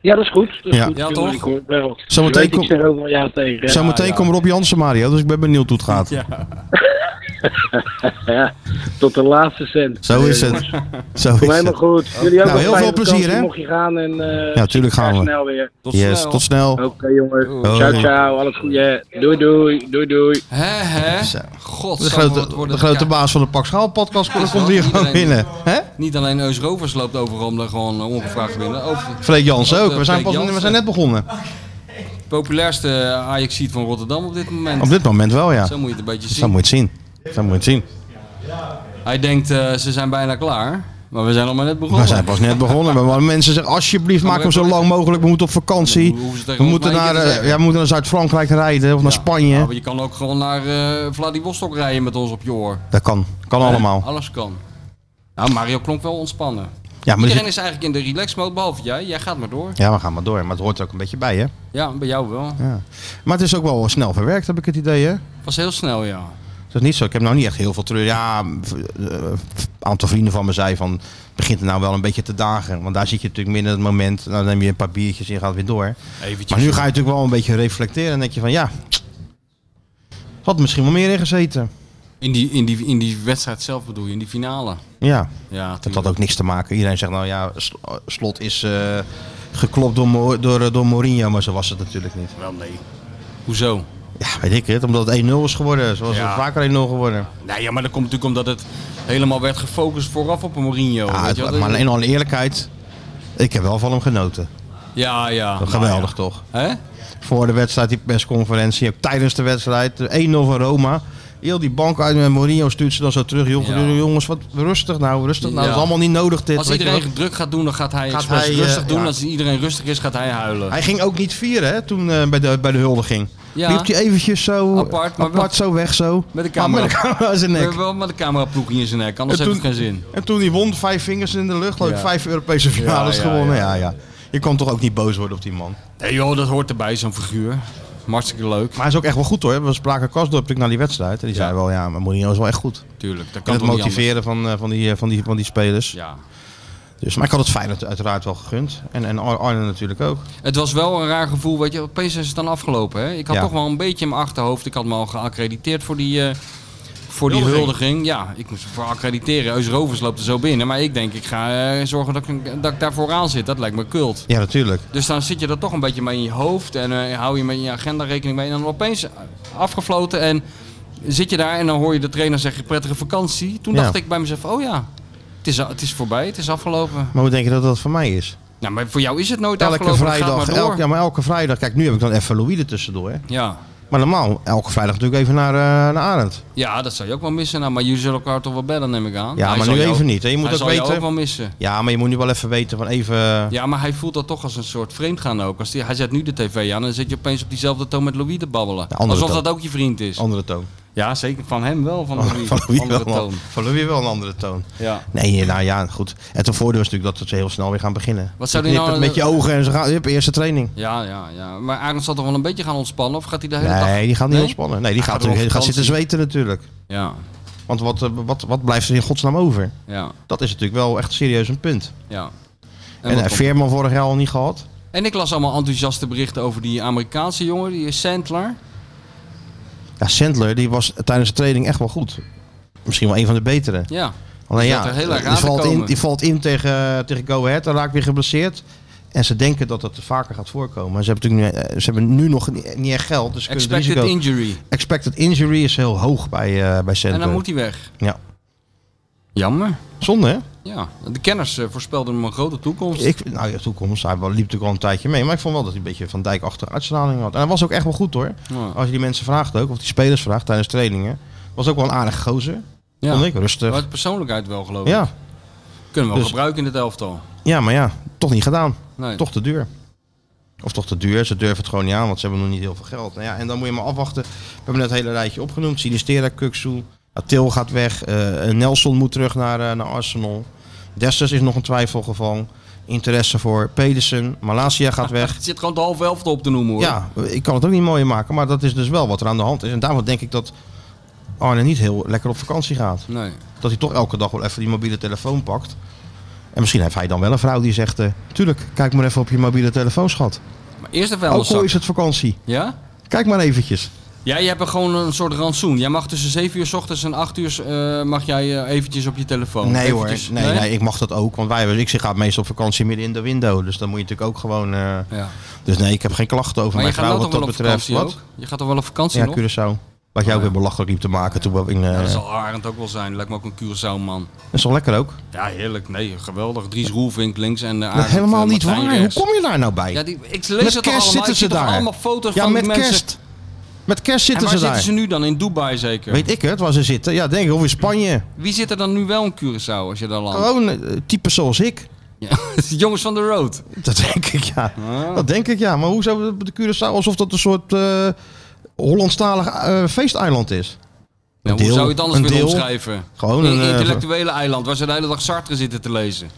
Ja, dat is goed. Dat is
Ja.
goed.
Ja,
Jongen,
toch?
ik hoor het wel.
Zometeen
Je weet, Ik
kom-
zeg ook wel ja tegen. hè.
Zometeen komt Rob Jansen, Mario, dus ik ben benieuwd hoe het gaat.
Ja, tot de laatste cent.
Zo is
Eh,
het.
jongens,
Zo is
Kom helemaal
het.
goed. Jullie ook
Nou,
een
heel veel
fijne
plezier,
vakantie,
hè?
Mocht je gaan en eh,
Ja, tuurlijk gaan
ga
we. Oh,
snel weer.
yes, tot snel.
Oké jongens.
Doei.
Ciao ciao. Alles goed. hè. Doei doei. Doei doei.
Hè, hè?
Zo.
God,
De grote, de grote baas van de Pak Schaal podcast
Is
komt hier
wel
gewoon
iedereen-
binnen. hè?
Niet alleen Eus Rovers loopt overal om daar gewoon eh, ongevraagd binnen. Over,
Freek Jansen ook.
eh,
We zijn,
Freek
pas, we
Jansen.
zijn net begonnen.
Populairste ajax van Rotterdam op dit moment.
Op dit moment wel, Oh, ja.
Zo moet je het een beetje
Zo
zien.
moet je het zien. Zo moet je het zien.
Hij denkt, eh, ze zijn bijna klaar. Maar we zijn nog maar net begonnen.
We zijn pas net begonnen. Maar- Maar mensen zeggen alsjeblieft maak hem zo lang mogelijk. We moeten op vakantie.
Dan hoeven ze tegen
We
ons
moeten
maar één
naar,
keer
eh,
te zeggen.
ja, we moeten naar Zuid-Frankrijk rijden of naar
Ja, Nou,
Spanje.
maar je kan ook gewoon naar eh, Vladivostok rijden met ons op je oor.
Dat kan. Kan
Hè?
allemaal.
Alles kan. Nou, Mario klonk wel ontspannen.
Ja, maar er
Iedereen
zit-
is eigenlijk in de relax mode, behalve jij. Jij gaat maar door.
ja, we gaan maar door. Maar het hoort er ook een beetje bij, hè?
Ja, bij jou wel.
Ja. Maar het is ook wel snel verwerkt, heb ik het idee, hè?
Was heel snel, ja.
Dat is niet zo. Ik heb nou niet echt heel veel terug. Ja, v- eh, een aantal vrienden van me zei van... begint het nou wel een beetje te dagen. Want daar zit je natuurlijk minder in het moment. Nou, Dan neem je een paar biertjes en je gaat weer door.
Eventjes.
Maar nu ga je natuurlijk wel een beetje reflecteren. En denk je van ja... Had misschien wel meer in gezeten.
In die, in, die, in die wedstrijd zelf bedoel je, in die finale.
Ja.
Ja,
Dat had ook niks te maken. Iedereen zegt nou ja, S- Slot is eh, geklopt door, Mo- door, eh, door Mourinho. Maar zo was het natuurlijk niet.
Wel nee. Hoezo?
Ja, weet ik het. Omdat het 1-0 is geworden. Zoals
Ja.
het vaker 1-0 geworden.
Nou ja, maar dat komt natuurlijk omdat het helemaal werd gefocust vooraf op een Mourinho.
Ja,
weet je
Ah, het-
wel?
maar in alle eerlijkheid... Ik heb wel van hem genoten.
Ja, ja.
Dat geweldig toch?
Hè?
Nou Voor de wedstrijd, die persconferentie, ook tijdens de wedstrijd. de 1-0 van Roma. Heel die bank uit en Mourinho stuurt ze dan zo terug. Joh,
Ja.
Jongens, wat rustig nou, rustig nou.
Ja.
Dat is allemaal niet nodig dit.
Als
weet je
iedereen
wel.
druk gaat doen, dan gaat hij
Gaat
expres
hij, eh,
rustig doen.
ja.
Als iedereen rustig is, gaat hij huilen.
Hij ging ook niet vieren hè, toen eh, bij, de, bij de huldiging.
Ja.
Ja. Liep hij eventjes zo
Apart,
apart,
maar
zo weg zo.
Met de
Maar
camera.
Met de camera aan zijn nek.
Wel met de cameraploek in zijn nek, anders
En
heeft het
toen-
geen zin.
En toen hij won, vijf vingers in de lucht. geloof ik,
Ja.
Vijf Europese finales
Ja, ja,
gewonnen. Ja,
ja.
ja. Je kan toch ook niet boos worden op die man.
Nee joh, dat hoort erbij, zo'n figuur. Hartstikke leuk.
Maar hij is ook echt wel goed hoor. We spraken Kasdorp naar die wedstrijd. En die zei wel, ja, maar Mourinho is wel echt goed.
Tuurlijk, dat
En
kan
het
toch niet
motiveren van, eh, van, die, eh, van, die, van die spelers.
Ja.
Dus, maar ik had het Feyenoord uiteraard wel gegund. En, en Ar- Arne natuurlijk ook.
anders. Het was wel een raar gevoel, weet je, opeens is het dan afgelopen. Hè? Ik had
Ja.
toch wel een beetje in mijn achterhoofd, ik had me al geaccrediteerd voor die, eh, voor die
Huldiging.
huldiging. Ja, ik moest ervoor accrediteren. Eus Rovers loopt er zo binnen, maar ik denk ik ga eh, zorgen dat ik, dat ik daar vooraan zit. Dat lijkt me kult.
Ja, natuurlijk.
Dus dan zit je er toch een beetje mee in je hoofd en eh, hou je met je agenda rekening mee. En dan opeens eh, afgefloten en zit je daar en dan hoor je de trainer zeggen prettige vakantie. Toen
Ja.
dacht ik bij mezelf, oh ja, het is, het is voorbij, het is afgelopen.
Maar hoe denk je dat dat voor mij is?
Nou, maar voor jou is het nooit
Elke
afgelopen, het gaat
vrijdag,
maar door.
elke, ja, maar elke vrijdag. Kijk, nu heb ik dan even Louis er tussendoor. Hè.
ja.
Maar normaal, elke vrijdag natuurlijk even naar, eh naar Arend.
Ja, dat zou je ook wel missen. Nou, maar jullie zullen elkaar toch wel bellen, neem ik aan.
Ja,
Hij
maar
zal
nu
jou-
even niet. hè. Je moet
hij
ook
zal
weten.
jou ook wel missen.
Ja, maar je moet nu wel even weten van even.
Ja, maar hij voelt dat toch als een soort vreemdgaan ook. Als die, hij zet nu de tv aan en dan zit je opeens op diezelfde toon met Louis te babbelen.
andere
Alsof
toon.
dat ook je vriend is.
Andere toon.
Ja, zeker. Van hem wel, van
[laughs]
Louis.
van Louis
andere
wel,
toon.
Van Louis wel een andere toon.
Ja.
Nee, nou ja, goed. Het voordeel is natuurlijk dat ze heel snel weer gaan beginnen.
Wat zou
Je
die
knipt
nou-
het met je ogen en ze gaan. Hup, eerste training.
Ja, ja, ja. Maar Arend zal toch wel een beetje gaan ontspannen? Of gaat hij de hele dag...
Nee, die gaat niet ontspannen. Nee, die
Hij
gaat,
wel
natuurlijk-
op
gaat zitten
vakantie.
zweten natuurlijk.
Ja,
Want wat, eh, wat, wat blijft er in godsnaam over?
ja,
Dat is natuurlijk wel echt serieus een punt.
ja.
En,
wat
eh,
komt-
Veerman vorig jaar al niet gehad.
en ik las allemaal enthousiaste berichten over die Amerikaanse jongen, die Sandler.
Ja, Sandler die was tijdens de training echt wel goed. Misschien wel een van de betere.
Ja.
Alleen
Die
ja,
zat er heel erg aan
die
te
valt, in,
komen.
die valt in tegen, eh, tegen Go Ahead en raakt weer geblesseerd. En ze denken dat dat vaker gaat voorkomen. Maar ze hebben, natuurlijk nu, eh, ze hebben nu nog niet, niet echt geld. Dus ze kunnen het
Expected
risico-
injury.
Expected injury is heel hoog bij, eh, bij Sandler.
En dan moet hij weg.
Ja.
Jammer.
Zonde hè?
Ja, de kenners eh, voorspelden hem een grote toekomst.
Ik, nou ja, toekomst. Hij wel- liep natuurlijk al een tijdje mee. Maar ik vond wel dat hij een beetje van dijk achter uitstraling had. En hij was ook echt wel goed hoor.
Ja.
Als je die mensen vraagt ook, of die spelers vraagt tijdens trainingen. Was ook wel een aardige gozer.
Ja.
Vond ik rustig.
Maar het persoonlijkheid wel, geloof ik.
Ja.
Kunnen we wel
Dus-
gebruiken in het elftal.
ja, maar ja, toch niet gedaan.
Nee.
Toch te duur. Of toch te duur. Ze durven het gewoon niet aan, want ze hebben nog niet heel veel geld. Nou ja, en dan moet je maar afwachten. We hebben net een hele rijtje opgenoemd. Sinistera, Kuksu. Til gaat weg. eh, Nelson moet terug naar, eh, naar Arsenal. Dessers is nog een twijfelgeval. Interesse voor Pedersen. Malasia
[laughs]
gaat weg.
Het zit gewoon de halve helft op te noemen hoor.
Ja, ik kan het ook niet mooier maken, maar dat is dus wel wat er aan de hand is. En daarom denk ik dat Arne niet heel lekker op vakantie gaat.
Nee.
Dat hij toch elke dag wel even die mobiele telefoon pakt. En misschien heeft hij dan wel een vrouw die zegt, eh, tuurlijk, kijk maar even op je mobiele telefoon, schat.
Maar eerst de
Ook al
vuilniszak.
is het vakantie.
Ja?
Kijk maar eventjes.
Ja, je hebt er gewoon een soort rantsoen. Jij mag tussen 7 uur s ochtends en 8 uur eh, mag jij eh, eventjes op je telefoon.
Nee hoor,
Eventjes-
nee, nee, ik mag dat ook. Want wij, hebben- ik ga meestal op vakantie midden in de window. Dus dan moet je natuurlijk ook gewoon... eh,
Ja.
Dus nee, ik heb geen klachten over
Maar je
mijn
gaat nou
vrouw wat
toch wel
dat
op
betreft.
vakantie
Wat?
ook? Je gaat toch wel op vakantie
Ja,
nog?
Curaçao. Wat jou ook weer belachelijk liep te maken toen we in... eh,
Ja, dat zal Arend ook wel zijn. Lijkt me ook een Curaçao man.
dat is wel lekker ook.
Ja, heerlijk. Nee, geweldig. Dries Roelvink links en eh,
Dat
Arend.
is helemaal
eh,
niet
Martijn
waar. Hoe
rechts.
kom je daar nou bij?
Ja, die, ik lees
met
het
kerst
toch allemaal.
zitten ze
Ik zie toch
daar.
allemaal foto's
ja,
van die
met
mensen.
kerst. Met kerst
En
zitten
waar
ze
zitten
daar.
ze nu dan? In Dubai zeker?
Weet ik het, waar ze zitten. Ja, denk ik, of in Spanje.
Wie zit er dan nu wel in Curaçao als je daar landt?
Gewoon eh, types zoals ik.
Ja, [laughs] jongens van de road.
Dat denk ik, ja.
Ah.
Dat denk ik, ja. Maar hoe zou de Curaçao alsof dat een soort eh, Hollandstalig eh, feesteiland is?
Ja,
Een
hoe
deel-
zou je het anders
een
willen
deel.
omschrijven?
Gewoon
een
een, eh,
intellectuele eiland waar ze de hele dag Sartre zitten te lezen.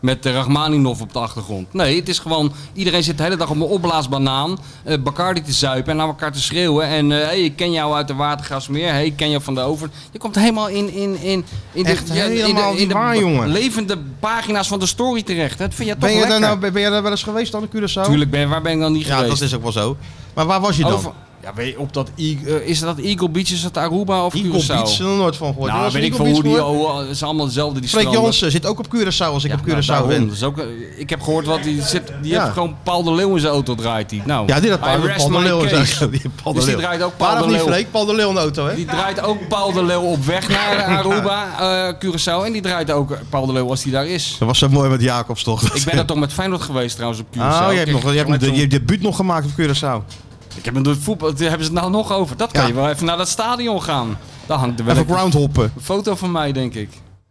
Met de Rachmaninov op de achtergrond. Nee, het is gewoon... Iedereen zit de hele dag op een opblaasbanaan. eh Bacardi te zuipen en naar elkaar te schreeuwen. En eh, hey, ik ken jou uit de Watergasmeer. Hey, ik ken jou van de Over... Je komt helemaal in... in, in, in
Echt helemaal niet waar,
ba-
jongen.
levende pagina's van de story terecht. Dat vind jij toch
ben, je
lekker.
daar nou, ben je daar wel eens geweest dan, de Curaçao?
Tuurlijk, ben, waar ben ik dan niet
Ja,
geweest?
Nou, dat is ook wel zo. Maar waar was je dan?
Over- ja, weet je, op dat, I- eh, is dat Eagle Beach, is dat Aruba of
Eagle
Curaçao?
Beach, er nog eh, nooit van gehoord.
Nou,
Was er
weet ik
Eagle
van hoe
Beach
die...
gehoord?
Oh, het is allemaal hetzelfde, die
Freek
stranden.
Jansen zit ook op Curaçao als ik op
Nou,
Curaçao
daarom.
ben.
Dat is ook, eh, ik heb gehoord wat die zit. Die
Ja.
heeft gewoon Paul de Leeuw in zijn auto draait die. Nou,
Ja, die dat
I
Paul de-
rest
Paul de
my
Leeuw is
case.
ook- die Paul de
Dus die
Leeuw.
draait ook
Waarom
Paul de
niet,
Leeuw.
Freek? Paul de Leeuw in de auto, hè?
Die draait ook Paul de Leeuw op
[laughs]
weg naar Aruba, eh Curaçao. En die draait ook Paul de Leeuw als die daar is.
Dat was zo mooi met Jacobs, toch?
Ik ben er toch met Feyenoord geweest trouwens op Curaçao.
[laughs] Oh, je
Ik
hebt, nog, je
kreeg
hebt nog de,
toen-
je debuut nog gemaakt op Curaçao.
Ik heb hem door het voetbal... Daar hebben ze het nou nog over. Dat kan
Ja.
je wel even naar dat stadion gaan. Daar hangt er wel
Even
een-
groundhoppen.
een foto van mij, denk ik.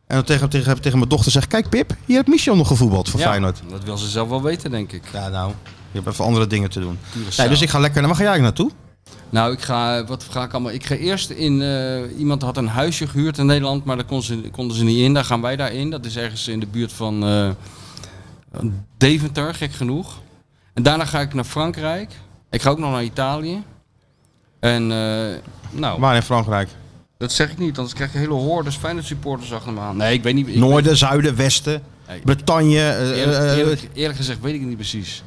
En dan tegen, tegen, tegen mijn dochter zegt, kijk Pip, hier heeft Michel nog gevoetbald voor Feyenoord.
dat wil ze zelf wel weten, denk ik.
Ja, nou. Je hebt even andere dingen te doen.
Curaçao.
Nee, dus ik ga lekker, naar waar ga jij eigenlijk naartoe?
Nou, ik ga, wat ga ik allemaal? Ik ga eerst in, eh, iemand had een huisje gehuurd in Nederland, maar daar kon ze, konden ze niet in. Daar gaan wij daar in. Dat is ergens in de buurt van eh, Deventer, gek genoeg. En daarna ga ik naar Frankrijk. Ik ga ook nog naar Italië. En, eh, nou,
Waar in Frankrijk?
dat zeg ik niet, anders krijg je hele hordes Feyenoord supporters achter me aan. Nee, ik weet niet. ik-
Noorden, zuiden, westen,
Nee.
Bretagne, eh,
eerlijk,
eh,
eerlijk- eerlijk gezegd weet ik het niet precies.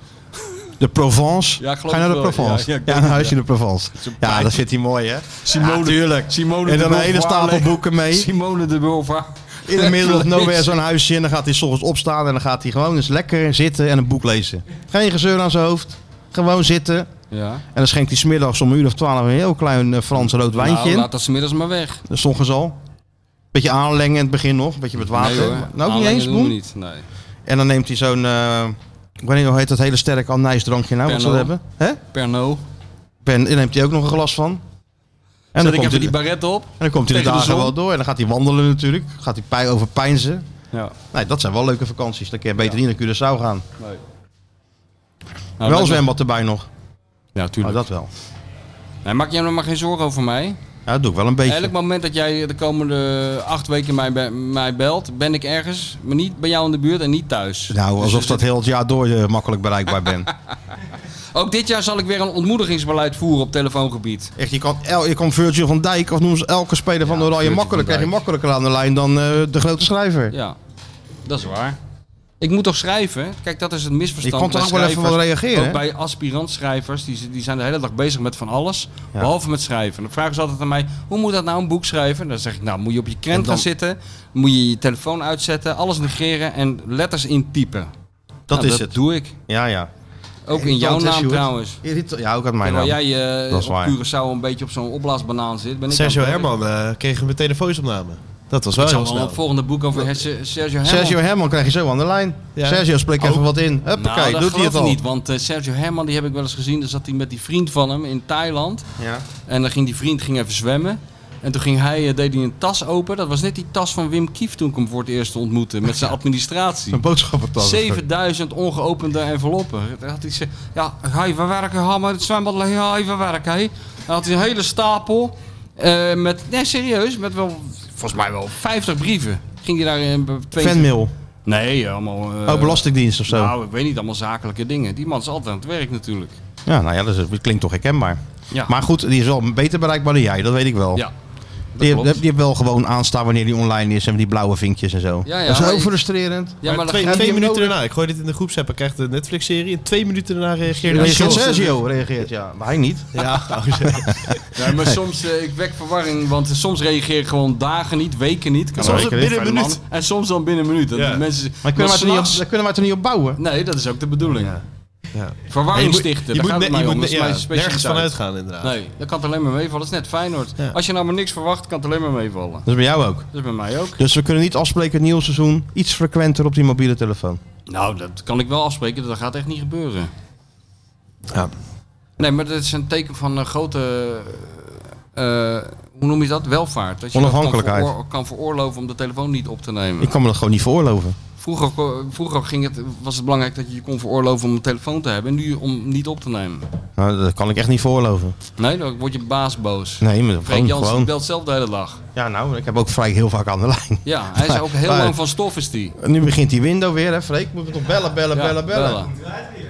de Provence.
Ja, ik geloof
ga je naar de
het wel.
Provence?
Ja,
Ja,
ja, ik denk
een
het,
huisje
ja.
in de Provence.
is een
Ja,
pijn.
daar zit hij mooi, hè?
Simone-
ja, tuurlijk.
Simone
en
de
dan een hele
Beauvoir
stapel
leeg.
boeken mee.
Simone de Beauvoir.
In de middel of
Niks.
nowhere zo'n huisje. En dan gaat hij 's ochtends opstaan. En dan gaat hij gewoon eens lekker zitten en een boek lezen. Geen gezeur aan zijn hoofd. Gewoon zitten.
Ja.
En dan schenkt hij smiddags om een uur of twaalf een heel klein eh, Frans rood wijntje
Nou,
in.
laat dat smiddags maar weg.
Dat is soms al. Beetje aanlengen in het begin nog. Een beetje met water.
Nee, hoor.
Nou, ook niet
Aanlengen
eens,
doen we
Boen.
niet, nee.
En dan neemt hij zo'n... eh, ik weet niet hoe heet dat hele sterke anijsdrankje nou? Wat ze
Pernod.
hebben. Hè?
Pernod.
En daar neemt hij ook nog een glas van.
En
dan
Zet ik
komt
even
hij-
die barret op.
En dan komt hij de
tegen
dagen
de zon.
wel door. En dan gaat hij wandelen natuurlijk. Gaat hij pij over pijnzen.
Ja.
Nee, dat zijn wel leuke vakanties. Dan kun je beter niet naar Curaçao gaan.
Nee.
Nou, wel Ah,
dat-
zwembad erbij nog.
Ja, tuurlijk.
dat wel.
Nee, maak jij er maar geen zorgen over mij.
Ja, dat doe ik wel een beetje.
Elk moment dat jij de komende acht weken mij, be- mij belt, ben ik ergens, maar niet bij jou in de buurt en niet thuis.
Nou, alsof
Dus-
dat heel het jaar door je makkelijk bereikbaar
[laughs]
bent.
Ook dit jaar zal ik weer een ontmoedigingsbeleid voeren op telefoongebied.
Echt, je kan, el, je kan Virgil van Dijk, of noem ze elke speler van de Oranje
Virgil van
makkelijk, krijg je
Dijk.
makkelijker aan de lijn dan eh, de grote schrijver.
Ja, dat is waar. Ik moet toch schrijven? Kijk, dat is het misverstand.
Ik kon
bij
toch ook wel even
schrijvers.
wel reageren,
Ook
hè?
bij aspirantschrijvers, die, die zijn de hele dag bezig met van alles,
Ja.
behalve met schrijven. Dan vragen ze altijd aan mij, hoe moet dat nou een boek schrijven? En dan zeg ik, nou, moet je op je krent
En dan-
gaan zitten, moet je je telefoon uitzetten, alles negeren en letters intypen.
Dat
Nou,
is
dat
het.
doe ik.
Ja, ja.
Ook in
Irritant,
jouw
hè,
naam
Sjoerd?
trouwens.
Irritant- Ja, ook uit mijn
Terwijl
naam.
jij eh
dat
op
is waar.
Curaçao een beetje op zo'n opblaasbanaan zit. Ben ik
Sergio
aan het werk.
Herman eh, kreeg een telefoonsopname. Dat was wel
Ik zal
heel
wel
snel.
het volgende boek over Her- Sergio Herman.
Sergio Herman krijg je zo aan de lijn.
Ja.
Sergio, spreek even wat in. Huppakee,
nou,
doet
dat
hij
geloof
het
ik
al.
niet, want eh, Sergio Herman die heb ik wel eens gezien. Daar zat hij met die vriend van hem in Thailand.
Ja.
En dan ging die vriend ging even zwemmen. En toen ging hij, eh, deed hij een tas open. Dat was net die tas van Wim Kief toen ik hem voor het eerst ontmoette. Met
[laughs]
zijn administratie.
Een boodschappentas.
7000 ongeopende enveloppen. Dan had hij ze, ja, ga je verwerken, ga maar het zwembad liggen, ga je verwerken. hè. Dan had hij een hele stapel eh, met, nee serieus, met wel, volgens mij wel 50 brieven. Ging hij daar in twee...
Fanmail.
Nee, allemaal... eh,
Oh, belastingdienst of zo.
Nou, ik weet niet, allemaal zakelijke dingen. Die man is altijd aan het werk natuurlijk.
Ja, nou ja, dat, is- dat klinkt toch herkenbaar.
Ja.
Maar goed, die is wel beter bereikbaar dan jij, dat weet ik wel.
Ja,
die,
klopt.
hebt- die hebt wel gewoon aanstaan wanneer die online is en die blauwe vinkjes en zo.
Ja, ja,
dat is
maar
heel
ik-
frustrerend.
Ja, maar
maar
dan
twee,
heb je
twee
hem
minuten
nodig.
daarna, ik gooi dit in de groepsapp, ik krijg de Netflix-serie. En twee minuten daarna reageerde
Ja,
hij zelf.
Sergio reageert, [laughs] ja. oh, Maar hij niet.
Ja,
Ja, maar soms, eh, ik wek verwarring, want eh, soms reageer ik gewoon dagen niet, weken niet. Kan
Soms
ook.
binnen een
Verder,
minuut.
man. En soms dan binnen een minuut. Dat
Ja.
die mensen,
Maar kunnen we, het er niet op,
s'nachts-
daar kunnen we het er niet op bouwen?
Nee, dat is ook de bedoling.
Ja.
Verwarring
Je moet-
stichten,
je
daar
moet
gaat
ne-
het mij
je
om.
moet
Dat is
ne-
mijn
ja,
specialiteit.
nergens van uitgaan, inderdaad.
Nee, dat kan het alleen maar meevallen. Dat is net Feyenoord. Als je nou maar niks verwacht, kan het alleen maar meevallen.
Dat is bij jou ook.
Dat is bij mij ook.
Dus we kunnen niet afspreken het nieuwe seizoen iets frequenter op die mobiele telefoon.
Nou, dat kan ik wel afspreken. Dat gaat echt niet gebeuren.
Ja.
Nee, maar dat is een teken van een grote... eh, eh, hoe noem je dat? Welvaart. Dat je
Onafhankelijkheid.
Dat kan, veroor- kan veroorloven om de telefoon niet op te nemen.
Ik kan me dat gewoon niet veroorloven.
Vroeger, ko- vroeger ging het, was het belangrijk dat je je kon veroorloven om een telefoon te hebben. En nu om niet op te nemen.
Nou, dat kan ik echt niet veroorloven.
Nee, dan word je baas boos.
Nee, maar
Freek
gewoon,
Jansen
gewoon.
belt zelf de hele dag.
Ja, nou, ik heb ook Freek heel vaak aan de lijn.
Ja, hij
[laughs]
is ook heel
Maar-
lang van stof is die.
Nu begint die window weer, hè Freek? Moeten we toch bellen, bellen,
Ja,
bellen, bellen?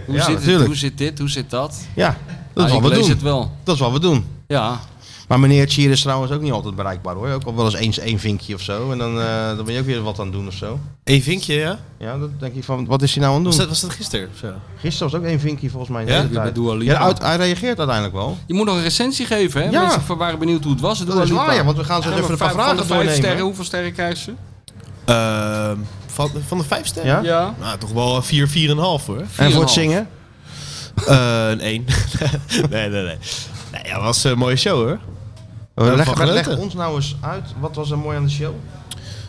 Hoe,
Ja,
zit het,
natuurlijk.
hoe zit dit? Hoe zit dat?
Ja, dat
Ah,
is wat
ik
we
lees
doen.
het wel.
Dat is wat we doen.
Ja,
Maar meneer Chier is trouwens ook niet altijd bereikbaar hoor. Ook al wel eens eens één vinkje of zo. En dan, eh, dan ben je ook weer wat aan het doen of zo.
Eén vinkje, ja?
Ja, dan denk je van, wat is hij nou aan het
Was
doen?
dat, was dat gisteren? of zo?
Gisteren was ook één vinkje volgens mij. in de
Ja?
hele tijd.
Met Dua Lipa.
ja, uit- hij reageert uiteindelijk wel.
Je moet nog een recensie geven, hè?
Ja.
Mensen van- waren benieuwd hoe het was.
Dat is waar, ja, want we gaan zo
ze
even een paar vragen
van de vijf
doornemen.
sterren, hoeveel sterren krijgt ze?
Ehm, van, de- van de vijf sterren?
Eh, Ja?
Ja.
Nou, toch wel 4, 4,5 hoor.
En voor
4,5.
het zingen?
Eh, een 1. [laughs] nee, nee, nee. Nee, ja, was een mooie show hoor.
Leg,
Van
leg-
genoten.
leg ons nou eens uit, wat was er mooi aan de show?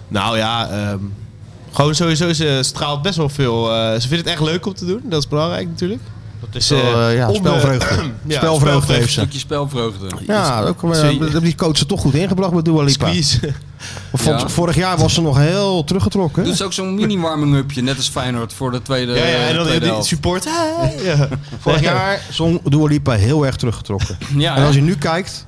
Nou ja, ehm, gewoon sowieso, ze straalt best wel veel. eh, ze vindt het echt leuk om te doen, dat is belangrijk natuurlijk.
Dat
is
wel, eh, ja,
[clears throat]
spelvreugde. Spelvreugde heeft ze.
Een stukje spelvreugde.
Ja, ook, eh,
Zie je-
hebben die coach er toch goed ingebracht met Dua Lipa.
Squeeze.
Vond-
Ja.
Vorig jaar was ze nog heel teruggetrokken.
Doet ze ook zo'n mini-warming-upje, net als Feyenoord voor de tweede
Ja, ja, en dan
tweede
die
helft.
[laughs]
support. Ah, ja.
Eh, Vorig jaar zong Dua Lipa heel erg teruggetrokken.
Ja,
en als
hè?
je nu kijkt,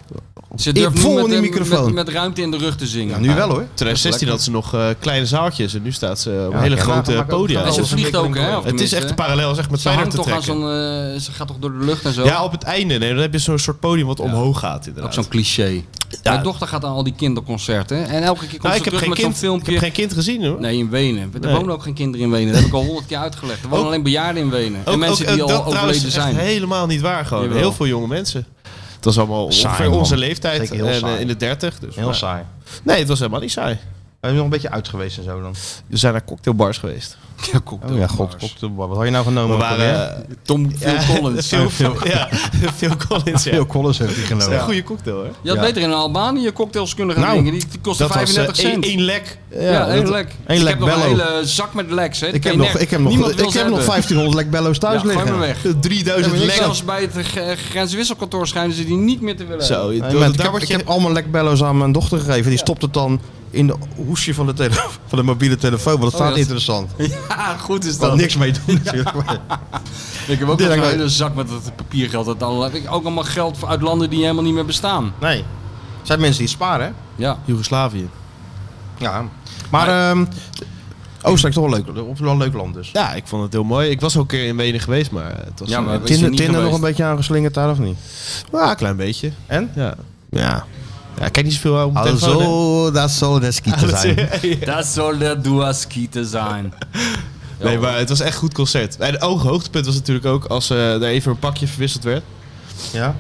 Ze durft
vol
niet
in
met,
die
hem-
microfoon.
Met, met ruimte in de rug te zingen.
ja, nu wel hoor.
2016 had ze nog eh, kleine zaaltjes en nu staat ze op
Ja,
hele
ja, maar
grote
ook-
podia.
En ze
Alles
vliegt ook, hè?
ontwikkeling
of
Het is
tenminste,
echt een parallel, zeg met
Ze
Feyenoord
hangt
te
toch aan
trekken.
zo'n... eh, ze gaat toch door de lucht en zo?
Ja, op het einde. Nee, dan heb je zo'n soort podium wat omhoog gaat
Ook
inderdaad.
zo'n cliché.
Ja.
Mijn dochter gaat aan al die kinderconcerten. hè, En elke keer komt
Nou,
ze
ik heb,
terug
geen
met zo'n
kind, ik heb
filmpje.
geen kind gezien hoor.
Nee, in Wenen. Er
Nee.
wonen ook geen kinderen in Wenen. Dat heb ik al honderd keer uitgelegd. Er wonen
Ook-
alleen bejaarden in Wenen.
Ook-
en mensen
ook-
die
ook
al
dat trouwens
overleden
echt
zijn.
helemaal niet waar gewoon.
Jawel.
Heel veel jonge mensen. Het was allemaal
Saai,
ongeveer
man.
onze leeftijd.
Zeker heel
en, eh,
saai.
in de 30. Dus,
Heel
maar-
saai.
Nee, het was helemaal niet saai.
We zijn nog een beetje uit geweest en zo dan.
We zijn naar cocktailbars geweest.
Ja, cocktail
Oh ja, god, cocktailbar. Wat had je nou genomen?
We waren,
ook alweer?
Tom, Phil
Ja,
Collins.
Phil, [laughs] ja, Phil Collins, ja.
Phil Collins heeft die
Dat is
genomen.
een goede cocktail, hè?
Je had
Ja.
beter in Albanië cocktails kunnen gaan
Nou,
drinken. Die, die kosten
dat was, eh,
35 cent.
één- één lek.
Ja,
Ja,
één
dat-
lek.
één
Dus ik
lek
heb nog een
Bello.
hele zak met leks. Hè.
Ik heb, nog, ik heb nog, ik heb nog 1500 lekbello's thuis
Ja, gooi
liggen.
maar weg.
3000
duizend
lek.
Zelfs bij het ge- grenswisselkantoor schijnen ze die niet meer te willen
Zo,
hebben. [laughs]
Nee,
dat-
maar
dat-
ik, heb, ik heb allemaal lekbello's aan mijn dochter gegeven. Die stopt het dan in de hoesje van de, tele- van de mobiele telefoon. Want dat
Oh,
staat
dat-
interessant. Ik
Ja, Ah, goed is
kan
dat.
niks mee doen natuurlijk.
Ik heb ook
Dit
nog een
lijkt me-
hele zak met dat papiergeld. Dat allemaal, heb ik ook allemaal geld voor- uit landen die helemaal niet meer bestaan.
Nou.
Nee. Het zijn mensen die het sparen, hè?
Ja.
Joegoslavië.
Ja. Maar ehm, Oostenrijk is toch wel leuk, wel een leuk land dus.
Ja, ik vond het heel mooi. Ik was ook een keer in Wenen geweest, maar het was
Ja,
een- eh,
maar we-
Tinder,
niet
Tinder nog
geweest.
een beetje aangeslingerd daar of niet?
Ja, een klein beetje.
En?
Ja. Ja. ja ik kijk niet zoveel eh, op mijn telefoon.
dat zal de
hè.
skieten
Dat zal de duaskieten zijn.
Nee, maar het was echt een goed concert. En het oog- hoogtepunt was natuurlijk ook als eh er even een pakje verwisseld werd.
Ja.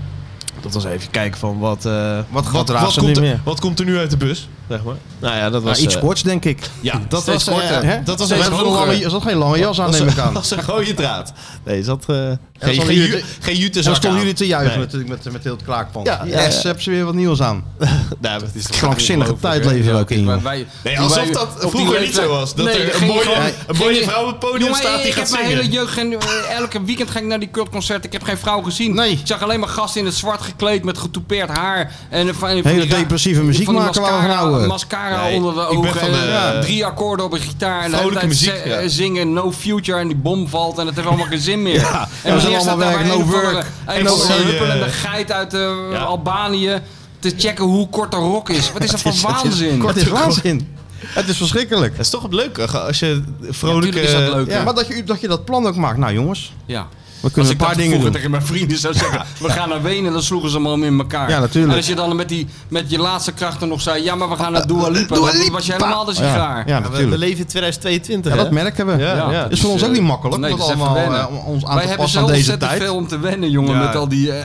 Dat was even kijken van wat... eh,
Wat- wat raast er
komt
nu
er,
meer?
wat komt er nu uit de bus, zeg maar. Nou ja, dat was...
Nou, iets
eh,
korts denk ik.
Ja, dat
Steeds
was, eh,
korter.
hè? dat was
Is
een
dat, een lange, is dat geen lange jas aan
was
neem ik
een, [laughs]
aan?
was een gooie draad. Nee, zat... eh geen
stonden
geen,
jullie
ju- geen jute
En dan
zak
stonden
aan.
jullie te juichen
Nee.
natuurlijk met, met heel het klaakpand.
Ja,
Ja,
ja, ja.
hebben ze weer wat nieuws aan.
[laughs] Nee, maar het is toch
Krankzinnige
ongelooflijk,
tijd
hè?
leven we ook in.
Wij-
jongen.
wij-
Nee,
toen
alsof
wij-
dat
op die
vroeger
leeftijd-
niet zo was. Dat er een
ging
mooie-
gewoon-
een mooie
ging-
vrouw op het podium
Jongen,
staat die
ik
gaat
heb mijn
zingen.
hele jeugd geen- eh, elke weekend ging ik naar die cultconcerten. Ik heb geen vrouw gezien.
Nee.
Ik zag alleen maar gasten in het zwart gekleed met getoupeerd haar. En van, van die
Hele
ra-
depressieve
van die
muziek maken waar we van
mascara-
houden.
Mascara
Nee,
onder de
ik ben
ogen.
van de,
en, eh,
eh,
drie akkoorden op een gitaar. En de hele
vrolijke
tijd
muziek,
ze-
ja.
eh, zingen No Future en die bom valt. En het heeft allemaal geen zin meer. en
we zijn
wanneer staat
allemaal
daar
weg,
een
no
of andere-
work.
Een of andere
Engelsen,
huppelende
eh,
geit uit eh,
ja.
Albanië te checken hoe kort de rok is. Wat is dat voor waanzin?
Het is waanzin. Het is verschrikkelijk.
Dat is Eh, toch leuk eh, als je vrolijke...
tuurlijk is dat leuk.
Ja, maar dat je, dat je dat plan ook maakt. Nou jongens,
Ja.
we
Als
kunnen een
ik
paar
dat
dingen doen.
vroeger tegen mijn vrienden zou zeggen,
[laughs]
we gaan naar Wenen, dan sloegen ze hem allemaal in elkaar.
Ja, natuurlijk. Eh,
En als je dan met, die, met je laatste krachten nog zei, ja, maar we gaan naar Dua Lipa,
Dua
dan was je
Lipa.
helemaal de
Ja,
sigaar.
ja,
Ja, we, we
natuurlijk.
leven in 2022,
Ja,
hè?
dat merken we.
Ja, ja.
Is voor ons
eh,
ook niet makkelijk,
nee,
om dat
is even
allemaal
wennen.
eh, om ons aan
Wij
te
hebben
passen
zo
aan deze
ontzettend
tijd.
veel om te wennen, jongen,
Ja.
met al die... eh,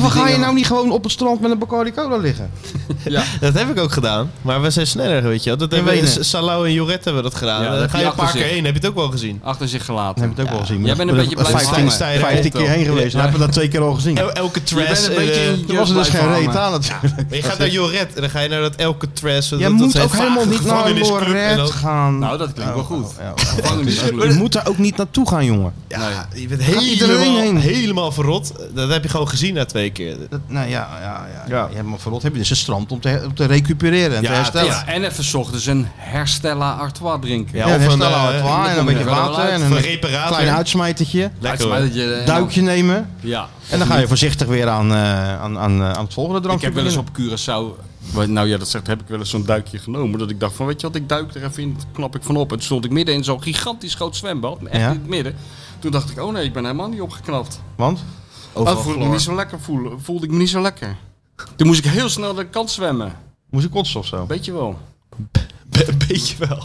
Maar
die
waar ga je
dingen.
nou niet gewoon op het strand met een Bacardi Cola liggen?
Dat heb ik ook gedaan. Maar we zijn sneller, weet je wel. Dat hebben we in
Wenen.
S- Salau en Joret hebben we dat gedaan.
Ja,
Eh,
dat heb
ga
je
je een paar
achter
keer
zich.
heen, heb je het ook wel gezien.
Achter zich gelaten.
Dat heb ik het ook wel gezien. maar
Jij bent een
dat-
beetje blijven
vijftien-
hangen.
Vijftien keer heen geweest. en
Ja.
hebben we dat twee keer al gezien.
El elke
bent
trash. eh,
een beetje in je
Er was er dus
blijven
geen reet
hangen.
aan natuurlijk.
je gaat naar Joret en dan ga je naar dat elke trash.
Je moet ook helemaal niet naar Lorette gaan. Oh,
Nou, dat klinkt wel goed.
[laughs] Je
Gevangenisclub.
moet daar ook niet naartoe gaan, jongen.
Ja, je bent
Gaat iedereen
helemaal,
heen?
helemaal verrot. Dat heb je gewoon gezien na twee keer.
Dat, nou ja, ja, ja.
Ja.
ja. maar vooral heb je dus een strand om te, her- om te recupereren en te herstellen.
Ja, en even 's ochtends een herstella artois drinken.
Ja,
Ja,
of een,
herstellen
eh,
aan het waar en een
moet je
beetje
wel
water
uit
en
voor
een
reparatie.
klein uitsmijtertje.
Lekker
Lijkt
hoor.
mij dat je-
Duikje nemen.
Ja.
En dan ga je voorzichtig weer aan, eh, aan, aan, eh, aan het volgende
Ik
drankje
heb wel eens op
beginnen.
Curaçao, wat- nou ja, dat zegt, heb ik wel eens zo'n duikje genomen. Dat ik dacht van, weet je wat, ik duik er even in, dat knap ik van op. En toen stond ik midden in zo'n gigantisch groot zwembad, echt
Ja.
in het midden. Toen dacht ik, oh nee, ik ben helemaal niet opgeknapt.
Want?
Oh, voelde ik me niet zo lekker voelen, voelde ik me niet zo lekker. Toen moest ik heel snel naar de kant zwemmen,
Moest ik kotsen of zo?
weet je wel.
Een beetje wel.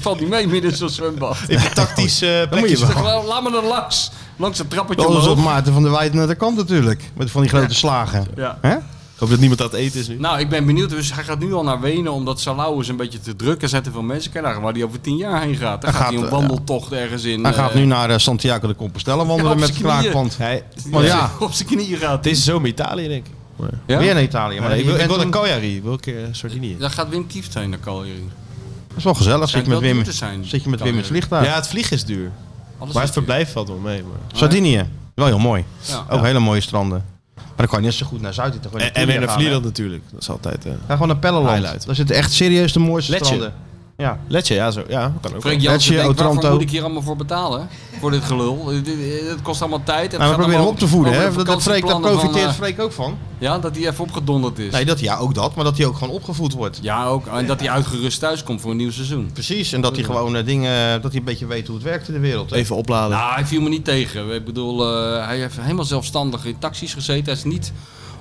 Valt niet mee midden in zo'n zwembad.
Ik heb tactisch eh
moet je
plekjes.
wel.
Ik zeg, la- laat me er langs, langs het trappetje
Dat was op
omhoog.
Maarten van der Weijden naar de kant natuurlijk. Met van die grote slagen.
Ja.
Hè?
Ik hoop dat niemand aan het eten is nu.
Nou, ik ben benieuwd. Dus hij gaat nu al naar Wenen omdat Salau is een beetje te druk. Er zijn te veel mensen. Kijk naar waar hij over tien jaar heen gaat. Dan
Hij
gaat, hij
gaat, eh,
een wandeltocht ergens in.
Hij
eh,
gaat nu naar eh, Santiago de Compostela wandelen
op
met
z'n
het
knieën.
kraakpand.
Hij,
Maar ja,
[laughs] op zijn knieën gaat.
Deze zomer Italië, denk ik.
Ja?
weer naar Italië. Maar
Maar
je
ik, wil, ik
bent
wil naar
toen-
Cagliari. Ik wil een keer eh, Sardinië.
Daar gaat Wim Kieft heen, dan kan je.
Dat is wel gezellig. Zit
Schijnt
je met
wel
Wim,
duur te zijn.
zit je met Wim in het
Cagliari.
vliegtuig.
Ja, het vliegen is duur.
Alles
Maar
is
het verblijf valt wel mee. Maar.
Maar- Sardinië. Wel heel mooi.
Ja.
Ook hele mooie stranden. Maar dan kan je net zo goed naar Zuid-Italië.
En, en weer naar
Vlieland.
Vlieland natuurlijk. Dat is altijd... eh
Ga gewoon naar Pelleland.
Highlight.
Daar zitten echt serieus de mooiste
Letje.
stranden. Ja.
Letje, ja, zo. Ja, kan ook.
Frank Jansen,
Lecce,
denkt, waarvoor
Otranto. Nou,
moet ik hier allemaal voor betalen? Voor dit gelul. Eh, Dit- dit- Het kost allemaal tijd. en
Nou,
het
we
gaat
proberen
allemaal
hem op te voeden.
over
Hè?
de
Dat, dat Freek, daar
vakantieplannen
profiteert
van,
Freek ook van.
eh, ja, dat hij even opgedonderd is.
Nee, dat, ja, ook dat. Maar dat hij ook gewoon opgevoed wordt.
Ja, ook. En dat hij uitgerust thuis komt voor een nieuw seizoen.
Precies. En dat hij gewoon eh, dingen... Dat hij een beetje weet hoe het werkt in de wereld. hè.
Even opladen.
Nou, hij viel me niet tegen. Ik bedoel, eh, hij heeft helemaal zelfstandig in taxis gezeten. Hij is niet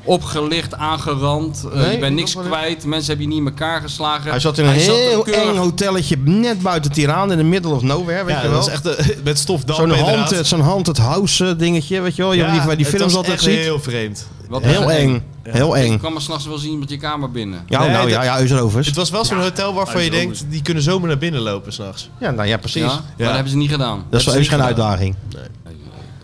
opgelicht, aangerand. Eh,
Nee,
je bent
dat
niks
wel, hè?
kwijt. Mensen hebben je niet in elkaar geslagen.
Hij zat in een heel
keurig-
eng hotelletje net buiten Tiraan in de middle of nowhere, weet
ja,
je
dat
wel.
is echt eh, [laughs] met stofdampen
Zo'n hand,
inderdaad.
zo'n hand het house eh, dingetje, weet je wel. Je hebt liever bij die
het
films
was
altijd
echt
ziet.
heel vreemd.
Wat
Heel
was-
eng. Heel
Ik
eng.
kwam er s'nachts wel zien met je kamer binnen.
Ja, nou ja, ja, Uzerovers.
Het was wel zo'n
Dus- Ja, Ah,
hotel waarvan je
Uzerovers.
denkt, die kunnen zomaar naar binnen lopen s'nachts.
Ja, nou ja, precies.
Ja? Maar dat hebben ze niet gedaan.
Dat is voor Eus geen
Hebben ze niet
uitdaging.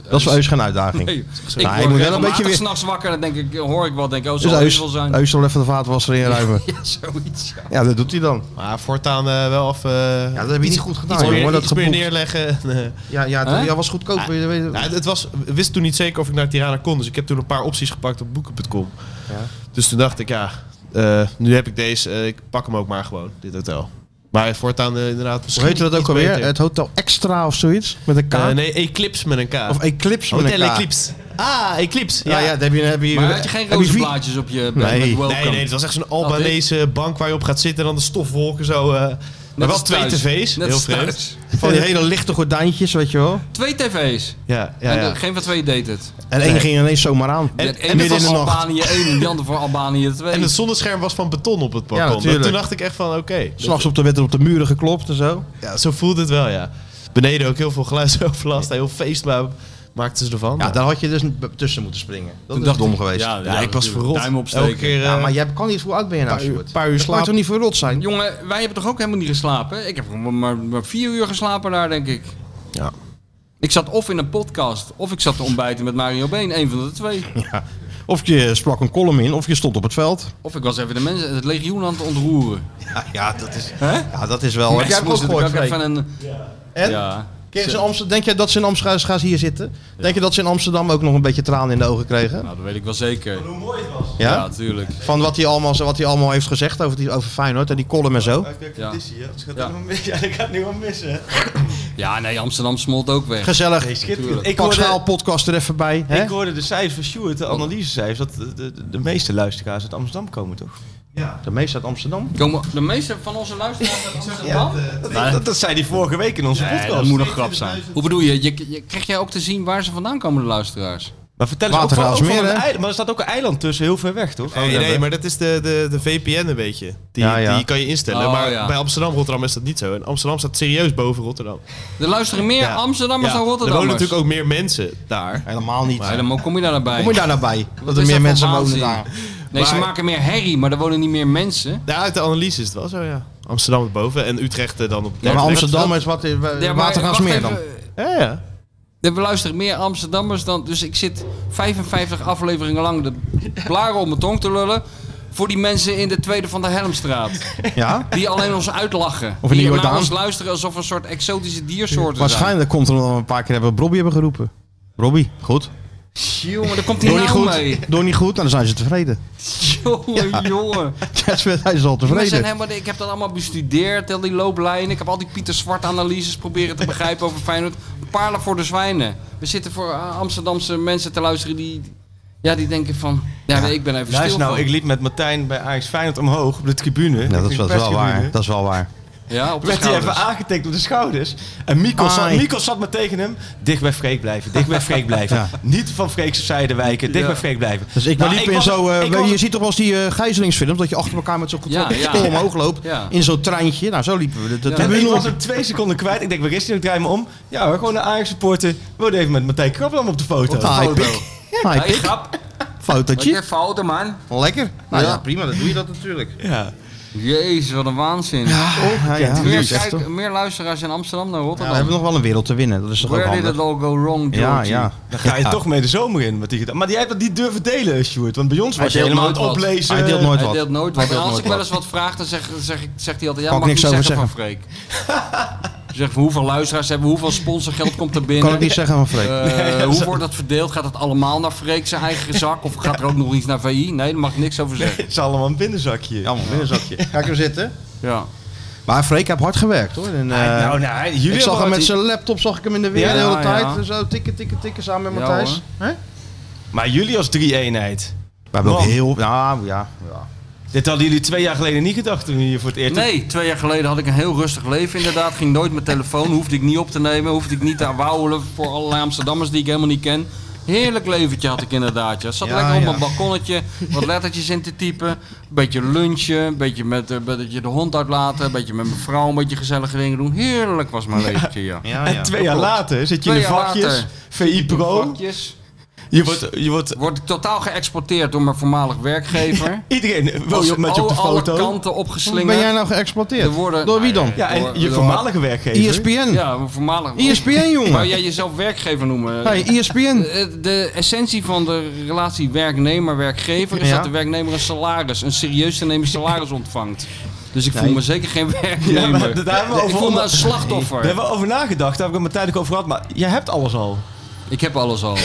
Dat is voor Eus geen uitdaging.
Nee, ik
Nou,
word
je moet wel een
regelmatig
beetje weer...
s'nachts wakker en dan denk ik, hoor ik wat, denk ik, oh,
Dus
zal Eus wel
Eus,
zijn.
Eus zal even de vaatwasser in ruimen. [laughs]
Ja, zoiets. ja.
Ja, dat doet hij dan.
Maar voortaan eh, wel af... ja,
dat heb je niet goed gedaan,
Iets
joh,
meer,
maar dat
iets meer
geboekt.
neerleggen. [laughs] Nee.
Ja, ja,
Hè?
dat ja, was goedkoop.
Ja.
Je weet-
Nou, het was, ik wist toen niet zeker of ik naar Tirana kon, dus ik heb toen een paar opties gepakt op boeken.com.
Ja.
Dus toen dacht ik, ja, eh, nu heb ik deze, eh, ik pak hem ook maar gewoon, dit hotel. Maar voortaan eh, inderdaad
Hoe
misschien
heette dat
iets
ook alweer?
beter.
Het Hotel Extra of zoiets? Met een K?
Eh, nee, Eclipse met een K.
Of Eclipse met
Hotel
Oh, een K. Oh,
Eclipse. Ah, Eclipse.
Ja, ja, daar heb je, heb je,
Maar had je geen
heb je
roze
vier-
blaadjes op je bed
Nee.
met welcome?
Nee, nee, het was echt
Oh,
zo'n Albanese bank waar je op gaat zitten en dan de stofwolken zo. eh maar wel
als
twee
thuis.
tv's,
Net
heel
als
vreemd.
thuis.
Van die hele lichte gordijntjes, weet je wel.
Twee tv's.
Ja, ja,
en
ja.
de- geen van twee deed het.
En één
Nee.
ging ineens zomaar aan.
En,
midden
en
in de
voor
nacht.
Albanië 1 en de ander voor Albanië 2.
En het zonnescherm was van beton op het
Ja,
balkon.
natuurlijk.
toen dacht ik echt van, oké.
S'nachts op de werd er op de muren geklopt en zo.
Ja, zo voelde het wel, ja. Beneden ook heel veel [laughs] geluidsoverlast, heel feest maar maakten ze ervan.
Ja, daar had je dus b- tussen moeten springen. Dat is
dacht
dom
ik-
geweest.
Ja,
Ja, ik was verrot.
Duim opsteken.
Elke keer, eh,
Ja, maar jij kan niet, hoe oud ben je nou,
paar uur-
Sjoerd?
paar
Dat
uur
kan
slaap.
je toch niet verrot zijn?
Jongen, wij hebben toch ook helemaal niet geslapen? Ik heb gewoon maar, maar vier uur geslapen daar, denk ik.
Ja.
Ik zat of in een podcast, of ik zat te ontbijten met Mario Been. Een van de twee.
[laughs] Ja. Of je sprak een column in, of je stond op het veld.
Of ik was even de mensen, het legioen aan het ontroeren.
Ja, ja, dat, is,
Hè?
ja dat is wel... Heb jij hem
Mensen
ook
moesten
gehoord, Freek?
natuurlijk ook even een...
En?
Ja.
Ken je ze in Amsterdam- Denk jij dat ze in Amsterdam, gaan ze hier zitten? Denk je dat ze in Amsterdam ook nog een beetje tranen in de ogen kregen?
Nou, dat weet ik wel zeker.
Ja?
Ja, natuurlijk.
Van wat hij, allemaal, wat hij allemaal heeft gezegd over, die, over Feyenoord en die column en zo.
Ja. Ja.
Ja, ik ga het nu wel missen.
ja, nee, Amsterdam smolt ook weg.
Gezellig.
Schitterend. Ik
Ik Pak schaal
hoorde,
podcast er even bij. Hè?
ik hoorde de cijfers van Sjoerd, de analysecijfers, dat de, de, de meeste luisteraars uit Amsterdam komen, toch?
De meeste uit Amsterdam.
Komen de meeste van onze luisteraars uit Amsterdam?
Dat, dat, dat zei hij vorige week in onze podcast.
dat moet een grap zijn. Hoe bedoel je? je, je krijg jij ook te zien waar ze vandaan komen, de luisteraars?
Maar vertel eens, ook van, ook
Watergraafsmeer,
van een
hè?
eiland, maar er staat ook een eiland tussen, heel ver weg, toch?
Nee, nee, maar dat is de, de, de VPN een beetje. Die,
Ja, ja.
die kan je instellen.
Oh,
maar
ja.
bij Amsterdam, Rotterdam is dat niet zo. En Amsterdam staat serieus boven Rotterdam.
Er luisteren meer
Ja.
Amsterdammers
Ja,
dan
Er wonen
Rotterdammers.
natuurlijk ook meer mensen daar.
Helemaal niet.
Ja, dan mo- kom je daar naar bij.
Hoe moet je daar nou bij? Dat
Wat
er meer
is Dus dat
mensen
voor
wonen
waanzin?
daar. Eh,
Nee, ze
Maar-
maken meer herrie, maar er wonen niet meer mensen.
Ja, uit de analyse is het wel zo, ja. Amsterdam boven en Utrecht eh, dan op
Ja, maar Amsterdam is wat
Ja, maar
watergaasmeer
wacht
dan.
even.
Ja, ja.
Er luisteren meer Amsterdammers dan... Dus ik zit 55 afleveringen lang de blaren om mijn tong te lullen... voor die mensen in de Tweede van de Helmstraat.
Ja?
Die alleen ons uitlachen.
Of in
die
de Jordaan.
naar ons luisteren alsof we een soort exotische diersoorten
Waarschijnlijk komt er nog een paar keer hebben we Robbie hebben geroepen. Robbie, goed.
zijn. Jongen, daar komt hij
Door niet
nou
goed. [laughs]
mee.
Door niet goed, nou, dan zijn ze [laughs] tevreden.
Jongen, jongen.
Jets werd- hij is al
Die mensen zijn
tevreden.
helemaal, ik heb dat allemaal bestudeerd, al die looplijnen. Ik heb al die Pieter Zwart analyses proberen te begrijpen over Feyenoord. Paarden voor de zwijnen. We zitten voor eh, Amsterdamse mensen te luisteren die, ja, die denken van... Ja, nee, ik ben even stil
Luister nou,
van.
ik liep met Martijn bij Ajax Feyenoord omhoog op de tribune.
Ja,
Ik
dat is
ging
wel,
de
wel waar.
perstribune.
Dat is wel waar.
Ja, op de
werd hij even
schouders.
aangetikt op de schouders. En Mikos, zat,
Ai.
Mikos zat maar tegen hem. Dicht bij Freek blijven, dicht bij Freek blijven.
[laughs] Ja.
Niet van Freekse zijde wijken, dicht
Ja.
bij Freek blijven.
Dus ik
Nou,
liep in
was-
zo. eh,
ik
weet
was-
je, je ziet toch wel eens die eh gijzelingsfilm dat je achter elkaar met zo'n getrokken
ja.
pistool omhoog loopt
Ja.
in zo'n treintje. Nou, zo liepen we. Dat, dat
Ja.
hebben
ik
we nog.
was hem twee seconden kwijt. Ik denk, waar is hij? Ik draai me om. Ja, hoor, gewoon een Ajax supporter. We worden even met Martijn Krabbelam op de foto.
Hi,
foto.
Ah, pik. Hi,
Hey,
pik.
grap. Wat
Nou, Fotootje.
je fouten, man.
Lekker. Nou
Ja.
ja, prima. Dan doe je dat natuurlijk.
Ja.
Jezus, wat een waanzin.
Ja, ja.
meer,
Is echt,
kijk-
hoor.
meer luisteraars in Amsterdam dan
Ja,
Rotterdam.
we hebben nog wel een wereld te winnen. Dat is toch ook
Where did it
handig.
all go wrong,
Ja,
Georgie?
ja.
Dan ga je
Ja.
toch mee de zomer in. Wat die gedaan. Maar jij hebt dat niet durven delen, Sjoerd. Want bij ons was je
deelt
helemaal aan het
nooit wat.
oplezen.
Hij deelt nooit
Hij
wat.
deelt
Hij
nooit wat. En
deelt
als
nooit
ik wel
wat.
eens wat vraag, dan zeg, zeg, ik- zegt hij altijd... Ja,
Kan
mag
ik
ik
niks
niks zeggen
over
van Freek. [laughs] Ik Zeg, hoeveel luisteraars hebben we? Hoeveel sponsorgeld komt er binnen?
Kan ik niet zeggen van Freek.
Eh, [laughs] hoe wordt dat verdeeld? Gaat het allemaal naar Freek zijn eigen zak? Of gaat er ook nog iets naar VI? Nee, daar mag ik niks over zeggen.
Het is allemaal een binnenzakje.
Ja, man, binnenzakje. Ga ik hem zitten?
Ja.
Maar Freek heeft hard gewerkt hoor. En, eh,
Hij- nou, nou, hij- jullie
ik zag hem
hebben
met
wat-
zijn laptop zag ik hem in de weer
Ja,
de hele
ja,
tijd.
ja.
En zo tikken, tikken, tikken samen met
Ja,
Matthijs.
hoor.
Hè? We
Maar jullie als drie-eenheid.
hebben ook
Man.
heel... Nou ja, ja.
Dit hadden jullie twee jaar geleden niet gedacht toen jullie voor het eerst...
Nee, twee jaar geleden had ik een heel rustig leven inderdaad. Ging nooit mijn telefoon, hoefde ik niet op te nemen. Hoefde ik niet te wauwelen voor allerlei Amsterdammers die ik helemaal niet ken. Heerlijk leventje had ik inderdaad. Ja. Zat
Ja,
lekker op
ja.
mijn balkonnetje, wat lettertjes in te typen. Beetje lunchen, een beetje met eh, dat je de hond uitlaten. Een beetje met mijn vrouw een beetje gezellige dingen doen. Heerlijk was mijn leventje, ja.
Ah, ja,
En twee jaar later zit je in de
Twee jaar
vakjes,
later.
VI Pro,
Vakjes. Je wordt, je wordt... totaal geëxporteerd door mijn voormalig werkgever.
Iedereen wil je op- met je op de
alle
foto.
kanten opgeslingerd.
Ben jij nou geëxploiteerd?
Er worden-
Door wie dan?
Ah,
E
Ja, en
Door-
je
door-
voormalige
werkgever.
ESPN.
Ja, mijn voormalig... [laughs]
ESPN, jongen.
Wou jij jezelf werkgever noemen?
Hey, ESPN.
De, de essentie van de relatie werknemer-werkgever is
Ja.
dat de werknemer een salaris, een serieus te nemen salaris ontvangt. Dus ik voel
Nee.
me zeker geen
Ja,
werknemer.
maar daar hebben we
ik
over
voel me een
Nee,
slachtoffer.
Daar hebben we over nagedacht. Daar heb ik het met Tijdelijk over gehad. Maar jij hebt alles al.
Ik heb alles al.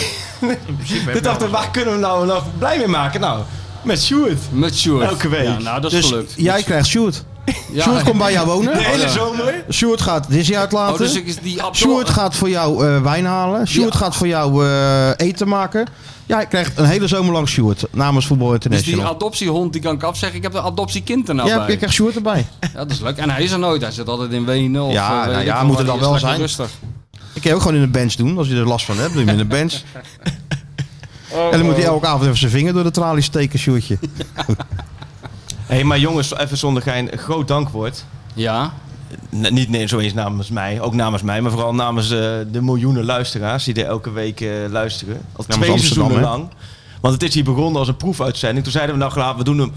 We dachten, waar kunnen we nou nog blij mee maken? Nou, met Stuart.
Met Stuart.
Elke week.
Ja, nou, dat is
Dus
gelukt.
Jij krijgt Sjoerd.
Ja.
Sjoerd komt bij jou wonen.
De hele zomer?
Sjoerd gaat Disney uitlaten.
Oh, dus ik is die abdo-
Sjoerd gaat voor jou eh, wijn halen. Sjoerd gaat voor jou eh, eten maken. Jij krijgt een hele zomer lang Sjoerd namens Voetbal
Dus die
International.
adoptiehond, die kan ik afzeggen. Ik heb een adoptiekind er nou
ja,
bij.
ik krijg Sjoerd erbij.
Ja, dat is leuk. En hij is er nooit. Hij zit altijd in Wenen. Of,
Ja,
eh,
nou
weet ik
ja,
veel
moet
waar.
er dan
Die is
wel
lekker
zijn.
Rustig.
Ik kan je ook gewoon in de bench doen. Als je er last van hebt, doe je hem in de
[laughs]
bench. en dan moet
Oh.
hij elke avond even zijn vinger door de tralies steken, Sjoerdje.
Hé, hey, maar jongens, even zonder gein, een groot dankwoord.
Ja.
niet nee, zo eens namens mij, ook namens mij, maar vooral namens eh, de miljoenen luisteraars die er elke week eh, luisteren. Al
Namens
twee
Amsterdam,
seizoenen
hè?
lang. Want het is hier begonnen als een proefuitzending. Toen zeiden we, nou laten we doen een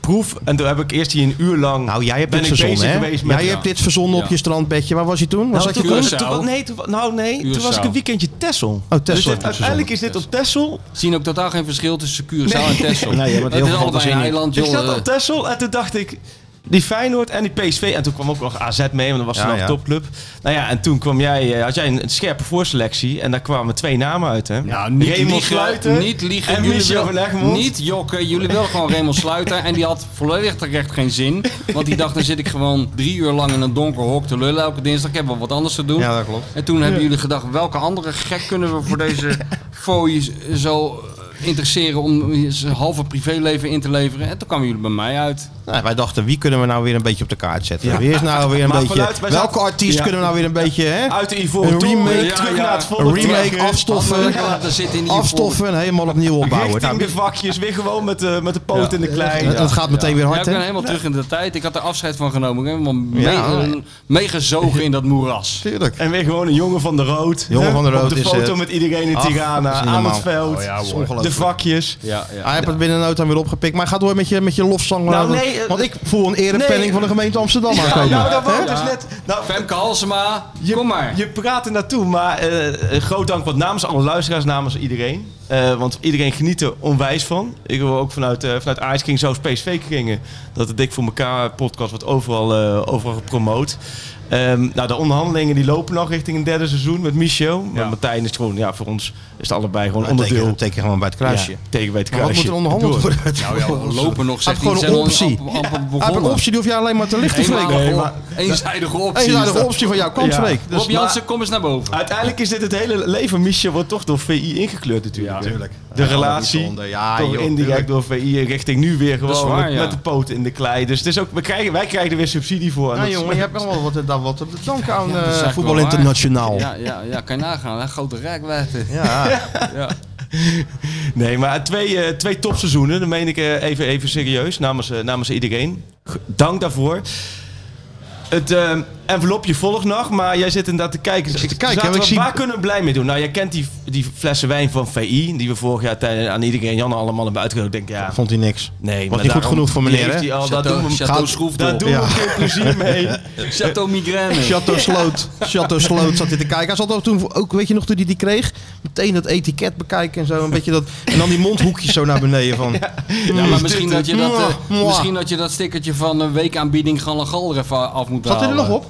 proef. En toen heb ik eerst hier een uur lang nou, jij hebt ben
Dit
ik bezig
verzonnen, hè?
geweest met...
Jij hebt dit verzonnen op je strandbedje. Waar was je toen? Was
Nou,
dat je
toen,
toen?
toen, toen- nee, toen, nou nee, toen was ik een weekendje Tessel. Dus
Oh, Texel heb je
dit-
het
uiteindelijk is dit op Tessel.
Zien ook totaal geen verschil tussen Curaçao en Texel.
Nee, je bent
het
heel
is
veel
allebei een
zin in.
eiland,
Ik
joh.
zat
eh.
op Texel en toen dacht ik... Die Feyenoord en die PSV. En toen kwam ook nog AZ mee, want dat was
Ja,
nog een
ja.
topclub. Nou ja, en toen kwam jij, eh, had jij een, een scherpe voorselectie. En daar kwamen twee namen uit, hè?
Ja, niet
Raymond
liegen,
Sluiter
niet liegen.
en
Jullie
Michel
wil-
van Egmond.
Niet jokken. Jullie willen gewoon Raymond Sluiter. En die had volledig terecht geen zin. Want die dacht, dan zit ik gewoon drie uur lang in een donker hok te lullen elke dinsdag. Ik heb wel wat anders te doen.
Ja, dat klopt.
En toen hebben jullie gedacht, welke andere gek kunnen we voor deze
[laughs]
fooi zo eh, interesseren om zijn halve privéleven in te leveren. En toen kwamen jullie bij mij uit.
Nou, wij dachten, wie kunnen we nou weer een beetje op de kaart zetten?
Ja.
Wie is nou weer een
Maar
beetje...
vanuit- wij
welke
zaten-
artiest
Ja.
kunnen we nou weer een beetje... Hè?
Uit de Ivoren
Een
Toren,
remake,
ja, terug ja. naar het
een
volgende
remake
terug.
afstoffen,
Hadden we laten zitten in die
afstoffen en helemaal opnieuw opbouwen.
Richting
Nou,
de vakjes, weer gewoon met, de- met de poot in de klei.
Ja, dat gaat meteen weer hard,
Ja, ik ben
hè?
helemaal terug in de tijd. Ik had er afscheid van genomen. Ik heb helemaal
Ja. oh,
mega- meegezogen in dat moeras.
Tuurlijk.
En weer gewoon een jongen van de rood.
Jongen
hè?
van de
Op
rood
de
is,
foto
eh,
met iedereen in
ach,
Tirana,
dat is niet
aan het
normaal.
veld.
Oh ja, hoor.
de
Ongelooflijk.
vakjes.
Ja,
Hij heeft het binnen nood aan weer opgepikt. Maar gaat door met je, met je lofzang.
Nou, nee, eh,
want ik voel een erepenning
nee.
van de gemeente Amsterdam aankomen.
nou, dat wou ik
Hè?
dus net. Nou,
Femke Halsema,
je,
kom maar.
Je praat er naartoe, maar eh, een groot dank wat namens alle luisteraars, namens iedereen. Eh, want iedereen geniet er onwijs van. Ik wil ook vanuit, eh vanuit Ajax King, zelfs PSV kringen, dat de Dik voor elkaar podcast wordt overal, eh, overal gepromoot. Ehm, nou, de onderhandelingen die lopen nog richting een derde seizoen met Michel. Maar Martijn is gewoon, ja, voor ons is het allebei gewoon
Nou,
onderdeel.
teken- teken gewoon bij het kruisje.
Ja, teken bij het
Maar wat moet
kruisje.
er onderhandeld
Door.
worden?
Nou ja, we lopen nog.
Hij
zegt
heeft
hij.
gewoon
Ze
een
zijn al
optie.
amper- amper
Hij heeft een
begonnen.
optie, die hoef jij alleen maar te lichten, Freek.
Eenmalige
Nee,
op-
maar-
Eenzijdige optie. Dus, eh,
Eenzijdige optie van jou. Kom,
Ja.
Freek.
Dus
Rob Jansen,
maar-
kom eens naar boven.
Uiteindelijk is dit het hele leven. Michel wordt toch door VI ingekleurd natuurlijk. hè? De
Ja, dat is
relatie,
zonde. Ja,
toch
joh,
indirect
tuurlijk.
door VI richting nu weer
is
gewoon
waar,
met,
ja.
met de poten in de klei. Dus het is ook, we krijgen, wij krijgen er weer subsidie voor. En
Nou
dat-
jongen, je hebt allemaal wat, dan wat te danken aan
Dat is
eh,
eigenlijk
Voetbal
wel waar.
Internationaal.
Ja, ja, ja, kan je nagaan. Hè? Grote rijkwijde. [laughs]
Ja.
Ja.
Nee, maar twee, eh, twee topseizoenen. Dat meen ik eh, even, even serieus namens, eh, namens iedereen. G- Dank daarvoor. Het eh, envelopje volgt nog, maar jij zit inderdaad te kijken.
zit te
Ik-
kijken,
zaten
hè,
we-
ik zie-
Waar kunnen we blij mee doen? Nou, jij kent die, die flessen wijn van VI, die we vorig jaar tij- aan iedereen, Jan allemaal hebben uitgekomen. Ik denk, ja,
Vond hij niks. Was
Nee, maar
niet goed
daarom-
genoeg voor
die
meneer,
heeft
hè?
hij al, daar
Chateau-
doen we,
Chateau
gaat-
Schroefdel.
daar doen we
Ja.
geen plezier
[laughs]
mee.
Chateau Migraine.
Chateau Sloot. Chateau Sloot zat hij te kijken. Hij zat ook toen, ook, weet je nog, toen hij die kreeg, meteen dat etiket bekijken en zo. Een beetje dat, en dan die mondhoekjes zo naar beneden van.
Ja,
Is
maar
dit
misschien
het?
dat, je dat, eh,
Mwah, mwah.
misschien dat je dat stickertje van een weekaanbieding Gallegal er even af moet
Zat hij
halen.
er nog op?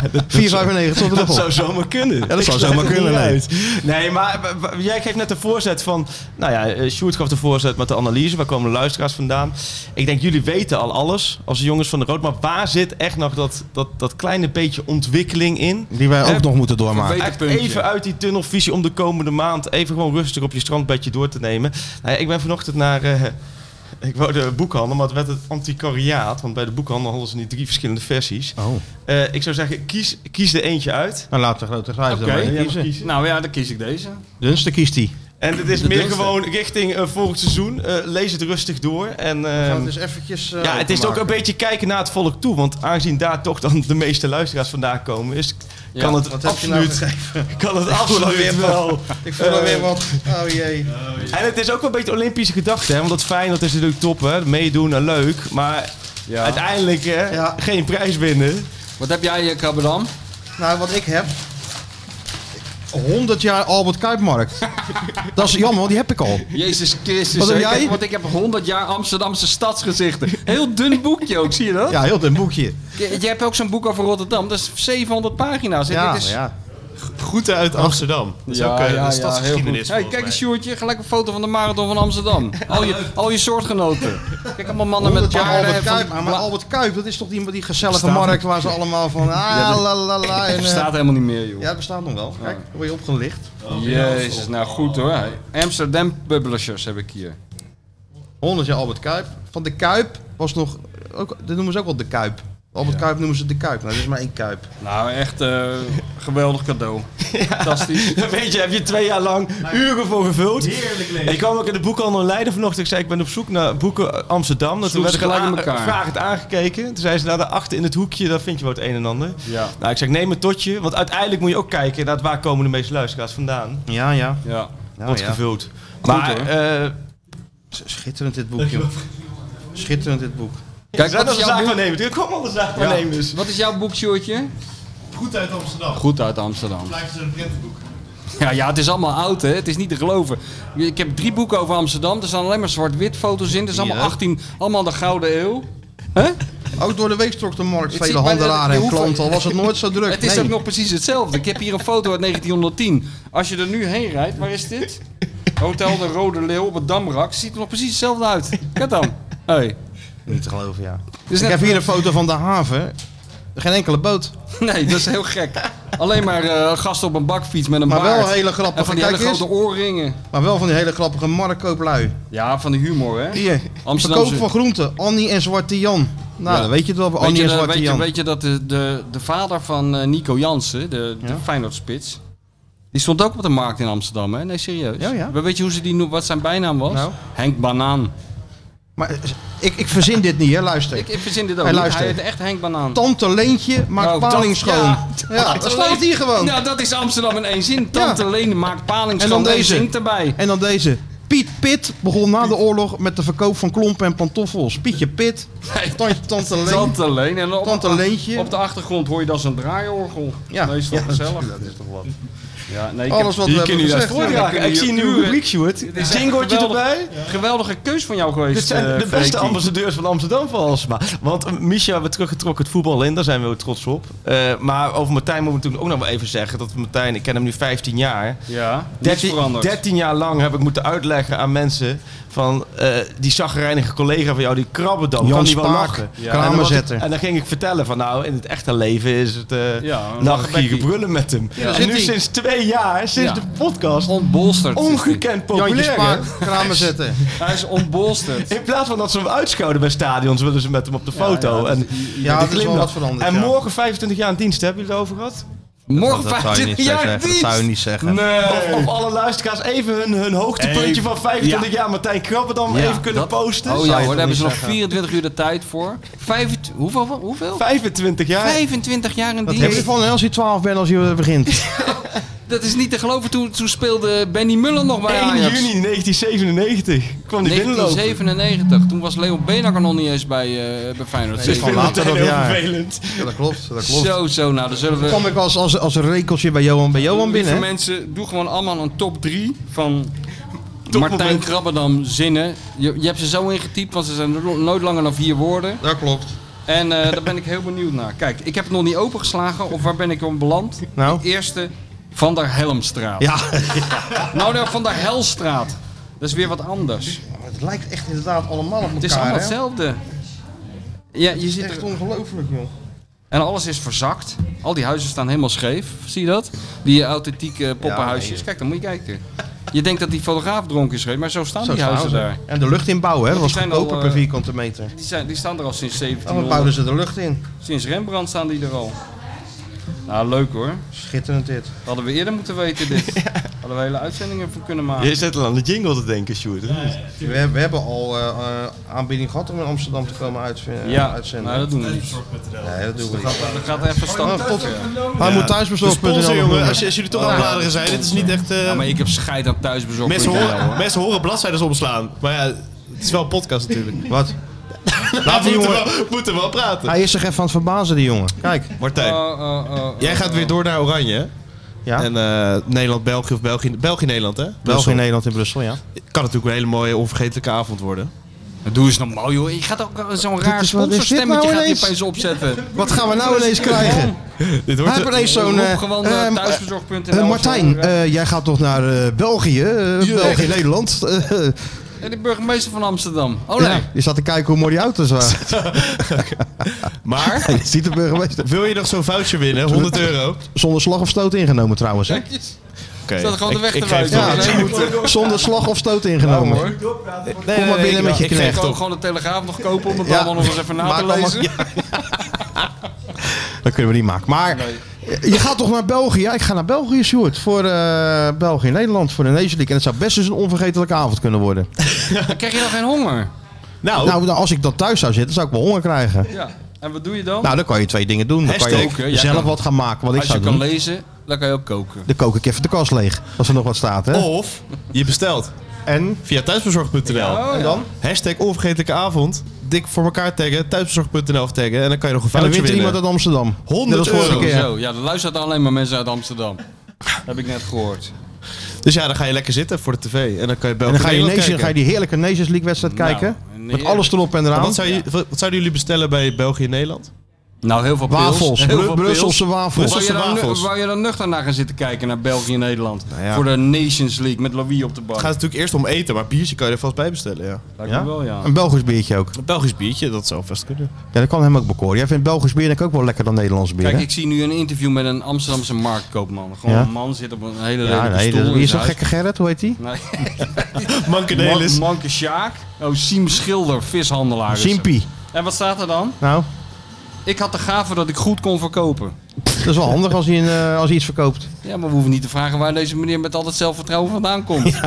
4,95 stond er nog
Dat
op.
zou zomaar kunnen.
dat
Ik
zou
sluit
zomaar
het
kunnen,
niet
nee.
uit. Nee, maar w- w- jij geeft net de voorzet van... Nou ja, eh, Sjoerd gaf de voorzet met de analyse. Waar komen de luisteraars vandaan? Ik denk, jullie weten al alles als de jongens van de Rood. Maar waar zit echt nog dat, dat, dat kleine beetje ontwikkeling in?
Die wij ook
Eh,
nog moeten doormaken.
verbeter-
Echt
puntje.
even uit die tunnelvisie om de komende maand even gewoon rustig op je strandbedje door te nemen. Nou ja, ik ben vanochtend naar. eh, [laughs] ik wou de boekhandel, maar het werd het antiquariaat. Want bij de boekhandel hadden ze niet drie verschillende versies.
Oh.
Eh, ik zou zeggen, kies, kies er eentje uit.
Nou, laat de grote grijs
Oké.
dan maar kiezen.
Nou ja, dan kies ik deze.
Dus dan kiest hij.
En het is
De
meer
dunste.
gewoon richting eh, volgend seizoen. Eh, lees het rustig door. En, ehm,
gaan het dus eventjes, eh,
ja, het is ook een
openmaken.
beetje kijken naar het volk toe. Want aangezien daar toch dan de meeste luisteraars vandaan komen, is,
Ja,
kan,
wat
het
heb je nou
absoluut,
geschreven?
kan het
Ik voel
absoluut
alweer wat.
wel.
Ik voel alweer
eh,
wat. Oh jee.
en het is ook wel een beetje Olympische gedachte, hè? want dat fijn, dat is natuurlijk top, hè? meedoen en leuk, maar uiteindelijk hè, geen prijs winnen.
Wat heb jij, eh, Kabadam?
Nou, wat ik heb. 100 jaar Albert Kuipmarkt. [laughs] dat is jammer, want die heb ik al.
Jezus Christus, eh,
Wat heb
ik
jij?
want ik heb 100 jaar Amsterdamse stadsgezichten. Heel dun boekje ook, zie je dat?
Ja, heel dun boekje.
Je, je hebt ook zo'n boek over Rotterdam, dat is 700 pagina's.
Ja,
Dit is
ja.
Groeten uit Amsterdam. Dat is ook eh, een stadsgeschiedenis.
Hey, kijk eens, Sjoerdje, gelijk een foto van de marathon van Amsterdam. Al je, al je soortgenoten. Kijk allemaal mannen met
100 jaar
baarden.
Albert
van-
Kuip. Maar Albert Kuip, dat is toch die, die gezellige
Staat-
markt waar ze allemaal van... Ah,
Ja, dat-
la, la, la, en,
Het
eh,
bestaat helemaal niet meer, joh.
Ja, het bestaat nog wel. Kijk, word je opgelicht.
Jezus, nou goed hoor. Amsterdam Publishers heb ik hier.
100 jaar Albert Kuip. Van de Kuip was nog... Ook, dat noemen ze ook wel de Kuip. Albert Kuip noemen ze de Kuip. Nou, dat is maar één Kuip.
Nou, echt eh, geweldig cadeau.
[laughs]
Fantastisch.
Weet je, heb je twee jaar lang uren voor gevuld.
Heerlijk leven.
Ik kwam ook in de boekhandel in Leiden vanochtend. Ik zei, ik ben op zoek naar boeken Amsterdam. Dat toen
Sloegen
werd
ze
ik al
gelijk in
aan-
elkaar.
vragend aangekeken. Toen zei ze, nou daarachter in het hoekje, daar vind je wel het een en ander.
Ja.
Nou, ik zeg, neem een totje. Want uiteindelijk moet je ook kijken naar waar komen de meeste luisteraars vandaan.
Ja, ja.
Ja.
Wordt
Nou ja.
gevuld.
Goed,
maar,
hoor.
eh,
S- Schitterend dit boek, joh. Schitterend dit boek.
Kijk, wat is jouw zaakwaarnemer? Er komen alle zaakwaarnemers.
Wat is jouw boekshortje?
Goed uit Amsterdam.
Goed uit Amsterdam.
Blijft het een prentenboek.
Ja, ja, het is allemaal oud, hè? Het is niet te geloven. Ik heb drie boeken over Amsterdam. Er staan alleen maar zwart-wit foto's in. Het is allemaal
Hier, hè?
18, allemaal de Gouden Eeuw.
Ook door de week trok de markt
Ik
vele
zie- maar de- de
handelaren en
hoeveel-
klanten. Al was het nooit zo druk.
[laughs] Het is
Nee.
ook nog precies hetzelfde. Ik heb hier een foto uit 1910. Als je er nu heen rijdt, waar is dit? Hotel de Rode Leeuw op het Damrak. Ziet er nog precies hetzelfde uit. Kijk dan. Hey.
Niet te geloven, ja.
Dus
ik
net-
heb hier een foto van de haven. Geen enkele boot.
Nee, dat is heel gek. Alleen maar eh, gasten op een bakfiets met een
Maar wel
baard.
hele
En
grappige.
van die hele
kijk eens.
grote oorringen.
Maar wel van die hele grappige marktkooplui.
Ja, van de humor, hè?
Hier,
Amsterdamse-
verkoop van groenten. Annie en Zwarte Jan. Nou,
Ja.
dan weet je het wel.
Weet
Annie
je,
en
dat-
Zwarte
weet, je,
Jan.
weet je dat de, de, de vader van eh, Nico Jansen, de, de Feyenoordspits, die stond ook op de markt in Amsterdam, hè? Nee, serieus.
Ja, ja.
Maar weet je hoe ze die, noem- wat zijn bijnaam was?
Nou?
Henk Banaan.
Maar eh, ik, ik verzin dit niet, hè. Luister.
Ik, ik verzin dit ook
Hey,
niet.
luister.
Hij heet echt Henk Banaan.
Tante Leentje maakt
Oh,
paling
tante-
schoon. Ja,
Tante
dat staat
Leen-
hier gewoon.
Nou, dat is Amsterdam in één zin. Tante
Ja.
Leen maakt paling
En
schoon.
dan deze.
zingt erbij.
En dan deze. Piet Pit begon na de oorlog met de verkoop van klompen en pantoffels. Pietje Pit. Tante, tante Leen.
Tante Leen. En op,
Tante Leentje.
op de achtergrond hoor je dan zo'n draaiorgel.
Ja.
Nee, is toch
Ja,
gezellig?
dat is toch wat.
Ja, nee,
Alles wat we
Hier
hebben
kun je dat
gezegd, ja,
dan
voordragen.
kunnen
Ik
hier
zie een nieuwe
uren-
rubriek, Sjoerd.
Dit is echt
Jingletje
geweldig.
erbij.
Geweldige keus van jou geweest.
Dit zijn
eh,
de beste
Freekie.
ambassadeurs van Amsterdam volgens mij. Want eh, Misha, we teruggetrokken het voetbal in, daar zijn we ook trots op. Eh, maar over Martijn moeten we natuurlijk ook nog wel even zeggen. Dat Martijn, ik ken hem nu 15 jaar.
Ja, niets
13,
veranderd.
13 jaar lang heb ik moeten uitleggen aan mensen van eh, die zagrijnige collega van jou, die krabben
Jan
kan die wel
Spaak,
lachen.
ja.
En, dan was ik-
Kramerzetter.
en dan ging ik vertellen van nou, in het echte leven is het eh
Ja, een
nachtgieren
lachbekkie.
brullen met hem.
daar
En
zit
nu
hij.
sinds twee jaar, sinds
Ja.
de podcast,
Onbolsterd. is die.
ongekend
Jantje
populair. hè?
Spaak, kramen
[laughs]
zetten.
Hij is onbolsterd.
In plaats van dat ze hem uitschouwen bij stadions, willen ze met hem op de foto.
ja,
en,
Ja,
die
dat is wel
glimlach.
wat veranderd.
en
ja.
morgen 25 jaar in dienst, hebben jullie het over gehad?
Morgen
Nou, Dat zou je
15
niet zo
jaar
zeggen. Dat zou je
dienst.
niet zeggen.
Of,
Nee.
of alle luisteraars even hun, hun hoogtepuntje
Even-
van 25
ja.
jaar Martijn Krabberdam
Ja,
even kunnen
dat-
posten?
Oh
Zou
ja
je
hoor, daar
toch
hebben ze
niet
nog
zeggen?
24 uur de tijd voor. Vijf, hoeveel? hoeveel?
25 jaar.
25 jaar in
Wat heb je
dienst.
van hè, als je 12 bent als je begint?
Dat is niet te geloven. Toen, toen speelde Benny Muller nog bij
1
Ajax.
juni 1997 kwam die binnenlopen.
1997. Toen was Leon Benakker nog niet eens bij, eh bij Feyenoord.
Nee,
Ik vind
Van
het
later
heel
dat jaar.
vervelend.
Ja, dat klopt. Dat klopt.
zo, zo. Nou, dan zullen we...
Dan kwam ik als, als, als een rekeltje bij Johan, bij Johan
Lieve
binnen. hè?
mensen, doe gewoon allemaal een top 3 van Martijn
Topmoment.
Krabbendam zinnen. Je, je hebt ze zo ingetypt, want ze zijn no- nooit langer dan vier woorden.
Dat klopt.
En eh, daar ben ik heel benieuwd naar. Kijk, ik heb het nog niet opengeslagen. Of waar ben ik om beland?
Nou?
De eerste, Van der Helmstraat.
Ja,
Nou, nou, Van der Helstraat. Dat is weer wat anders.
het lijkt echt inderdaad allemaal op elkaar.
Het is allemaal hetzelfde. Ja, je
Het
zit
is echt
er...
ongelooflijk, joh.
En alles is verzakt. Al die huizen staan helemaal scheef. Zie je dat? Die eh, authentieke poppenhuisjes.
nee.
Kijk, dan moet je kijken. Je denkt dat die fotograaf dronken is geweest, maar zo staan
Zo
die
staan
huizen
ze.
daar.
En de lucht inbouwen, hè? Dat
Want
was
die zijn al,
goedkoper per
eh,
vierkante meter.
Die, zijn, die staan er al sinds
Dan
1700.
bouwden ze de lucht in.
Sinds Rembrandt staan die er al. Nou, leuk hoor.
Schitterend dit. [laughs]
Dat hadden we eerder moeten weten dit. Hadden we hele uitzendingen voor kunnen maken.
Je zit al aan de jingle te denken, Sjoerd. of niet?
We, we hebben al eh, eh, aanbieding gehad om in Amsterdam te komen uitv- eh,
Ja,
uitzenden.
maar dat doen we niet.
Nee, dat doen we
Dat
niet.
gaat- dat gaat even stand.
Oh, tot-
Ja.
Hij moet thuisbezorgd.nl
De sponsor, jongen, Ah. als je- als
jullie
toch aan het bladeren zijn, dit is niet echt, eh,
Ja, maar ik heb scheid aan thuisbezorgd. nou,
Mensen horen, mensen horen bladzijden omslaan. Maar ja, het is wel een podcast natuurlijk. [laughs]
Wat?
Laat
die
die
jongen-
jongen... We moeten wel praten.
Hij is zich even aan het verbazen, die jongen. Kijk.
Martijn,
Oh,
jij gaat weer door naar Oranje. hè?
Ja.
En eh, Nederland-België of België- België-Nederland, hè?
België-Nederland in Brussel, ja.
Kan natuurlijk een hele mooie, onvergetelijke avond worden.
Doe eens normaal, joh. Je gaat ook eh, zo'n raar
is- wat is dit
sponsorstemmetje
nou
gaat hier
ineens?
opeens
[laughs]
opzetten.
Wat gaan we nou ineens krijgen?
Dit
Hij heeft ineens zo'n... eh,
Rob gewoon naar
ehm,
thuisbezorgd.nl
eh, Martijn, eh, jij gaat toch naar eh, België? eh, België-Nederland? Eh,
[laughs] En de burgemeester van Amsterdam. Oh nee.
Je zat te kijken hoe mooi die auto's waren.
[laughs]
Maar?
Je ziet de burgemeester.
Wil je nog zo'n voucher winnen? 100 euro?
Zonder slag of stoot ingenomen trouwens, hè?
Oké.
Staat gewoon de weg
ik
te
geef
wijzen.
het op.
Ja,
Ik moet-
Zonder slag of stoot ingenomen.
hoor.
Kom maar binnen met je
Ik ga
knecht.
gewoon, gewoon de Telegraaf nog kopen om het
Ja.
allemaal nog eens even
[laughs]
na
Maak
te
allemaal-
lezen.
Dat kunnen we niet maken. Maar je gaat toch naar België? Ja, ik ga naar België, Sjoerd. Voor eh, België en Nederland, voor de Nation League. En het zou best eens een onvergetelijke avond kunnen worden.
Dan krijg je dan geen honger.
Nou, nou, als ik dan thuis zou zitten, zou ik wel honger krijgen.
Ja. En wat doe je dan?
Nou, dan kan je twee dingen doen. Dan kan je
Hashtag, hè? Jij
zelf
kan-
wat gaan maken, wat ik
Als je
zou
kan
doen.
lezen, dan kan je ook koken.
Dan kook ik even de kast leeg, als er nog wat staat, hè?
Oh,
Of je bestelt.
En?
Via thuisbezorg.nl.
Ja, en dan?
Hashtag onvergetelijke avond. Dik voor elkaar taggen. Thuisbezorg.nl of taggen. En dan kan je nog een
En dan
voucher
wint er
winnen.
iemand uit Amsterdam.
100
Net als vorige
euro.
keer.
Ja.
Zo, ja, er luistert alleen maar mensen uit Amsterdam. Heb ik net gehoord.
Dus ja, dan ga je lekker zitten voor de tv. En dan kan
En
je België
dan ga je,
Nederland
Nation,
kijken.
ga je die heerlijke Nations League wedstrijd
Nou,
kijken.
een
Met alles erop en
En
eraan.
Wat, zou je, wat wat zouden jullie bestellen bij België en Nederland?
Nou, heel veel
Wafels.
Heel
Bru-
veel
Brusselse
pils.
wafels.
Wou je,
Brusselse
dan,
wafels. Nou
wou je dan nuchter naar gaan zitten kijken naar België en Nederland?
ja.
Voor de Nations League met Louis op de bank.
Het gaat natuurlijk eerst om eten, maar biertje kan je er vast bij bestellen, ja.
Lijkt me
Ja?
wel, ja.
Een Belgisch biertje ook.
Een Belgisch biertje, dat zou vast kunnen.
Ja, dat kan hem ook bekoren. Jij vindt Belgisch bier denk ik ook wel lekker dan Nederlands bier.
Kijk,
hè?
ik zie nu een interview met een Amsterdamse marktkoopman. Gewoon
Ja.
een man zit op een hele
ja,
lelijke
nee,
eh, stoel
dat-
in
wie is dat
zijn
gekke Gerrit? Hoe heet die?
huis.
Manke
Nee. Man-
Nelis.
Manke Sjaak. Oh, Siem Schilder, vishandelaar. is
Simpie.
het. En wat staat er dan?
Nou,
Ik had de gave dat ik goed kon verkopen.
dat is wel handig als hij, een, eh, als hij iets verkoopt.
Ja, maar we hoeven niet te vragen waar deze meneer met al dat zelfvertrouwen vandaan komt.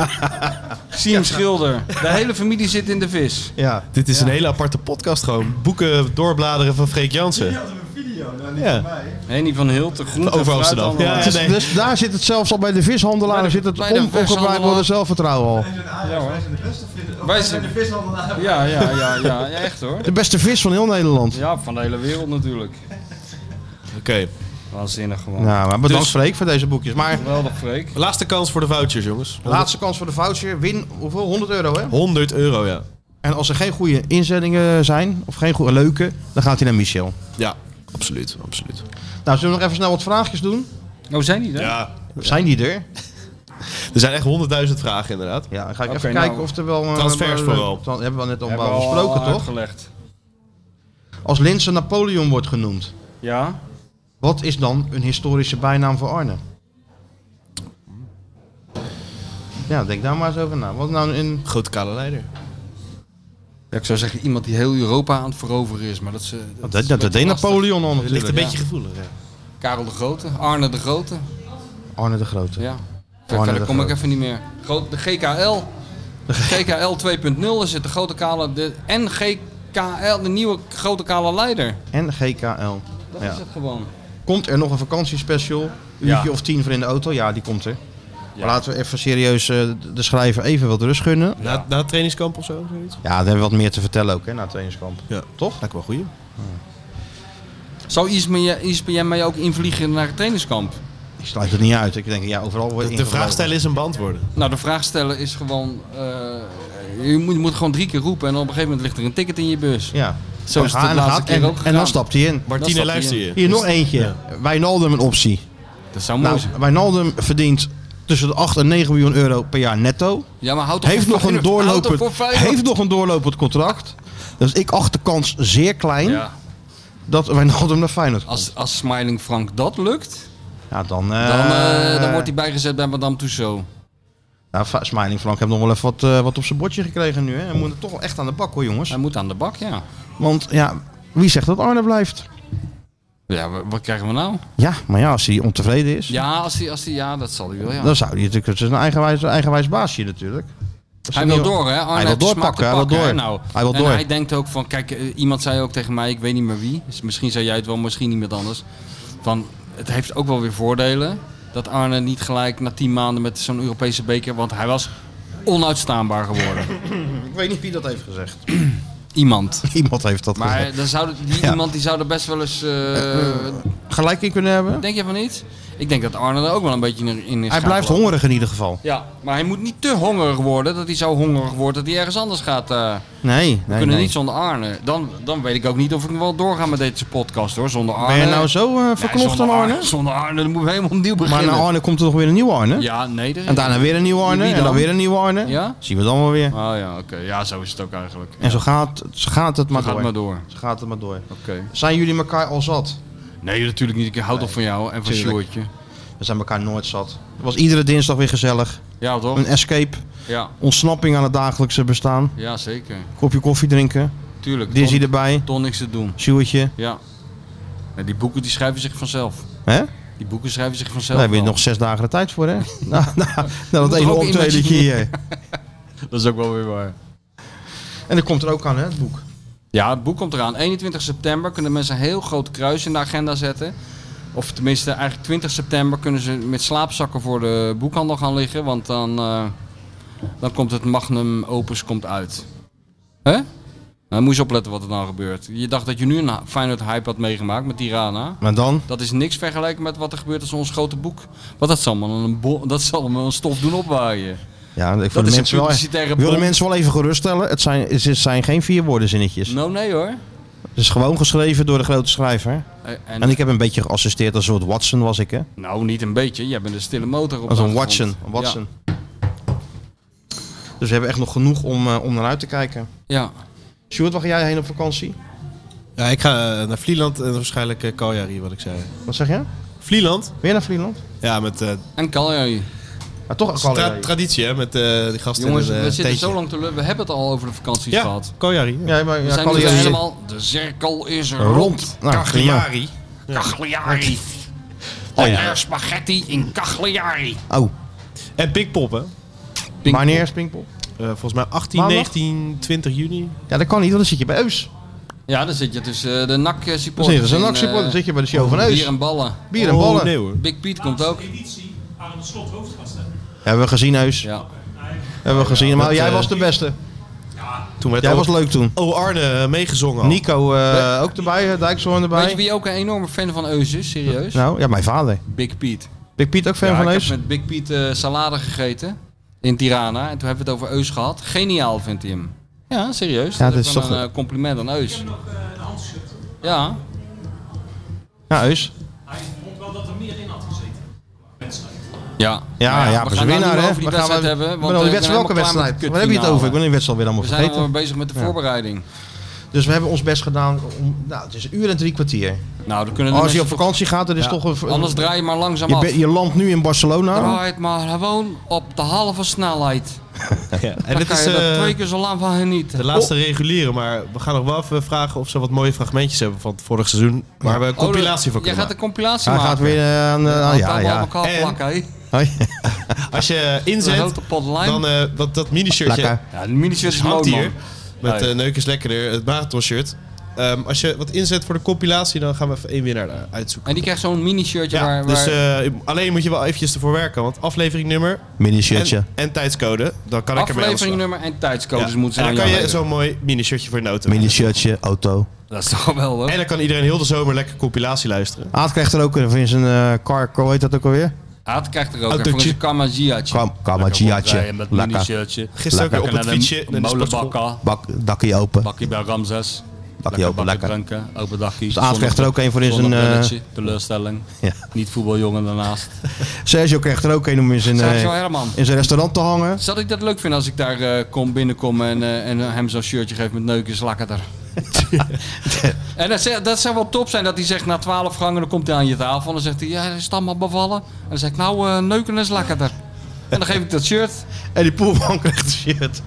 Siem Schilder. De hele familie zit in de vis.
Ja.
Dit is een hele aparte podcast gewoon. Boeken doorbladeren van Freek Jansen. Ja,
Henny van Hilt, groente,
Over Amsterdam.
fruit, allemaal.
Ja, nee.
Dus daar zit het zelfs al bij de vishandelaar.
Bij de-
zit het
bij de
on- ongebreid
vishandelaar.
worden zelfvertrouwen al.
Wij zijn de vishandelaar. Ja, ja, ja, ja, ja, echt hoor.
De beste vis van heel Nederland.
Ja, van de hele wereld natuurlijk.
oké.
Waanzinnig gewoon.
Nou, maar bedankt
Dus-
Freek voor deze boekjes. Maar
Geweldig, Freek.
Laatste kans voor de vouchers, jongens.
laatste kans voor de voucher. Win hoeveel? 100 euro hè?
100 euro, ja.
En als er geen goede inzendingen zijn, of geen goede leuke, dan gaat hij naar Michel.
Ja, absoluut. absoluut.
Nou, zullen we nog even snel wat vraagjes doen?
Oh, zijn die er?
Ja,
Zijn die er?
er zijn echt honderdduizend vragen inderdaad.
Ja, dan ga ik
Oké,
even
nou,
kijken of er wel... eh,
transfers
eh,
vooral.
Dan hebben we net
Hebben we
al
al
besproken, toch?
Uitgelegd.
Als Linse Napoleon wordt genoemd,
Ja?
wat is dan een historische bijnaam voor Arne? Ja, denk daar maar eens over na. Wat nou een...
Grote kale leider.
ja? Ik zou zeggen iemand die heel Europa aan het veroveren is, maar dat ze...
Dat, dat, dat deed Napoleon al
Ligt een
natuurlijk.
beetje gevoelig, ja.
Karel de Grote, Arne de Grote,
Arne de Grote.
ja.
Arne
Verder
de
kom ik
Grote.
even niet meer. Groot, de GKL. De GKL 2.0 is het, de grote kale... De, en GKL, de nieuwe grote kale leider.
En GKL.
Dat
Ja.
is het gewoon.
Komt er nog een vakantiespecial? Uurtje
Ja.
of tien voor in de auto? Ja, die komt er. Maar laten we even serieus eh, de schrijver even wat rust gunnen.
Na, na het trainingskamp of zo? Zoiets?
Ja, dan hebben we wat meer te vertellen ook, hè, na het trainingskamp.
Ja.
Toch?
Lijkt wel goeie.
Zou ISPN ISPN mij ook invliegen naar het trainingskamp?
Ik sluit het niet uit. Ik denk, ja, overal wordt
De, de vraag
ingelopen.
stellen is een beantwoorden.
Nou, de vraag stellen is gewoon... eh, je, moet, je moet gewoon drie keer roepen en op een gegeven moment ligt er een ticket in je bus.
Ja.
Zo is het
Ah,
de
en dan
laatste keer
en,
ook
En
gegaan.
dan stapt hij in.
Dan
Martine,
stapt
luister
hij
je. Dus-
Hier nog eentje. Wijnaldum een optie.
Dat zou mooi
Nou,
zijn.
Wijnaldum verdient tussen de 8 en 9 miljoen euro per jaar netto.
Ja, maar houd toch
Heeft
voor
nog, een
Feyenoord. Houd toch
doorlopend,
voor Feyenoord.
heeft nog een doorlopend contract. Dus ik acht de kans zeer klein
Ja,
dat Wijnaldum naar Feyenoord komt.
als, als Smiling Frank dat lukt,
Ja, dan...
dan, eh, dan wordt hij bijgezet bij Madame Tussaud.
Nou, Fa- Smiling Frank heeft nog wel even wat, eh, wat op zijn bordje gekregen nu. Hè. Hij moet er toch wel echt aan de bak hoor, jongens.
Hij moet aan de bak, ja.
Want ja, wie zegt dat Arne blijft?
Ja, wa- wat krijgen we nou?
Ja, maar ja, als hij ontevreden is,
Ja, als die, als die, ja dat zal hij wel, ja.
dan zou hij natuurlijk... Het is een eigenwijs, eigenwijs baasje natuurlijk. Dat
Hij
is
wil
niet-
door, hè? Arne
hij wil
heeft de smaak te
doorpakken, hij wil
pakken, hè?
door.
Nou,
hij wil
en
door.
hij denkt ook van, kijk, eh, iemand zei ook tegen mij, ik weet niet meer wie, dus misschien zei jij het wel, misschien iemand anders, van het heeft ook wel weer voordelen dat Arne niet gelijk na tien maanden met zo'n Europese beker, want hij was onuitstaanbaar geworden.
Ik weet niet wie dat heeft gezegd. [laughs]
[laughs] Iemand.
Iemand heeft dat
Maar
gezegd.
eh, dan zou, die
Ja.
iemand die zou er best wel eens... eh,
Gelijk in kunnen hebben.
denk je van niet? Ik denk dat Arne er ook wel een beetje in- in is
Hij
gaan
blijft
lopen.
hongerig in ieder geval.
Ja, maar hij moet niet te hongerig worden, dat hij zo hongerig wordt dat hij ergens anders gaat... eh,
Nee,
We
nee,
kunnen
nee.
niet zonder Arne. Dan, dan weet ik ook niet of ik wel doorga met deze podcast hoor. Zonder Arne.
Ben je nou zo eh, verknocht
zonder
aan Arne?
Zonder Arne, dan moeten we helemaal opnieuw beginnen.
Maar na Arne komt er nog weer een nieuwe Arne.
Ja, nee. er is-
En daarna weer een nieuwe Arne.
Wie
En dan weer een nieuwe Arne.
Ja?
Zien we dan wel weer.
Oh ja, oké. Ja, zo is het ook eigenlijk.
En zo gaat, zo gaat het maar
Gaat
door.
maar door.
Zo gaat het maar door.
Oké.
Zijn jullie elkaar al zat?
Nee, natuurlijk niet. Ik houd toch van jou en van
Tuurlijk.
Sjoertje.
We zijn elkaar nooit zat. Het was iedere dinsdag weer gezellig.
Ja, toch?
Een escape.
Ja.
Ontsnapping aan het dagelijkse bestaan.
Ja, zeker.
Kopje koffie drinken.
Tuurlijk.
Dizzy
Ton-
erbij.
Ton niks te doen.
Sjoertje.
Ja. En die boeken die schrijven zich vanzelf.
Hè?
Die boeken schrijven zich
Daar
vanzelf.
heb je
wel.
nog zes dagen de tijd voor, hè?
[laughs]
nou, nou, nou,
Moet
dat
er
ene
ook iemand
optredentje
zien.
hier.
Dat is ook wel weer waar.
En dat komt er ook aan, hè, het boek.
Ja, het boek komt eraan. 21 september kunnen mensen een heel groot kruis in de agenda zetten. Of tenminste, eigenlijk 20 september kunnen ze met slaapzakken voor de boekhandel gaan liggen. Want dan, eh, dan komt het magnum opus komt uit. Hè? Nou, moet je opletten wat er dan gebeurt. Je dacht dat je nu een Feyenoord hype had meegemaakt met Tirana.
Maar dan?
Dat is niks vergeleken met wat er gebeurt als ons grote boek. Want dat zal me een, bo- dat zal me een stof doen opwaaien.
Ja, ik wil
Dat
de
is
mensen
een
wel,
publicitaire
ik wil de
bom.
mensen wel even geruststellen. Het zijn, het zijn geen vier woorden zinnetjes.
Nou, nee hoor.
Het is gewoon geschreven door de grote schrijver.
Eh,
En,
en-
ik heb een beetje geassisteerd als een soort Watson was ik, hè?
Nou, niet een beetje. Jij bent een stille motor op
Als
de
een
achtergrond.
Watson. Een Watson. Dus we hebben echt nog genoeg om, eh, om naar uit te kijken.
Ja.
Sjoerd, waar ga jij heen op vakantie?
Ja, ik ga eh, naar Vlieland en waarschijnlijk uh, Kaljari, wat ik zei.
Wat zeg je?
Vlieland?
Weer naar Vlieland?
Ja, met... eh
En Kaljari.
Maar toch
tra-
Kaljari.
traditie, hè, met eh die gasten
Jongens,
in een,
we
eh,
zitten
tentje.
zo lang te lullen. We hebben het al over de vakanties
Ja,
gehad.
Kaljari. Ja.
Ja, maar
We
ja,
zijn nu
Cagliari
weer
zit-
helemaal... De cirkel is rond.
Rond. Nou,
Cagliari. Cagliari.
Oh,
Oh,
ja.
spaghetti in Cagliari.
Oh,
En Big Pop, hè?
wanneer is Pinkpop?
Eh, volgens mij 18,
Maandag?
19, 20 juni.
Ja, dat kan niet, want dan zit je bij Eus.
Ja, dan zit je tussen de eh,
Dan zit je,
NAC-supporters.
dat is een actiepot, dan zit je bij de show van
eh, Bier
Eus.
en ballen.
Bier en ballen.
Oh, nee hoor.
Big Piet komt ook.
editie aan het slot hoofdgasten.
Hebben we gezien, Eus.
Ja.
Hebben we gezien, maar
dat,
jij
eh,
was de beste.
Toen werd
Jij
ook-
was leuk toen.
Oh, Arne eh, meegezongen al.
Nico eh, ook erbij, eh, Dijkshoorn
Oh. Weet je
erbij.
wie ook een enorme fan van Eus is? Serieus?
Nou, ja, mijn vader.
Big Piet.
Big Piet ook fan
Ja,
van
ik
Eus.
heb met Big Piet eh, salade gegeten in Tirana. En toen hebben we het over Eus gehad. Geniaal vindt hij hem. Ja, serieus.
Ja,
dat
dat
is
is
wel
toch-
een eh, compliment aan Eus.
eh,
Ja.
Ja, Eus.
Hij vond wel dat er meer in had gezeten. Wedstrijd.
Ja.
Ja, ja,
we
precies.
gaan het nou
winnaar,
niet
hè?
meer over die
We gaan
wedstrijd
we-
hebben.
we
Want,
hebben
eh,
al die
ik ben
wedstrijd, welke
helemaal klaar
wedstrijd?
met de
Waar hebben je het
kutfinale.
over? Ik ben die wedstrijd weer allemaal
We zijn
vergeten.
al bezig met de
Ja.
voorbereiding.
Dus we hebben ons best gedaan. Om, nou, het is een uur en drie kwartier.
Nou, dan
Oh,
kunnen de
Als je op
mensen
vakantie gaat, dan is
toch-
toch een...
Anders draai je maar langzaam
je,
af.
bent- je landt nu in Barcelona.
Draai het maar gewoon op de halve snelheid.
En
dan
dit
kan
is
je er
eh,
twee keer zo lang van genieten.
de laatste reguliere, maar we gaan nog wel even vragen of ze wat mooie fragmentjes hebben van het vorig seizoen. Waar we een
Oh, de-
compilatie
Jij
van kunnen
gaat een compilatie
Hij
maken.
gaat weer eh, aan... de- ah,
Laten
ja,
we
ja.
elkaar
En-
plakken, hè.
Hoi. [laughs]
maken. Als je eh,
Een
inzet,
grote pot lijm.
dan eh wat, dat mini-shirtje
Lekker.
Ja, de miniature is
hangt
groot, man.
hier. Met
Ja.
eh Neuk is Lekkerder, het marathon-shirt. Ehm, als je wat inzet voor de compilatie, dan gaan we even één winnaar daar uitzoeken.
En die krijgt zo'n mini-shirtje
Ja,
waar...
dus
waar-
eh, alleen moet je wel eventjes ervoor werken, want afleveringnummer
Mini-shirtje.
en, en tijdscode, dan kan ik ermee aan de slag.
Aflevering nummer en tijdscodes
Ja.
moeten ze
en dan
aan
kan
jou
je
leveren.
zo'n mooi mini-shirtje voor je noten.
Mini-shirtje, auto.
Dat is toch geweldig?
En dan kan iedereen heel de zomer lekker compilatie luisteren.
Aad krijgt er ook een van zijn eh, car... Hoe heet dat ook alweer?
Aad krijgt er ook een
Autootje.
voor zijn kamaziatje.
Kam- kamaziatje.
Met
Lekker.
mini-shirtje.
Gisteren ook weer op
Lekker
het
naar de
fietsje. naar de sportschool.
Molenbakka.
Bak, dakkie open.
Bakkie bij Ramses.
open,
bakken
lekker.
drinken. Open dakkie.
Dus Aad krijgt er ook een voor in zijn,
Zonnig
eh,
brilletje, teleurstelling.
[laughs] Ja.
Niet voetbaljongen daarnaast.
Sergio krijgt er ook een om in zijn, eh,
Sergio Herman.
in zijn restaurant te hangen.
Zou ik dat leuk vinden als ik daar eh, kom, binnenkom en, eh, en hem zo'n shirtje geef met neukjes lakkerder?
[laughs]
en dat, zou- dat zou wel top zijn dat hij zegt na twaalf gangen, dan komt hij aan je tafel en dan zegt hij, ja, is het allemaal bevallen? En dan zeg ik, nou, eh, neuken is lekkerder. En dan geef ik dat shirt.
En die poelman [laughs] krijgt een shirt.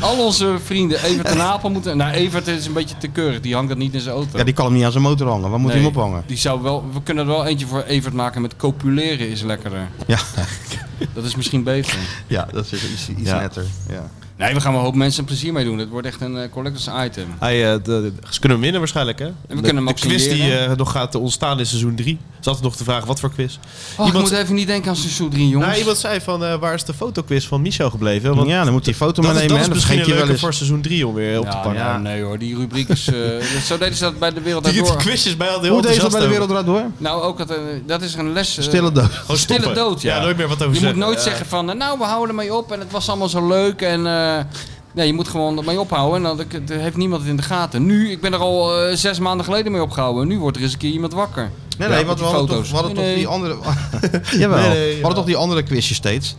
Al onze vrienden, Evert en Apel moeten... Nou, Evert is een beetje te keurig. Die hangt dat niet in zijn auto.
Ja, die kan hem niet aan zijn motor hangen. Waar moet hij
Nee,
hem ophangen?
Die zou wel, we kunnen er wel eentje voor Evert maken met copuleren is lekkerder.
Ja.
Dat is misschien beter.
Ja, dat is iets, iets
Ja.
netter. Ja.
Nee, we gaan wel een hoop mensen een plezier mee doen. Het wordt echt een eh, collectors item.
Hij, eh, de- de- ze kunnen hem winnen waarschijnlijk, hè?
we kunnen hem
de
ook
quiz die
signeren.
eh, nog gaat ontstaan in seizoen 3. Zat altijd nog te vragen, wat voor quiz?
Oh, ik moet even niet denken aan seizoen 3, jongens.
Nou, iemand zei van, eh, waar is de fotoquiz van Michel gebleven?
Ja, dan moet hij foto
dat,
maar nemen,
Dat is
hè, dat
misschien
vergeet je
een
wel
leuke
eens.
voor seizoen 3 om weer op
Ja,
te pakken.
nou, nee hoor, die rubriek
[laughs]
is... eh, zo deden ze dat bij de wereld
[laughs] Die- die
Draait Door.
quizjes bij al die
Hoe deed je dat bij de wereld eruit door?
Nou, ook dat, eh, dat is een les. eh,
Stille dood.
Gewoon stille
stoppen.
dood, ja.
Ja, nooit meer wat over
je
zeggen,
moet nooit
ja.
zeggen van, eh, nou, we houden ermee op en het was allemaal zo leuk en... eh, Nee, je moet gewoon ermee ophouden en dan dat- dat heeft niemand het in de gaten. Nu, ik ben er al eh, zes maanden geleden mee opgehouden. Nu wordt er eens een keer iemand wakker.
Nee, nee,
Ja,
want
met
we
die
hadden, toch,
foto's.
we hadden
Nee,
toch
nee.
die [laughs] andere... jawel,
Nee, nee,
we
jawel.
hadden toch die andere quizjes steeds?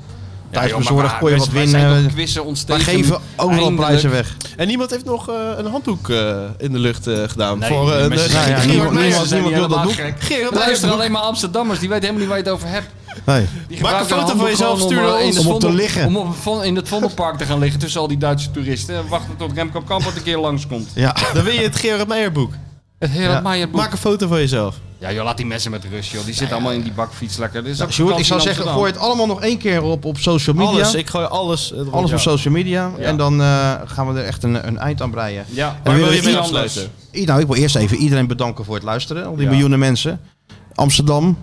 Thuis
joh, maar
bezorgd
waar-
kon je
wij
wat
zijn- wij zijn
winnen.
toch quizzen ontsteken,
Maar geven overal
eindelijk.
prijzen weg.
En niemand heeft nog eh, een handdoek eh, in de lucht eh, gedaan.
Nee,
voor, eh,
mensen
de-
zijn-
Gerard
niemand-
Meijers.
mensen zijn
Niemand
helemaal
wil
gek.
dat doen.
Luister alleen maar Amsterdammers, die weten helemaal niet waar je het over hebt.
Nee.
Die
Maak een
gebruiken
foto
hun
van
handdoek
jezelf,
gewoon
stuur
om,
naar
eh, in
ons.
de
Om op te
Vondel-
liggen.
Om op, Von- in het Vondelpark te gaan liggen tussen al die Duitse toeristen. En wachten tot Remco Kampert een keer langskomt.
Ja.
Dan win je het Gerard Meijer boek.
Het Gerard Meijer boek.
Maak een foto van jezelf.
Ja joh, laat die mensen met rust joh. Die zitten allemaal in die bakfiets lekker. Dit is ook
Sjoerd, ik zou
vakantie in
zeggen,
Amsterdam.
gooi het allemaal nog één keer op, op social media.
Alles, ik gooi alles. eh,
Alles
rond,
op
ja.
social media.
Ja.
En dan eh, gaan we er echt een, een eind aan breien.
Ja,
En
waar
willen
wil je
we
mee
i-
afsluiten?
i- Nou, ik wil eerst even iedereen bedanken voor het luisteren. Al die
Ja.
miljoenen mensen. Amsterdam,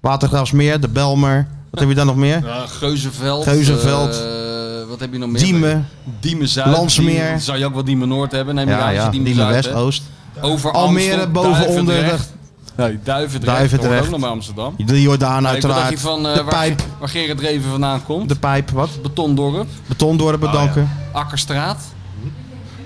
Watergraafsmeer, de Belmer. Wat heb je daar nog meer?
Ja, Geuzenveld.
Geuzenveld.
eh, wat heb je nog meer?
Diemen.
Diemen Zuid.
Landsmeer.
Diemen- zou je ook wel Diemen Noord hebben? Neem je
Ja,
aan, als je
ja.
Diemen,
Diemen
Zuid
West,
hebt.
Oost.
Over
Almere,
Amsterdam,
boven, onder,
Duivendrecht. Nee, Duivendrecht.
Duivendrecht.
Hoort ook nog bij Amsterdam.
De Jordaan
Ja, ik bedacht
uiteraard.
hier van, eh,
de
waar,
Pijp.
Waar Gerard Reven vandaan komt.
De Pijp, wat?
Betondorp. Oh,
Betondorp bedanken.
Akkerstraat.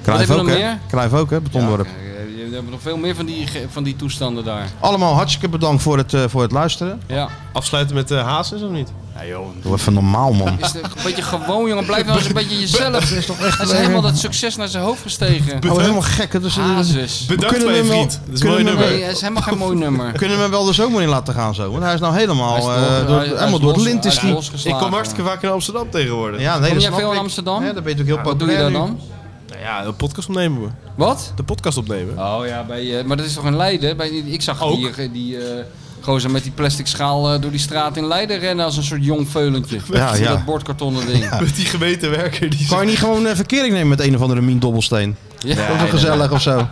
Cruijff
hebben we
ook,
nog
hè?
meer?
Cruijff ook, hè? Betondorp.
Eh, Je hebt nog veel meer van die, ge- van die toestanden daar.
Allemaal hartstikke bedankt voor het, eh, voor het luisteren.
Ja.
Afsluiten met eh Hazes of niet?
Ja joh.
Doe even normaal, man.
Is het een beetje gewoon, jongen. Blijf nou eens een beetje jezelf. Hij is
toch echt
helemaal dat succes naar zijn hoofd gestegen.
Oh, helemaal gek. hè? Dus,
Ah,
eh,
Hazes.
we
Bedankt
kunnen
bij je
hem wel-
vriend. Dat is een
kunnen hem
mooi nummer.
Nee, hij is helemaal geen mooi nummer.
Kunnen we hem wel de zomer in laten gaan zo? Want hij is nou helemaal,
Hij
eh,
is nog- hij-
door,
hij is
helemaal door het
los-
lint
hij
is
is
hij.
losgeslagen.
Ik kom hartstikke vaak in Amsterdam tegenwoordig.
Ja, nee,
Kom
dat
jij
snap
veel in
ik.
Amsterdam?
Ja, dan ben je natuurlijk heel
Wat doe je
populair
daar
nu.
dan?
Nou ja, een podcast opnemen we.
Wat?
De podcast opnemen.
Oh ja, bij, eh, maar dat is toch in Leiden? Bij, ik zag
Ook.
die, eh, die eh, gozer met die plastic schaal eh, door die straat in Leiden rennen als een soort jong veulentje.
Ja,
Met
ja.
Dat bordkartonnen ding. Ja.
Met die gemeentewerker die...
Kan je niet gewoon een verkering nemen met een of andere Mien Dobbelsteen?
Ja.
Ook wel
Nee,
gezellig of zo.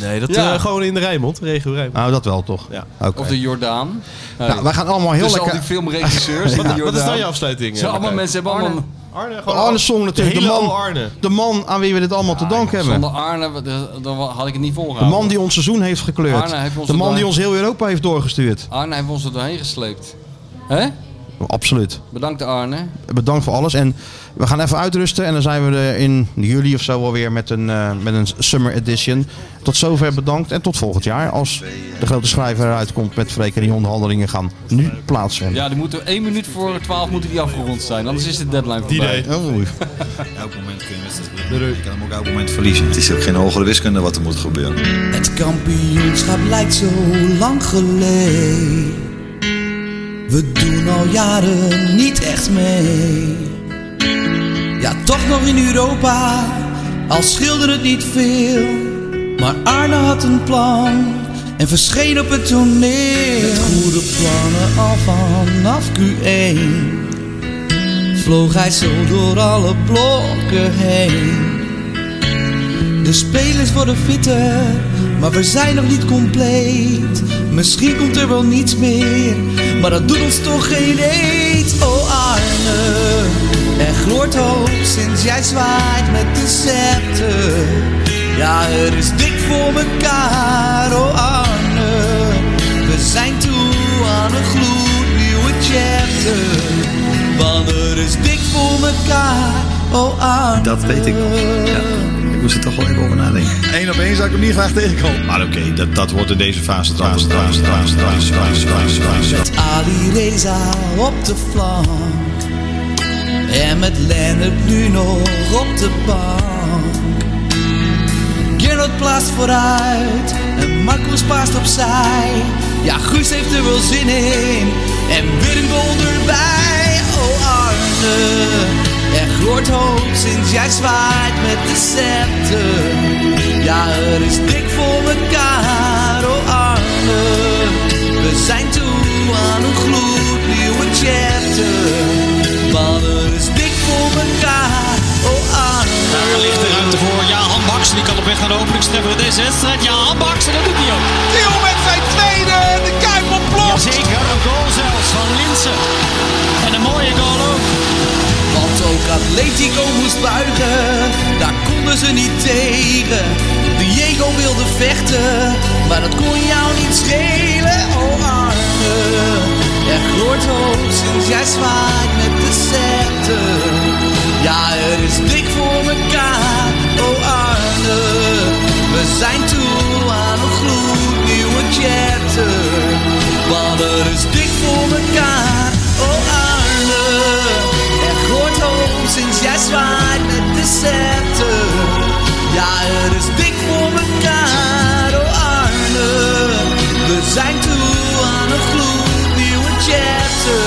Nee, dat
Ja.
eh, gewoon in de Rijnmond, regio Rijnmond.
Nou, dat wel toch?
Ja.
Oké.
Of de Jordaan.
Nou, wij gaan allemaal heel
dus
lekker...
al die filmregisseurs van de Jordaan.
Wat is dan je afsluiting?
Zo,
eh,
allemaal
Martijn?
mensen hebben allemaal...
Arne,
Oh, De
gewoon
Arne Song natuurlijk. De,
hele oude
man,
Arne.
de man aan wie we dit allemaal te danken hebben.
Zonder Arne wat- eh, dan had ik het niet
De
volgehouden.
man die ons seizoen heeft gekleurd.
Arne heeft ons
de man
erbij.
die ons heel Europa heeft doorgestuurd.
Arne heeft ons er doorheen gesleept. Hè?
Absoluut.
Bedankt Arne.
Bedankt voor alles. En we gaan even uitrusten. En dan zijn we er in juli of zo alweer met een, eh, met een summer edition. Tot zover bedankt. En tot volgend jaar. Als de grote schrijver eruit komt met Freek. En die onderhandelingen gaan nu plaatsvinden.
Ja, die moeten 1 minuut voor 12 moeten die afgerond zijn. Anders is de deadline voorbij.
Oh, oei.
Elk moment kun je wedstrijd winnen. Je kan hem ook elk moment verliezen. Het is ook geen hogere wiskunde wat er moet gebeuren.
Het kampioenschap lijkt zo lang geleden. We doen al jaren niet echt mee. Ja, toch nog in Europa, al schilderde het niet veel. Maar Arne had een plan en verscheen op het toneel. Met goede plannen al vanaf Q1 vloog hij zo door alle blokken heen. De spelers worden fitter, maar we zijn nog niet compleet. Misschien komt er wel niets meer, maar dat doet ons toch geen eet. Oh Arne, er gloort hoop sinds jij zwaait met de scepter. Ja, het is dik voor mekaar, oh Arne. We zijn toe aan een gloednieuwe chapter. Want het is dik voor mekaar, oh Arne.
Dat weet ik nog. Ja. Ik moest er toch wel even over nadenken. Eén op één zou ik hem niet graag tegenkomen. Maar oké, dat, dat wordt in deze fase. Fase, fase, fase, fase, fase, fase, fase.
Ali Reza op de flank. En met Lennart nu nog op de bank. Gerard plaatst vooruit en Marcus paast opzij. Ja, Guus heeft er wel zin in en Willem Bol erbij. Oh, zwaait met de scepter. Ja, er is dik voor elkaar, oh Arne. We zijn toe aan een gloednieuwe chapter. Want er is dik voor elkaar, oh Arne.
Daar ligt de ruimte voor. Ja, Han Baksen die kan op weg naar de openingstreffer in deze wedstrijd. Ja, Han Baksen, dat doet hij ook. Tiel met zijn tweede. De Kuip ontploft. Jazeker, een goal zelfs van Linsen. En een mooie goal ook.
Want ook Atletico moest buigen, daar konden ze niet tegen. Diego wilde vechten, maar dat kon jou niet schelen, oh Arne. Er gloort hoop sinds jij zwaait met de scepter. Ja, er is dik voor mekaar, oh Arne. We zijn toe aan een gloednieuwe chapter. Want er is dik voor mekaar, oh Arne. Er gloort hoop sinds jij zwaait met de scepter. Ja, het is dik voor elkaar, oh Arne. We zijn toe aan een gloednieuwe chapter.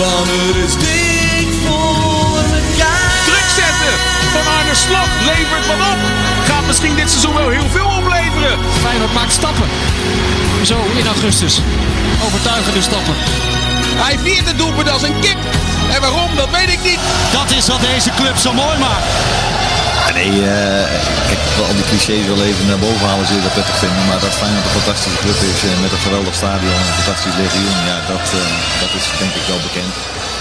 Want het is dik voor elkaar.
Druk zetten van Arne Slot. Levert wat op. Gaat misschien dit seizoen wel heel veel opleveren. Feyenoord maakt stappen. Zo in augustus. Overtuigende stappen. Hij viert het doelpunt als een kip. En waarom, dat weet ik niet. Dat is wat deze club zo mooi maakt.
Ja, nee, eh, kijk, ik wil al die clichés wel even naar boven halen, zul je dat prettig vinden. Maar dat Feyenoord een fantastische club is eh, met een geweldig stadion, een fantastisch legioen, ja, dat, eh, dat is denk ik wel bekend.